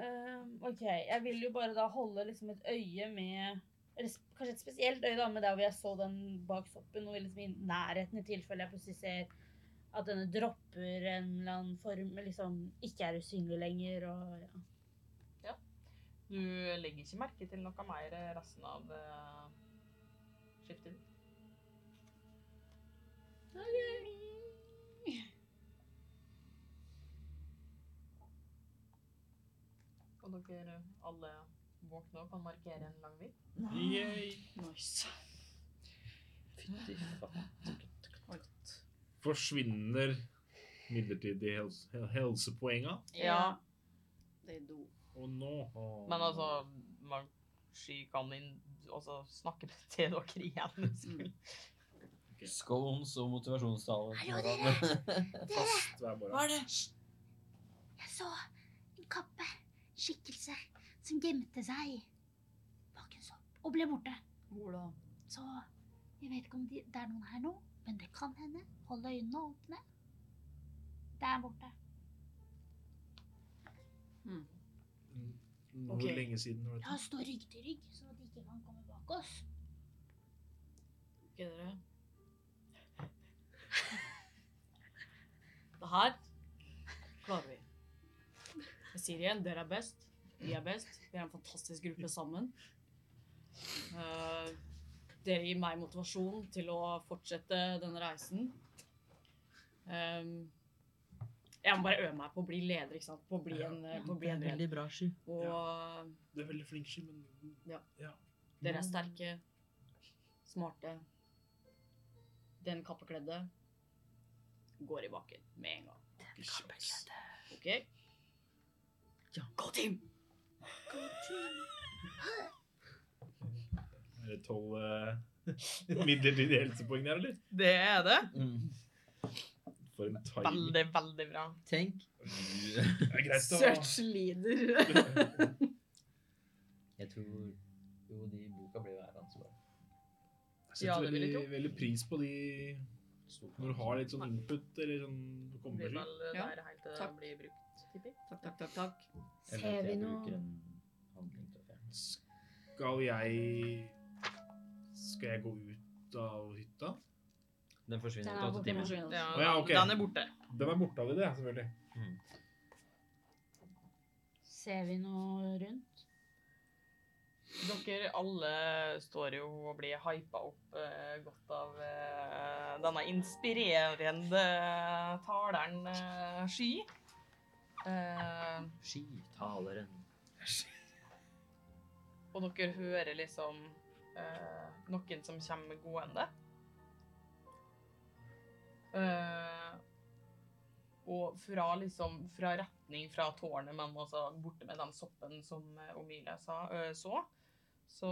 Speaker 4: Ehm, ok, jeg vil jo bare da holde liksom et øye med eller s- Kanskje et spesielt øye da, med der hvor jeg så den bak soppen, og liksom i nærheten i tilfelle jeg plutselig ser at denne dropper en eller annen form, men liksom ikke er usynlig lenger, og ja.
Speaker 1: Du legger ikke merke til noe mer resten av eh, skiftet. Og dere alle våkner og kan markere en lang hvil.
Speaker 2: Yay.
Speaker 3: Nice.
Speaker 6: Fytti faen.
Speaker 2: Forsvinner midlertidig helse, helsepoenga.
Speaker 1: Ja.
Speaker 3: Det er do.
Speaker 2: Og nå Åh.
Speaker 1: Men altså, man sky kan inn og så snakke til dere igjen. hvis dere vil.
Speaker 4: Mm.
Speaker 6: Scones og motivasjonstaler.
Speaker 17: Hallo, dere!
Speaker 2: Fast hver morgen.
Speaker 3: det?
Speaker 17: Jeg så en kappe, en skikkelse, som gjemte seg bak en sopp og ble borte.
Speaker 3: Hvor da?
Speaker 17: Så jeg vet ikke om de, det er noen her nå.
Speaker 4: Men det kan hende. Hold øynene åpne. Der borte. Mm.
Speaker 2: Hvor
Speaker 1: Ok.
Speaker 2: lenge siden var
Speaker 4: Ja,
Speaker 2: dette?
Speaker 4: stå rygg til rygg, sånn at de ikke kan komme bak oss.
Speaker 3: Ok, dere. Det her klarer vi. Jeg sier igjen, dere er best. Vi er best. Vi er en fantastisk gruppe sammen. Eh, dere gir meg motivasjon til å fortsette denne reisen. Ehm, jeg må bare øve meg på å bli leder, ikke sant? På å bli en, eh, på å bli en leder.
Speaker 8: bra, Sky.
Speaker 3: Og
Speaker 2: Du er veldig flink, Sky, men
Speaker 3: dere er sterke, smarte. Den kappekledde går i bakken med en gang. Den kappekledde. Ok? Ja. Go team!
Speaker 2: Er det tolv eh, midlertidige helsepoeng der, eller?
Speaker 1: Det er det.
Speaker 6: Mm.
Speaker 2: For en timing.
Speaker 1: Veldig, veldig bra.
Speaker 8: Tenk.
Speaker 2: Det er greit å
Speaker 3: Search leader.
Speaker 6: Jeg tror jo de i boka blir jo her ansvar.
Speaker 2: Jeg
Speaker 1: Ja,
Speaker 2: setter
Speaker 1: det vil jeg
Speaker 2: veldig, veldig pris på de når du har litt sånn input eller sånn du kommer
Speaker 1: Blir
Speaker 2: til.
Speaker 1: vel der
Speaker 3: Ja.
Speaker 1: helt til det
Speaker 3: Takk.
Speaker 1: blir brukt, tipper jeg.
Speaker 3: Takk, takk, takk, takk.
Speaker 4: Ser vi noe
Speaker 6: noe
Speaker 2: Skal jeg Skal jeg gå ut av hytta?
Speaker 6: Den forsvinner
Speaker 4: Den
Speaker 6: etter
Speaker 4: er
Speaker 6: åtte
Speaker 4: borte
Speaker 6: timer.
Speaker 4: nå.
Speaker 3: Forsvinner.
Speaker 1: Ja,
Speaker 2: Å ja, ok.
Speaker 1: Den er borte.
Speaker 2: Den er borte av i det, selvfølgelig.
Speaker 4: Ser vi noe rundt?
Speaker 1: Dere alle står jo og blir hypa opp eh, godt av eh, denne inspirerende taleren eh, Sky. Eh,
Speaker 6: Skitaleren.
Speaker 1: og dere hører liksom eh, noen som kommer gående. Eh, og fra liksom fra retning fra tårnet, men altså borte med den soppen som eh, Omilia sa, eh, så, så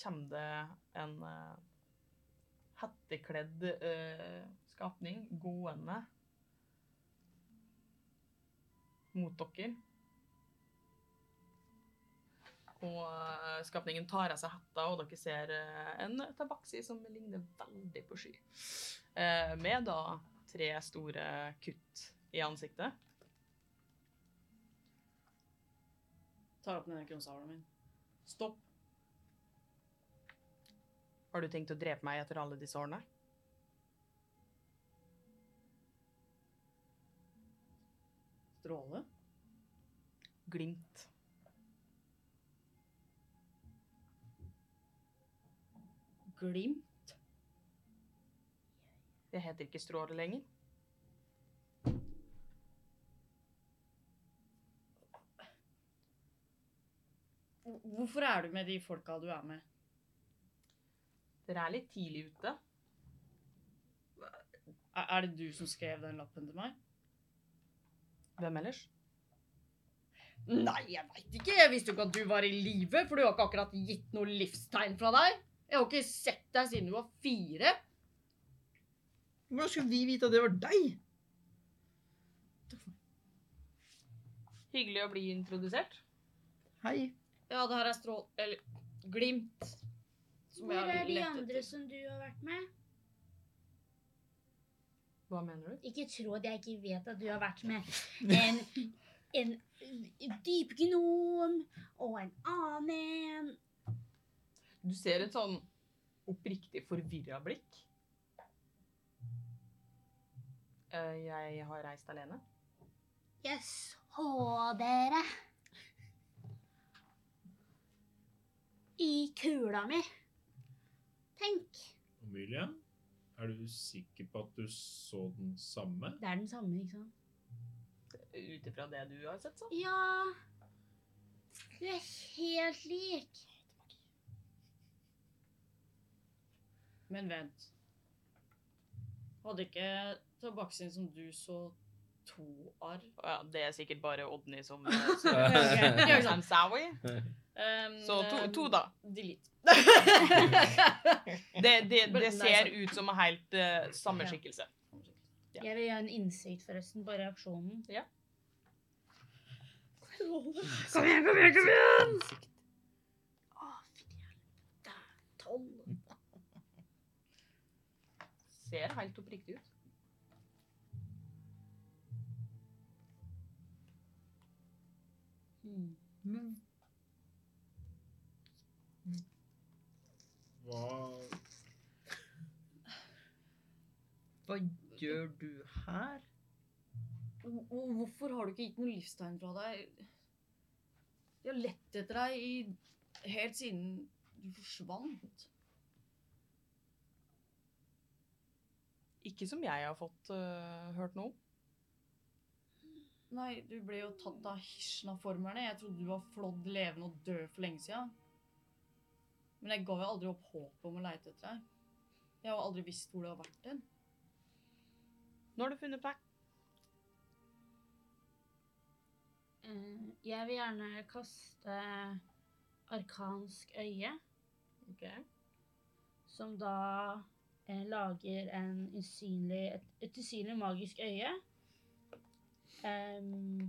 Speaker 1: kommer det en eh, hettekledd eh, skapning gående mot dere. Og eh, skapningen tar av seg hetta, og dere ser eh, en tabaksi som ligner veldig på sky. Eh, Med da tre store kutt i ansiktet.
Speaker 3: Tar opp denne kronsavlen min.
Speaker 1: Stopp. Har du tenkt å drepe meg etter alle disse årene?
Speaker 3: Stråle.
Speaker 1: Glimt.
Speaker 3: Glimt.
Speaker 1: Jeg heter ikke Stråle lenger.
Speaker 3: Hvorfor er du med de folka du er med?
Speaker 1: Dere er litt tidlig ute.
Speaker 3: Er er det du som skrev den lappen til meg?
Speaker 1: Hvem ellers?
Speaker 3: Nei, jeg veit ikke. Jeg visste jo ikke at du var i live, for du har ikke akkurat gitt noe livstegn fra deg. Jeg har ikke sett deg siden du var fire.
Speaker 8: Hvordan skulle vi vite at det var deg?
Speaker 1: Hyggelig å bli introdusert.
Speaker 8: Hei.
Speaker 3: Ja, det her er strål... Eller glimt. Som jeg
Speaker 4: Hvor
Speaker 3: har
Speaker 4: er de
Speaker 3: lett
Speaker 4: andre
Speaker 3: etter.
Speaker 4: som du har vært med?
Speaker 1: Hva mener du?
Speaker 4: Ikke tro at jeg ikke vet at du har vært med en, en dypgnom og en annen en.
Speaker 1: Du ser et sånn oppriktig forvirra blikk. Eh, Jeg har reist alene.
Speaker 4: Jeg så dere i kula mi. Tenk.
Speaker 2: Amelia, er du sikker på at du så den samme?
Speaker 4: Det er den samme, ikke sant?
Speaker 1: Ut ifra det du har sett, så.
Speaker 4: Ja. Du er helt lik.
Speaker 3: Men vent. Hadde ikke tabakksin som du så to arr?
Speaker 1: Ja, det er sikkert bare Odny som eh,
Speaker 3: ikke
Speaker 1: som Sawi.
Speaker 3: Um,
Speaker 1: Så to, to da.
Speaker 3: Delete.
Speaker 1: Det, det,
Speaker 3: Men
Speaker 1: det
Speaker 3: nei,
Speaker 1: ser
Speaker 3: sant.
Speaker 1: ut som en helt eh, samme
Speaker 3: Ja.
Speaker 1: skikkelse. Ja.
Speaker 4: Jeg vil gjøre en innsikt forresten på reaksjonen.
Speaker 1: Ja.
Speaker 4: Kom igjen, kom igjen, kom igjen! Å, fy hjelp. Det er tolv.
Speaker 1: ser helt oppriktig ut.
Speaker 4: Mm.
Speaker 2: Hva
Speaker 8: Hva gjør du her?
Speaker 3: Hvor- hvor- Hvorfor har du ikke gitt noen livstegn fra deg? Jeg har lett etter deg i, helt siden du forsvant.
Speaker 1: Ikke som jeg har fått øh, hørt noe om.
Speaker 3: Nei, du ble jo tatt av Hishna-formerne. Jeg trodde du var flådd levende og død for lenge siden. Men jeg ga jo aldri opp håpet om å leite etter deg. Jeg har aldri visst hvor du har vært hen.
Speaker 1: Nå har du funnet Pack.
Speaker 4: Eh, Jeg vil gjerne kaste arkansk øye,
Speaker 1: Eh,
Speaker 4: som da eh, lager en usynlig, et, et usynlig magisk øye. Em,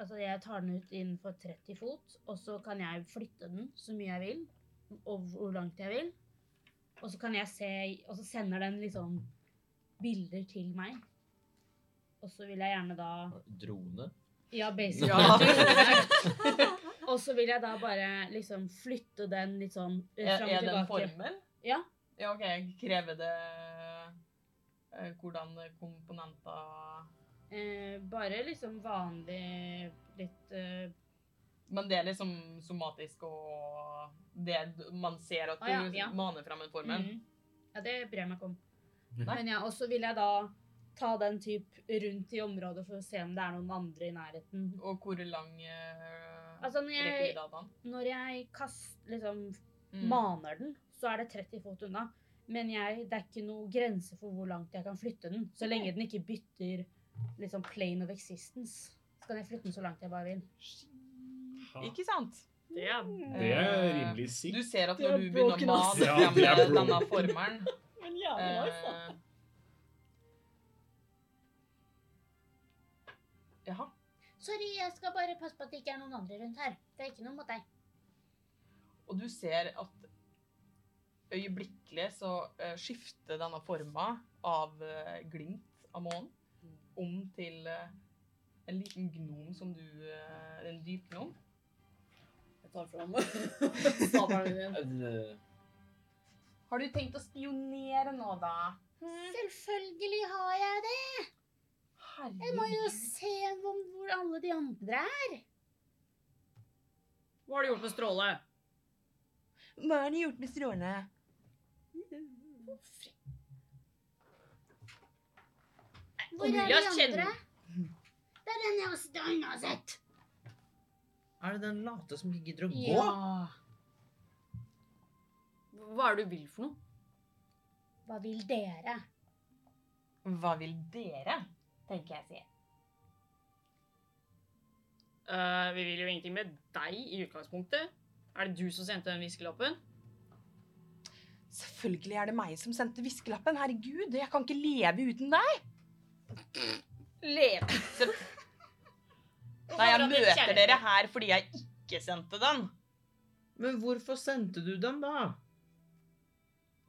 Speaker 4: altså jeg tar den ut innenfor 30 fot, og så kan jeg flytte den så mye jeg vil, og hvor langt jeg vil. Og så kan jeg se, og så sender den liksom bilder til meg. Og så vil jeg gjerne da...
Speaker 7: Drone?
Speaker 4: Ja, basically. og så vil jeg da bare liksom flytte den litt sånn eh,
Speaker 1: Er,
Speaker 4: fram og
Speaker 1: er det en
Speaker 4: tilbake.
Speaker 1: formel?
Speaker 4: Ja.
Speaker 1: Ja, OK. Krever det øh, hvordan komponenter
Speaker 4: Eh, bare liksom vanlig litt eh,
Speaker 1: Men det er liksom somatisk og det man ser at du
Speaker 4: Å, ja, ja.
Speaker 1: maner fram en formel.
Speaker 4: mm. Ja, det bryr jeg meg ikke om.
Speaker 1: Nei.
Speaker 4: Men ja, og så vil jeg da ta den typ rundt i området for å se om det er noen andre i nærheten.
Speaker 1: Og hvor lang øh,
Speaker 4: Altså når jeg,
Speaker 1: rekkevidde hadde han?
Speaker 4: når jeg kast, liksom,
Speaker 1: Mm.
Speaker 4: maner den, så er det 30 fot unna. Men jeg, det er ikke noe grense for hvor langt jeg kan flytte den. Så lenge den ikke bytter liksom, plane of existence, så kan jeg flytte den så langt jeg bare vil.
Speaker 2: Ha.
Speaker 1: Ikke sant?
Speaker 3: Det er
Speaker 2: Det er rimelig
Speaker 1: Du
Speaker 2: sikt.
Speaker 1: ser at
Speaker 5: Det er
Speaker 1: når du begynner å
Speaker 5: broken, ass.
Speaker 1: male
Speaker 2: Ja,
Speaker 1: frem
Speaker 2: det
Speaker 1: med
Speaker 2: er broken.
Speaker 1: denne formelen
Speaker 10: Men jævlig nice, da.
Speaker 1: eh, Jaha.
Speaker 4: Sorry, jeg skal bare passe på at det ikke er noen andre rundt her. Det er ikke noe mot deg.
Speaker 1: Og du ser at øyeblikkelig så eh, skifter denne forma av eh, glimt av månen om til eh, en liten gnom som du eh, En dypgnom.
Speaker 3: Jeg tar fram sabelen din.
Speaker 1: Har du tenkt å spionere nå, da?
Speaker 4: Selvfølgelig har jeg det. Jeg må jo se hvor, hvor alle de andre er.
Speaker 3: Hva har du gjort med stråle?
Speaker 1: Hva har de gjort med strålene?
Speaker 4: Hvor er de
Speaker 3: Jeg
Speaker 4: andre?
Speaker 3: kjenner-
Speaker 4: Det er den jeg også den har sett.
Speaker 8: Er det den late som ikke gidder å gå?
Speaker 4: Ja.
Speaker 3: Hva er det du vil for noe?
Speaker 4: Hva vil dere?
Speaker 1: Hva vil dere? tenker jeg å si.
Speaker 3: Eh, vi vil jo ingenting med deg i utgangspunktet. Er det du som sendte den viskelappen?
Speaker 1: Selvfølgelig er det meg som sendte viskelappen. Herregud, jeg kan ikke leve uten deg.
Speaker 3: Leve.
Speaker 1: Nei, jeg møter dere her fordi jeg ikke sendte den.
Speaker 8: Men hvorfor sendte du den, da?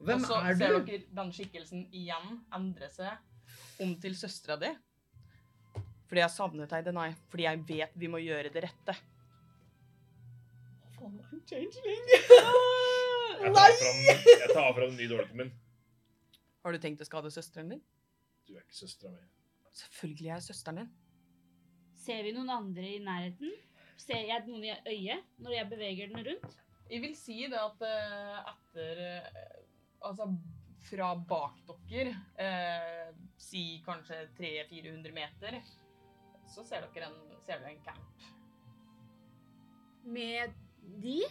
Speaker 1: Og
Speaker 8: Hvem
Speaker 1: så
Speaker 8: er
Speaker 1: ser
Speaker 8: du?
Speaker 1: dere den skikkelsen igjen endre seg om til søstera di. Fordi jeg savnet deg, Denai. Fordi jeg vet vi må gjøre det rette.
Speaker 2: Jeg tar fram, jeg tar fram den nye dolken min.
Speaker 1: Har du tenkt å skade søsteren din?
Speaker 2: Du er ikke søstera mi.
Speaker 1: Selvfølgelig er jeg søsteren din.
Speaker 4: Ser vi noen andre i nærheten? Ser jeg noen i øyet når jeg beveger den rundt?
Speaker 1: Jeg vil si det at eh, etter eh, Altså fra bak dere, eh, si kanskje 300-400 meter, så ser dere en, ser dere en camp.
Speaker 4: Med de?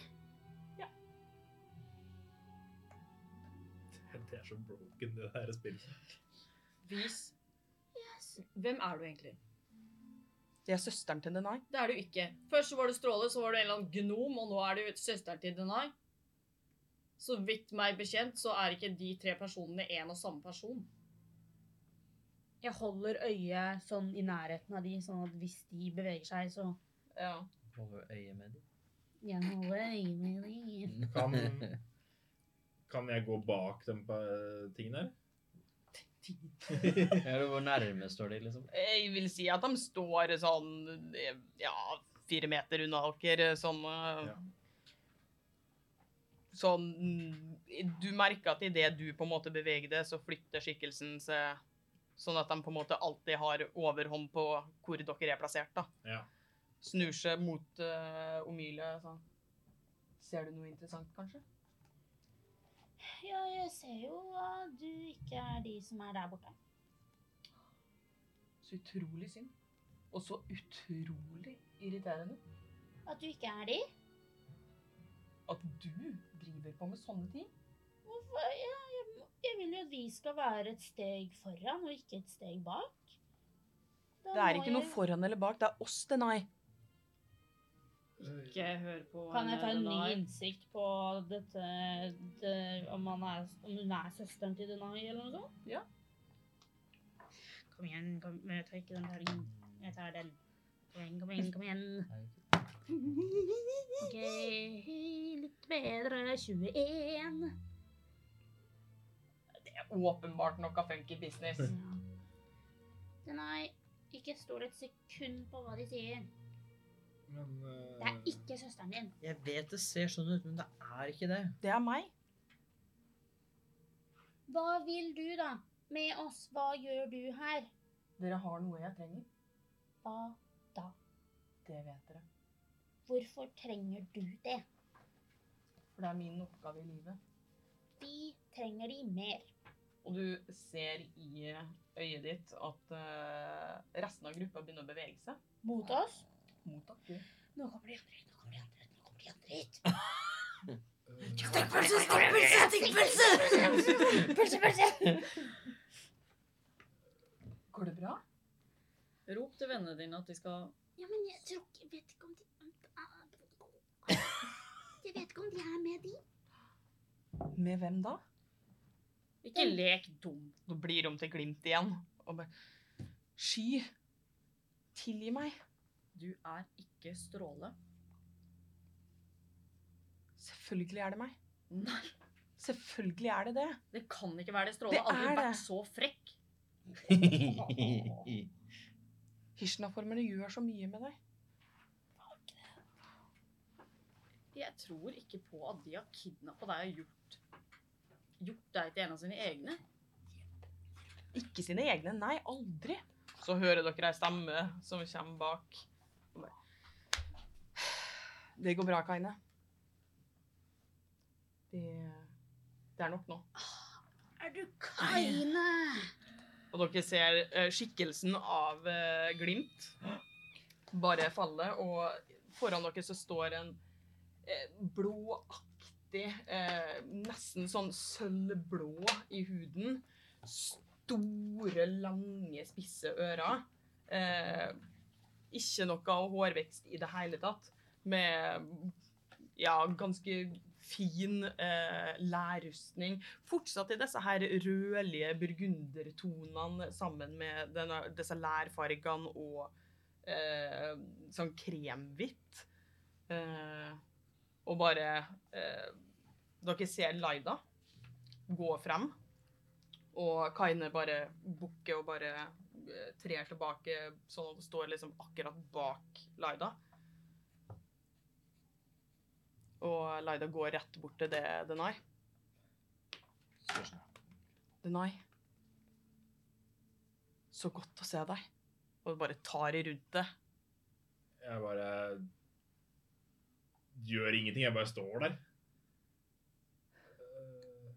Speaker 2: Det er så broken, det der spillet.
Speaker 3: Vis. Hvem er du egentlig?
Speaker 1: Det er søsteren til Denai.
Speaker 3: Det er du ikke. Først så var du Stråle, så var du en eller annen gnom, og nå er du søsteren til Denai. Så vidt meg bekjent, så er ikke de tre personene en og samme person.
Speaker 4: Jeg holder øyet sånn i nærheten av de, sånn at hvis de beveger seg, så
Speaker 1: Ja.
Speaker 6: Holder øye med dem.
Speaker 4: jeg holder øyet med de.
Speaker 2: Kan, Kan jeg gå bak de eh, tingene her?
Speaker 6: Ja, Hvor nærme står de, liksom?
Speaker 1: Jeg vil si at de står sånn eh, ja, fire meter unna dere. Sånn, eh,
Speaker 2: Ja.
Speaker 1: sånn mm, Du merker at idet du på en måte beveger deg, så flytter skikkelsen seg. Sånn at de på en måte alltid har overhånd på hvor dere er plassert. da.
Speaker 2: Ja.
Speaker 1: Snur seg mot uh, Omilie sånn. Ser du noe interessant, kanskje?
Speaker 4: Ja, jeg ser jo at du ikke er de som er der borte.
Speaker 1: Så utrolig synd. Og så utrolig irriterende
Speaker 4: At du ikke er de.
Speaker 1: at du driver på med sånne ting.
Speaker 4: Hvorfor? Ja, jeg, må- jeg vil jo at vi skal være et steg foran, og ikke et steg bak. Da
Speaker 1: Det er
Speaker 4: må
Speaker 1: ikke noe
Speaker 4: jeg-
Speaker 1: foran eller bak, det er oss det nei.
Speaker 3: Ikke hør på
Speaker 10: Kan jeg ta en ny
Speaker 3: Denai.
Speaker 10: innsikt på dette det, om, han er, om hun er søsteren til Denai eller noe sånt?
Speaker 1: Ja.
Speaker 4: Kom igjen, kom, men jeg tar ikke den der inn. Jeg tar den. Kom igjen, kom igjen, kom igjen. Ok, litt bedre. 21.
Speaker 1: Åpenbart nok av funky business.
Speaker 4: Ja. Denai, ikke stol et sekund på hva de sier.
Speaker 2: Men eh,
Speaker 4: Det er ikke søsteren din.
Speaker 8: Jeg vet det ser sånn ut, men det er ikke det.
Speaker 1: Det er meg.
Speaker 4: Hva vil du da med oss? Hva gjør du her?
Speaker 1: Dere har noe jeg trenger.
Speaker 4: Hva da?
Speaker 1: Det vet dere.
Speaker 4: Hvorfor trenger du det?
Speaker 1: For det er min oppgave i livet.
Speaker 4: Vi trenger de mer.
Speaker 1: Og du ser i øyet ditt at eh, resten av gruppa begynner å bevege seg
Speaker 10: Mot oss?
Speaker 1: mot dere.
Speaker 4: Nå kommer de andre ut, nå kommer de andre ut, nå kommer de andre
Speaker 2: eh,
Speaker 4: ut.
Speaker 10: Pølse, pølse, pølse!
Speaker 4: Pølse, pølse!
Speaker 1: Går det bra?
Speaker 3: Rop til vennene dine at de skal
Speaker 4: Ja, men jeg tror ikke, vet ikke om de om de er- Jeg vet ikke om de er med de.
Speaker 1: Med hvem da?
Speaker 3: Ikke lek dum.
Speaker 1: Da blir om til glimt igjen. Og bare, sky, tilgi meg.
Speaker 3: Du er ikke stråle.
Speaker 1: Selvfølgelig er det meg.
Speaker 3: Nei,
Speaker 1: Selvfølgelig er det det.
Speaker 3: det kan ikke være det. Stråle
Speaker 1: Det
Speaker 3: har aldri
Speaker 1: er det.
Speaker 3: vært så frekk.
Speaker 1: Hirschna-formene gjør så mye med deg.
Speaker 3: Jeg tror ikke på at de har kidnappa deg og gjort, gjort deg til en av sine egne.
Speaker 1: Ikke sine egne. Nei, aldri. Så hører dere ei stemme som kommer bak. Og bare, Det går bra, Kaine. Det, det er nok nå.
Speaker 4: Er du Kaine?
Speaker 1: Og dere ser eh, skikkelsen av eh, Glimt bare falle, og foran dere så står en eh, blåaktig, eh, nesten sånn sølvblå i huden, store, lange, spisse ører. Eh, ikke noe hårvekst i det hele tatt, med ja, ganske fin eh, lærrustning fortsatt i disse her rødlige burgundertonene sammen med denne, disse lærfargene og eh, sånn kremhvitt. Eh, og bare eh, Dere ser Laida gå frem, og Kaine bare bukker og bare eh, trer tilbake, sånn at hun står liksom akkurat bak Laida. Og Laida går rett bort til det den er. Denai. Så godt å se deg. Og bare tar i rundt det.
Speaker 2: Jeg bare gjør ingenting. Jeg bare står der. Eh,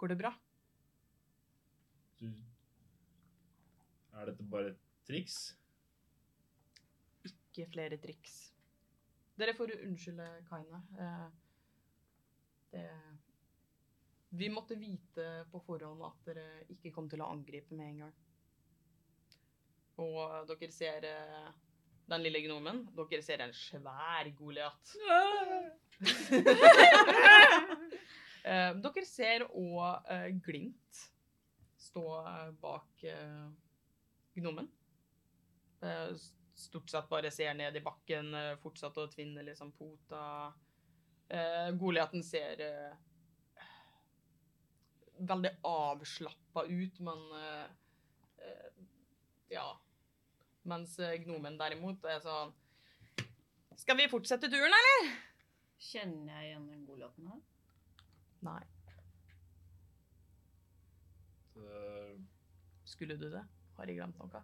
Speaker 1: Går det bra?
Speaker 2: Du Er dette bare et triks?
Speaker 1: Ikke flere triks. Dere får unnskylde Kaine. Eh, Det Vi måtte vite på forhånd at dere ikke kom til å angripe med en gang. Og dere ser eh, den lille gnomen. Dere ser en svær Goliat. Eh, dere ser òg eh, Glimt stå eh, bak eh, gnomen. Eh, s- stort sett bare ser ned i bakken, eh, fortsatt å tvinne liksom pota. Eh, Goliaten ser eh, veldig avslappa ut, men eh, eh, Ja. Mens eh, gnomen derimot er sånn Skal vi fortsette turen, eller?
Speaker 3: Kjenner jeg igjen den godlåten her?
Speaker 1: Nei.
Speaker 2: eh,
Speaker 1: Skulle du det? Har jeg glemt noe?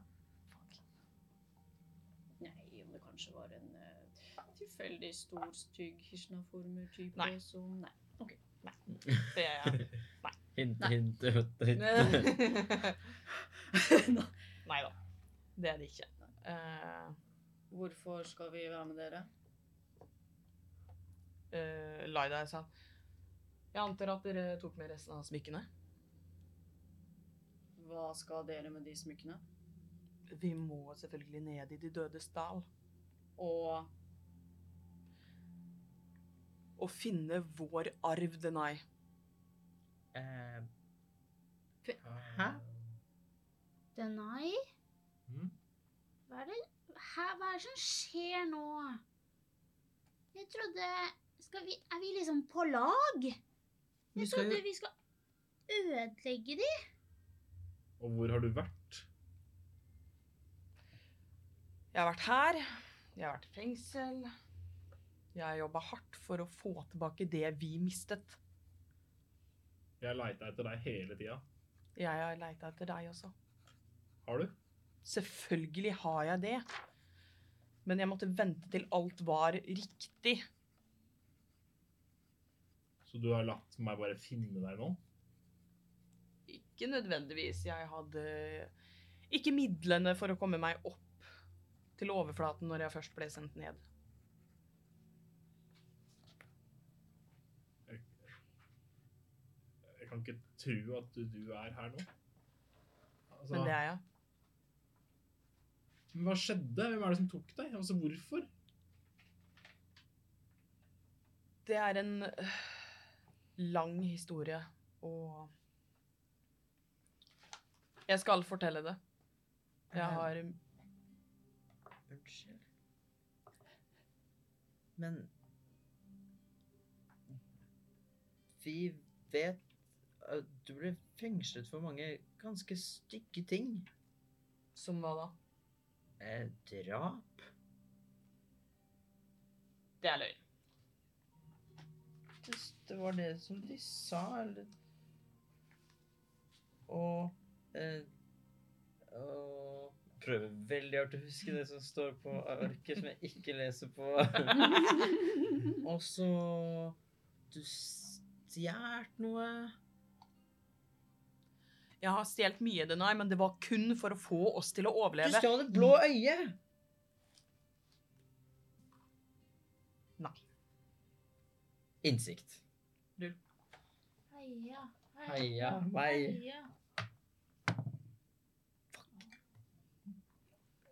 Speaker 3: Nei, om det kanskje var en eh, tilfeldig stor, stygg Hishnaformer-type
Speaker 1: Nei.
Speaker 3: som Nei.
Speaker 1: Det er
Speaker 6: Hint,
Speaker 3: Nei.
Speaker 6: hint, hint, hint.
Speaker 1: Nei da. Det er det ikke. Eh,
Speaker 3: Hvorfor skal vi være med dere?
Speaker 1: eh, Laida sa Jeg antar at dere tok med resten av smykkene?
Speaker 3: Hva skal dere med de smykkene?
Speaker 1: Vi må selvfølgelig ned i De dødes dal
Speaker 3: Og
Speaker 1: og finne vår arv, Denai.
Speaker 8: Eh,
Speaker 2: Hæ?
Speaker 4: Denai?
Speaker 2: Mm.
Speaker 4: Hva er det, hæ, hva er det som skjer nå? Jeg trodde skal vi, Er vi liksom på lag?
Speaker 8: vi
Speaker 4: Jeg
Speaker 8: skal
Speaker 4: trodde
Speaker 8: jo
Speaker 4: vi skal ødelegge de.
Speaker 2: Og hvor har du vært?
Speaker 1: Jeg har vært her. Jeg har vært i fengsel. Jeg har jobba hardt for å få tilbake det vi mistet.
Speaker 2: Jeg leita etter deg hele tida.
Speaker 1: Jeg har leita etter deg også.
Speaker 2: Har du?
Speaker 1: Selvfølgelig har jeg det. Men jeg måtte vente til alt var riktig.
Speaker 2: Så du har latt meg bare finne deg nå?
Speaker 1: Ikke nødvendigvis. Jeg hadde ikke midlene for å komme meg opp til overflaten når jeg først ble sendt ned.
Speaker 2: Jeg kan ikke tro at du- du er her nå. Altså,
Speaker 1: Men det er jeg.
Speaker 2: men hva skjedde? Hvem er det som tok deg? Altså, hvorfor?
Speaker 1: Det er en øh, lang historie, og Jeg skal fortelle det. Jeg har
Speaker 8: Unnskyld. Men Vi vet at du ble fengslet for mange ganske stygge ting.
Speaker 1: Som hva da?
Speaker 8: Eh, drap.
Speaker 1: Det er løgn.
Speaker 8: Det, det var det som de sa, eller Og eh, og Prøver veldig hardt å huske det som står på arket, som jeg ikke leser på. Og så Du stjal noe.
Speaker 1: Jeg har stjålet mye, Denai, men det var kun for å få oss til å
Speaker 8: Du
Speaker 1: overleve.
Speaker 8: stjal et blå øye!
Speaker 1: Nei.
Speaker 8: Innsikt.
Speaker 4: Heia.
Speaker 8: Heia meg.
Speaker 4: Heia.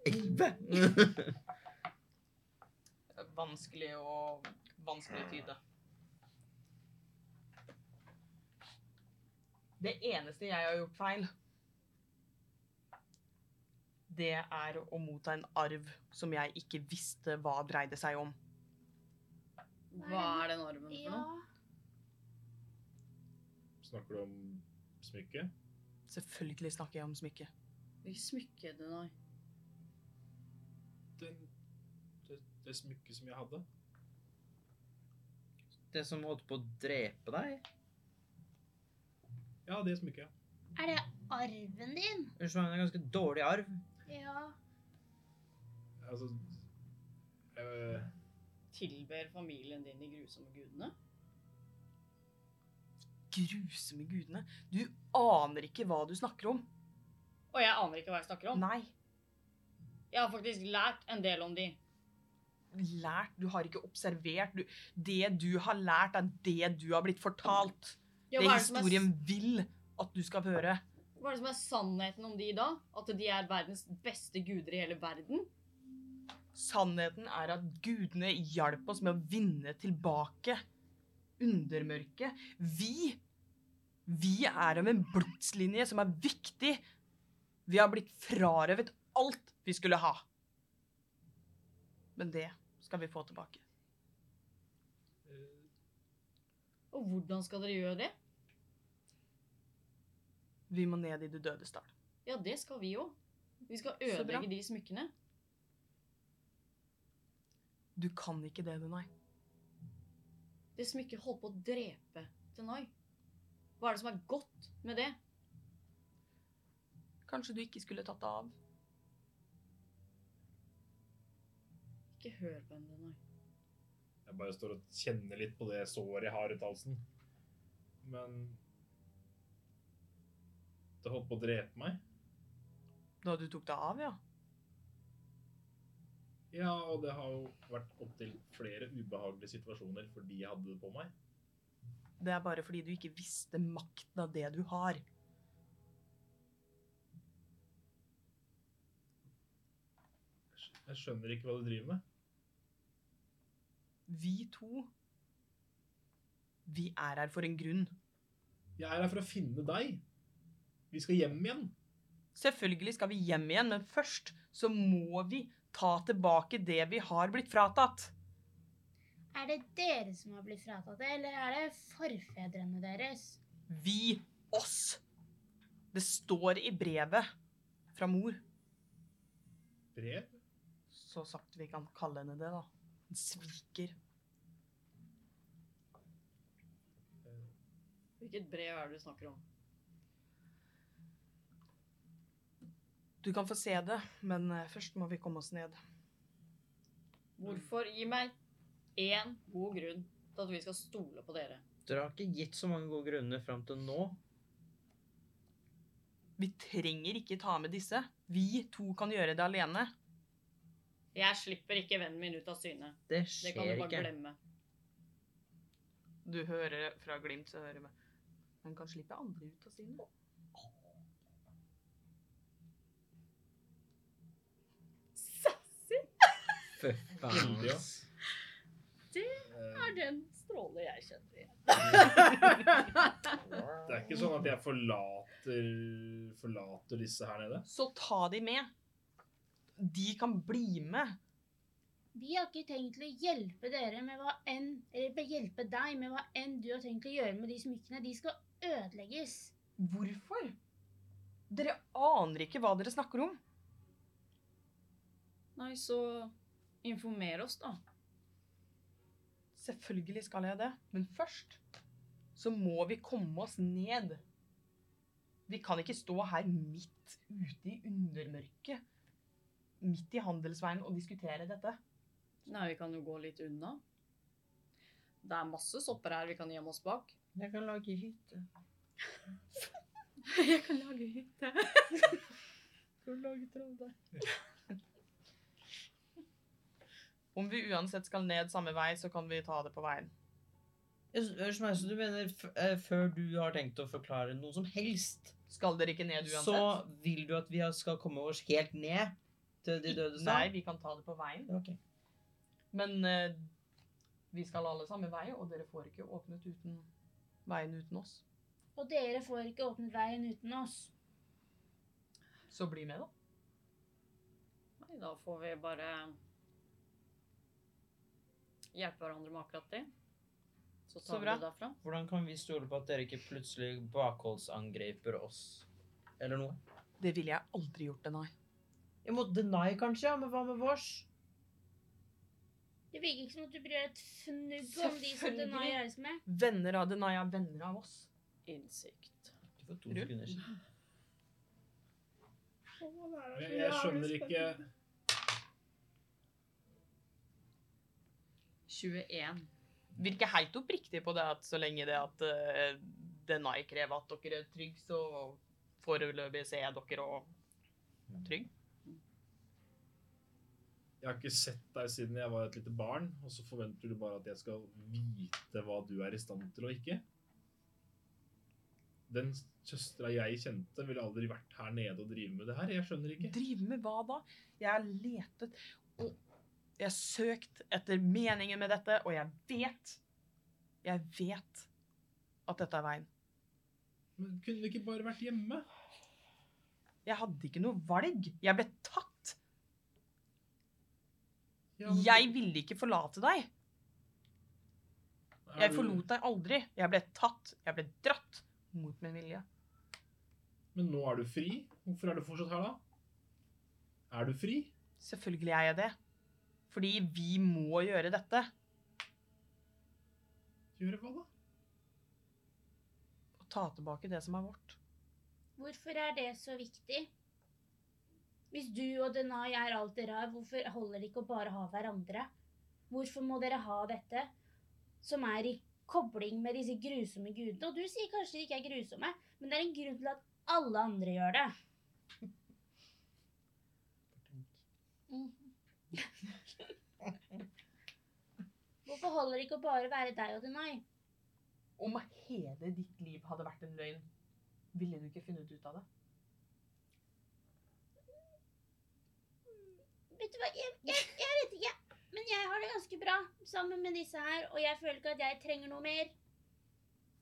Speaker 8: Elleve!
Speaker 1: Vanskelig å vanskelig å tyde. Det eneste jeg har gjort feil, det er å motta en arv som jeg ikke visste hva dreide seg om.
Speaker 3: hva er den armen for
Speaker 4: Ja.
Speaker 3: noe?
Speaker 2: Snakker du om smykket?
Speaker 1: Selvfølgelig snakker jeg om smykket.
Speaker 3: Hvilket smykke er det nå?
Speaker 2: Den, det, det smykket som jeg hadde?
Speaker 8: Det som holdt på å drepe deg?
Speaker 2: Ja, det smykket.
Speaker 4: Er det arven din?
Speaker 8: Unnskyld meg, men det er ganske dårlig arv.
Speaker 4: Ja.
Speaker 2: Altså øh,
Speaker 3: Tilber familien din de grusomme gudene?
Speaker 1: Grusomme gudene. Du aner ikke hva du snakker om.
Speaker 3: Og jeg aner ikke hva jeg snakker om.
Speaker 1: Nei.
Speaker 3: Jeg har faktisk lært en del om de.
Speaker 1: Lært. Du har ikke observert. Du, det du har lært, er det du har blitt fortalt.
Speaker 3: Ja,
Speaker 1: det
Speaker 3: hva, er det som er,
Speaker 1: historien vil at du skal høre.
Speaker 3: hva er det som er sannheten om de da? At de er verdens beste guder i hele verden?
Speaker 1: Sannheten er at gudene hjalp oss med å vinne tilbake undermørket. Vi, vi er av en blodslinje som er viktig. Vi har blitt frarøvet alt vi skulle ha. Men det skal vi få tilbake.
Speaker 2: øh,
Speaker 3: Og hvordan skal dere gjøre det?
Speaker 1: Vi må ned i det dødes dal.
Speaker 3: Ja, det skal vi jo. Vi skal
Speaker 1: Så bra.
Speaker 3: ødelegge de smykkene.
Speaker 1: Du kan ikke det, Dunai.
Speaker 3: Det smykket holdt på å drepe Tenai. Hva er det som er godt med det?
Speaker 1: Kanskje du ikke skulle tatt det av?
Speaker 3: Ikke hør på henne, Tenai.
Speaker 2: Jeg bare står og kjenner litt på det såret jeg har rundt halsen. Men Det holdt på å drepe meg.
Speaker 1: Da du tok det av, ja.
Speaker 2: Ja, og det har jo vært opptil flere ubehagelige situasjoner fordi jeg hadde det på meg.
Speaker 1: Det er bare fordi du ikke visste makten av det du har.
Speaker 2: Jeg skjønner ikke hva du driver med.
Speaker 1: Vi to Vi er her for en grunn.
Speaker 2: Jeg er her for å finne deg. Vi skal hjem igjen.
Speaker 1: Selvfølgelig skal vi hjem igjen, men først så må vi ta tilbake det vi har blitt fratatt.
Speaker 4: Er det dere som har blitt fratatt det, eller er det forfedrene deres?
Speaker 1: Vi oss. Det står i brevet fra mor.
Speaker 2: Brev?
Speaker 1: Så sagt vi kan kalle henne det, da. En sviker.
Speaker 3: Hvilket brev er det du snakker om?
Speaker 1: Du kan få se det, men eh, først må vi komme oss ned.
Speaker 3: Mm. Hvorfor gi meg én god grunn til at vi skal stole på dere?
Speaker 8: Dere har ikke gitt så mange gode grunner fram til nå.
Speaker 1: Vi trenger ikke ta med disse. Vi to kan gjøre det alene.
Speaker 3: Jeg slipper ikke vennen min ut av syne.
Speaker 8: Det
Speaker 3: Det kan du
Speaker 8: skjer
Speaker 3: bare
Speaker 8: ikke.
Speaker 3: glemme.
Speaker 1: Du hører fra Glimt, så hører vi. Han kan slippe andre ut av sine.
Speaker 3: Sassy!
Speaker 8: Fy faen.
Speaker 2: Veldig, ja.
Speaker 3: er den stråle jeg kjenner igjen.
Speaker 2: Det er ikke sånn at jeg forlater, forlater disse her nede.
Speaker 1: Så ta de med. De kan bli med.
Speaker 4: Vi har ikke tenkt til å hjelpe dere med hva enn, eller hjelpe deg med hva enn du har tenkt til å gjøre med de smykkene. De skal ødelegges.
Speaker 1: Hvorfor? Dere aner ikke hva dere snakker om.
Speaker 3: Nei, så informer oss, da.
Speaker 1: Selvfølgelig skal jeg det, men først så må vi komme oss ned. Vi kan ikke stå her midt ute i undermørket, midt i handelsveien, og diskutere dette.
Speaker 3: Nei, vi kan jo gå litt unna. Det er masse sopper her vi kan gjemme oss bak.
Speaker 8: Jeg kan lage hytte.
Speaker 3: Jeg kan lage hytte.
Speaker 8: Kan du lage trolldeig?
Speaker 1: Om vi uansett skal ned samme vei, så kan vi ta det på veien.
Speaker 8: Hørs meg, så du mener f eh, før du har tenkt å forklare noe som helst,
Speaker 1: Skal dere ikke ned
Speaker 8: så
Speaker 1: uansett?
Speaker 8: vil du at vi skal komme oss helt ned til de dødes
Speaker 1: Nei,
Speaker 8: dal?
Speaker 1: vi kan ta det på veien.
Speaker 8: Ok.
Speaker 1: Men eh, vi skal alle samme vei, og dere får ikke åpnet uten veien uten oss.
Speaker 4: Og dere får ikke åpnet veien uten oss.
Speaker 1: Så bli med, da.
Speaker 3: Nei, da får vi bare hjelpe hverandre med akkurat det. Så
Speaker 1: Så
Speaker 3: tar vi
Speaker 1: bra.
Speaker 3: det derfra.
Speaker 8: Hvordan kan vi stole på at dere ikke plutselig bakholdsangriper oss? Eller noe?
Speaker 1: Det ville jeg aldri gjort, nei.
Speaker 8: Jeg må deny, kanskje, ja, men hva med vårs?
Speaker 4: Det virker ikke som at du bryr deg et fnugg om de som
Speaker 1: Selvfølgelig.
Speaker 4: Denai gjøres med.
Speaker 1: Venner av Denai er venner av oss.
Speaker 3: Innsikt.
Speaker 8: Du får to
Speaker 1: Rull.
Speaker 8: sekunder siden.
Speaker 2: Jeg, jeg skjønner ikke
Speaker 3: 21.
Speaker 1: Virker helt oppriktig på det at så lenge det at eh, Denai krever at dere er trygge, så foreløpig ser jeg dere og trygg.
Speaker 2: Jeg har ikke sett deg siden jeg var et lite barn, og så forventer du bare at jeg skal vite hva du er i stand til og ikke. Den søstera jeg kjente, ville aldri vært her nede og drive med det her. Jeg skjønner ikke.
Speaker 1: Drive med hva da? Jeg har letet og jeg har søkt etter meningen med dette, og jeg vet Jeg vet at dette er veien.
Speaker 2: Men kunne vi ikke bare vært hjemme?
Speaker 1: Jeg hadde ikke noe valg. Jeg ble tatt.
Speaker 2: Ja, men-
Speaker 1: Jeg ville ikke forlate deg. Jeg forlot deg aldri. Jeg ble tatt. Jeg ble dratt. Mot min vilje.
Speaker 2: Men nå er du fri. Hvorfor er du fortsatt her, da? Er du fri?
Speaker 1: Selvfølgelig er jeg det. Fordi vi må gjøre dette.
Speaker 2: Gjøre hva, da?
Speaker 1: Og ta tilbake det som er vårt.
Speaker 4: Hvorfor er det så viktig? Hvis du og Denai er alt dere har, hvorfor holder det ikke å bare ha hverandre? Hvorfor må dere ha dette, som er i kobling med disse grusomme gudene? Og du sier kanskje de ikke er grusomme, men det er en grunn til at alle andre gjør det. Hvorfor holder det ikke å bare være deg og Denai?
Speaker 1: Om hele ditt liv hadde vært en løgn, ville du ikke funnet ut av det?
Speaker 4: Vet du hva, jeg, jeg, jeg vet ikke. Men jeg har det ganske bra sammen med disse her, og jeg føler ikke at jeg trenger noe mer.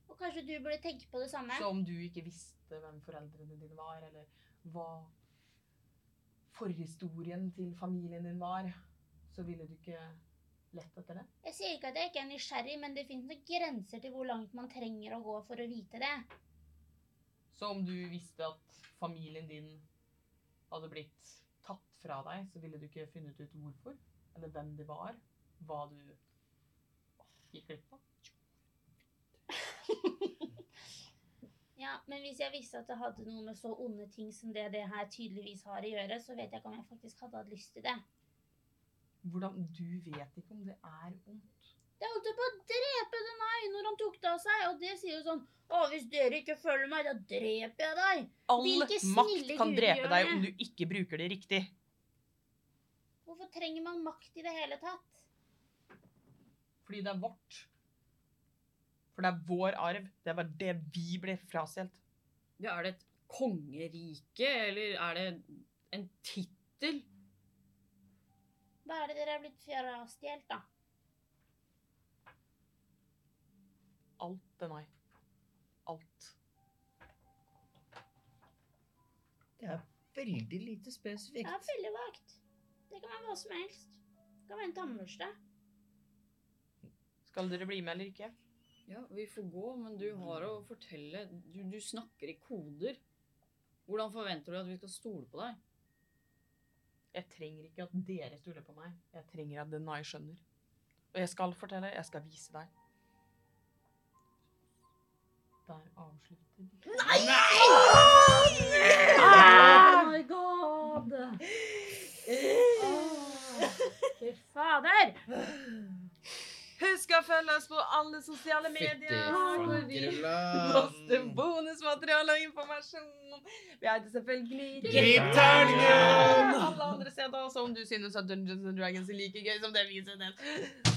Speaker 4: Og kanskje du burde tenke på det samme?
Speaker 1: Så om du ikke visste hvem foreldrene dine var, eller hva forhistorien til familien din var, så ville du ikke lett etter det?
Speaker 4: Jeg sier ikke at jeg ikke er nysgjerrig, men det finnes noen grenser til hvor langt man trenger å gå for å vite det.
Speaker 1: Så om du visste at familien din hadde blitt tatt fra deg, så ville du ikke funnet ut hvorfor, eller hvem de var, hva du gikk glipp av?
Speaker 4: Ja, Men hvis jeg visste at det hadde noe med så onde ting som det det her tydeligvis har å gjøre, så vet jeg ikke om jeg faktisk hadde hatt lyst til det.
Speaker 1: Hvordan Du vet ikke om det er ondt.
Speaker 4: Det holdt jo på å drepe den her når han tok det av seg, og det sier jo sånn Å, hvis dere ikke følger meg, da dreper jeg deg.
Speaker 1: All
Speaker 4: Hvilke snille
Speaker 1: makt kan
Speaker 4: guder
Speaker 1: drepe
Speaker 4: gjør
Speaker 1: deg
Speaker 4: det?
Speaker 1: om du ikke bruker det riktig.
Speaker 4: Hvorfor trenger man makt i det hele tatt?
Speaker 1: Fordi det er vårt. For det er vår arv. Det var det vi ble frastjålet.
Speaker 3: Ja, er det et kongerike, eller er det en tittel?
Speaker 4: Hva er det dere er blitt frastjålet, da?
Speaker 1: Alt det nei. Alt.
Speaker 5: Det er veldig lite
Speaker 4: Det
Speaker 5: spesifikt.
Speaker 4: er veldig vagt. Det kan være hva som helst. Det kan være en tannbørste.
Speaker 1: Skal dere bli med eller ikke?
Speaker 3: Ja, vi får gå, men du har å fortelle. Du, du snakker i koder. Hvordan forventer du at vi skal stole på deg?
Speaker 1: Jeg trenger ikke at dere stoler på meg. Jeg trenger at Denai skjønner. Og jeg skal fortelle, jeg skal vise deg. Der avslutter vi.
Speaker 4: Oh my god! Ah, Fy fader!
Speaker 1: Husk å følge oss på alle sosiale medier. hvor vi poster bonusmateriale og informasjon. Vi heter selvfølgelig Gitterningen! Alle andre steder. Så om du synes at Dungeons and Dragons er like gøy som det vi synes,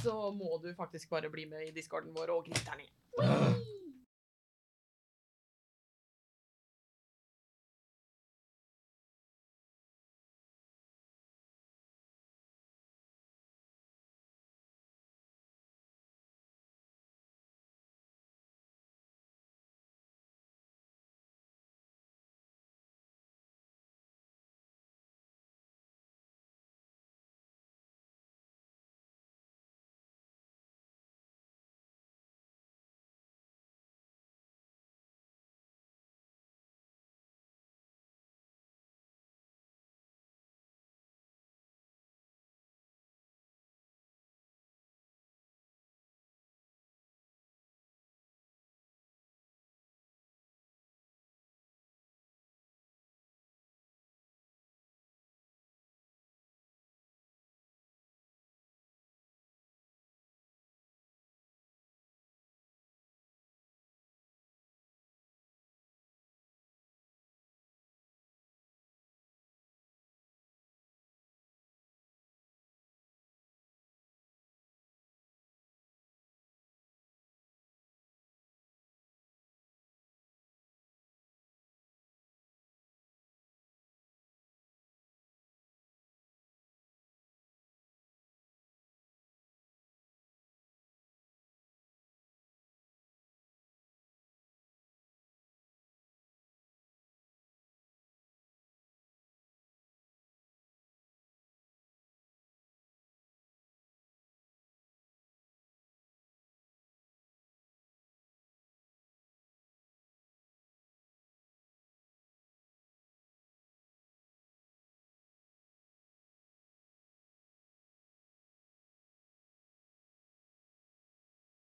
Speaker 1: så må du faktisk bare bli med i discorden vår og Gitterningen.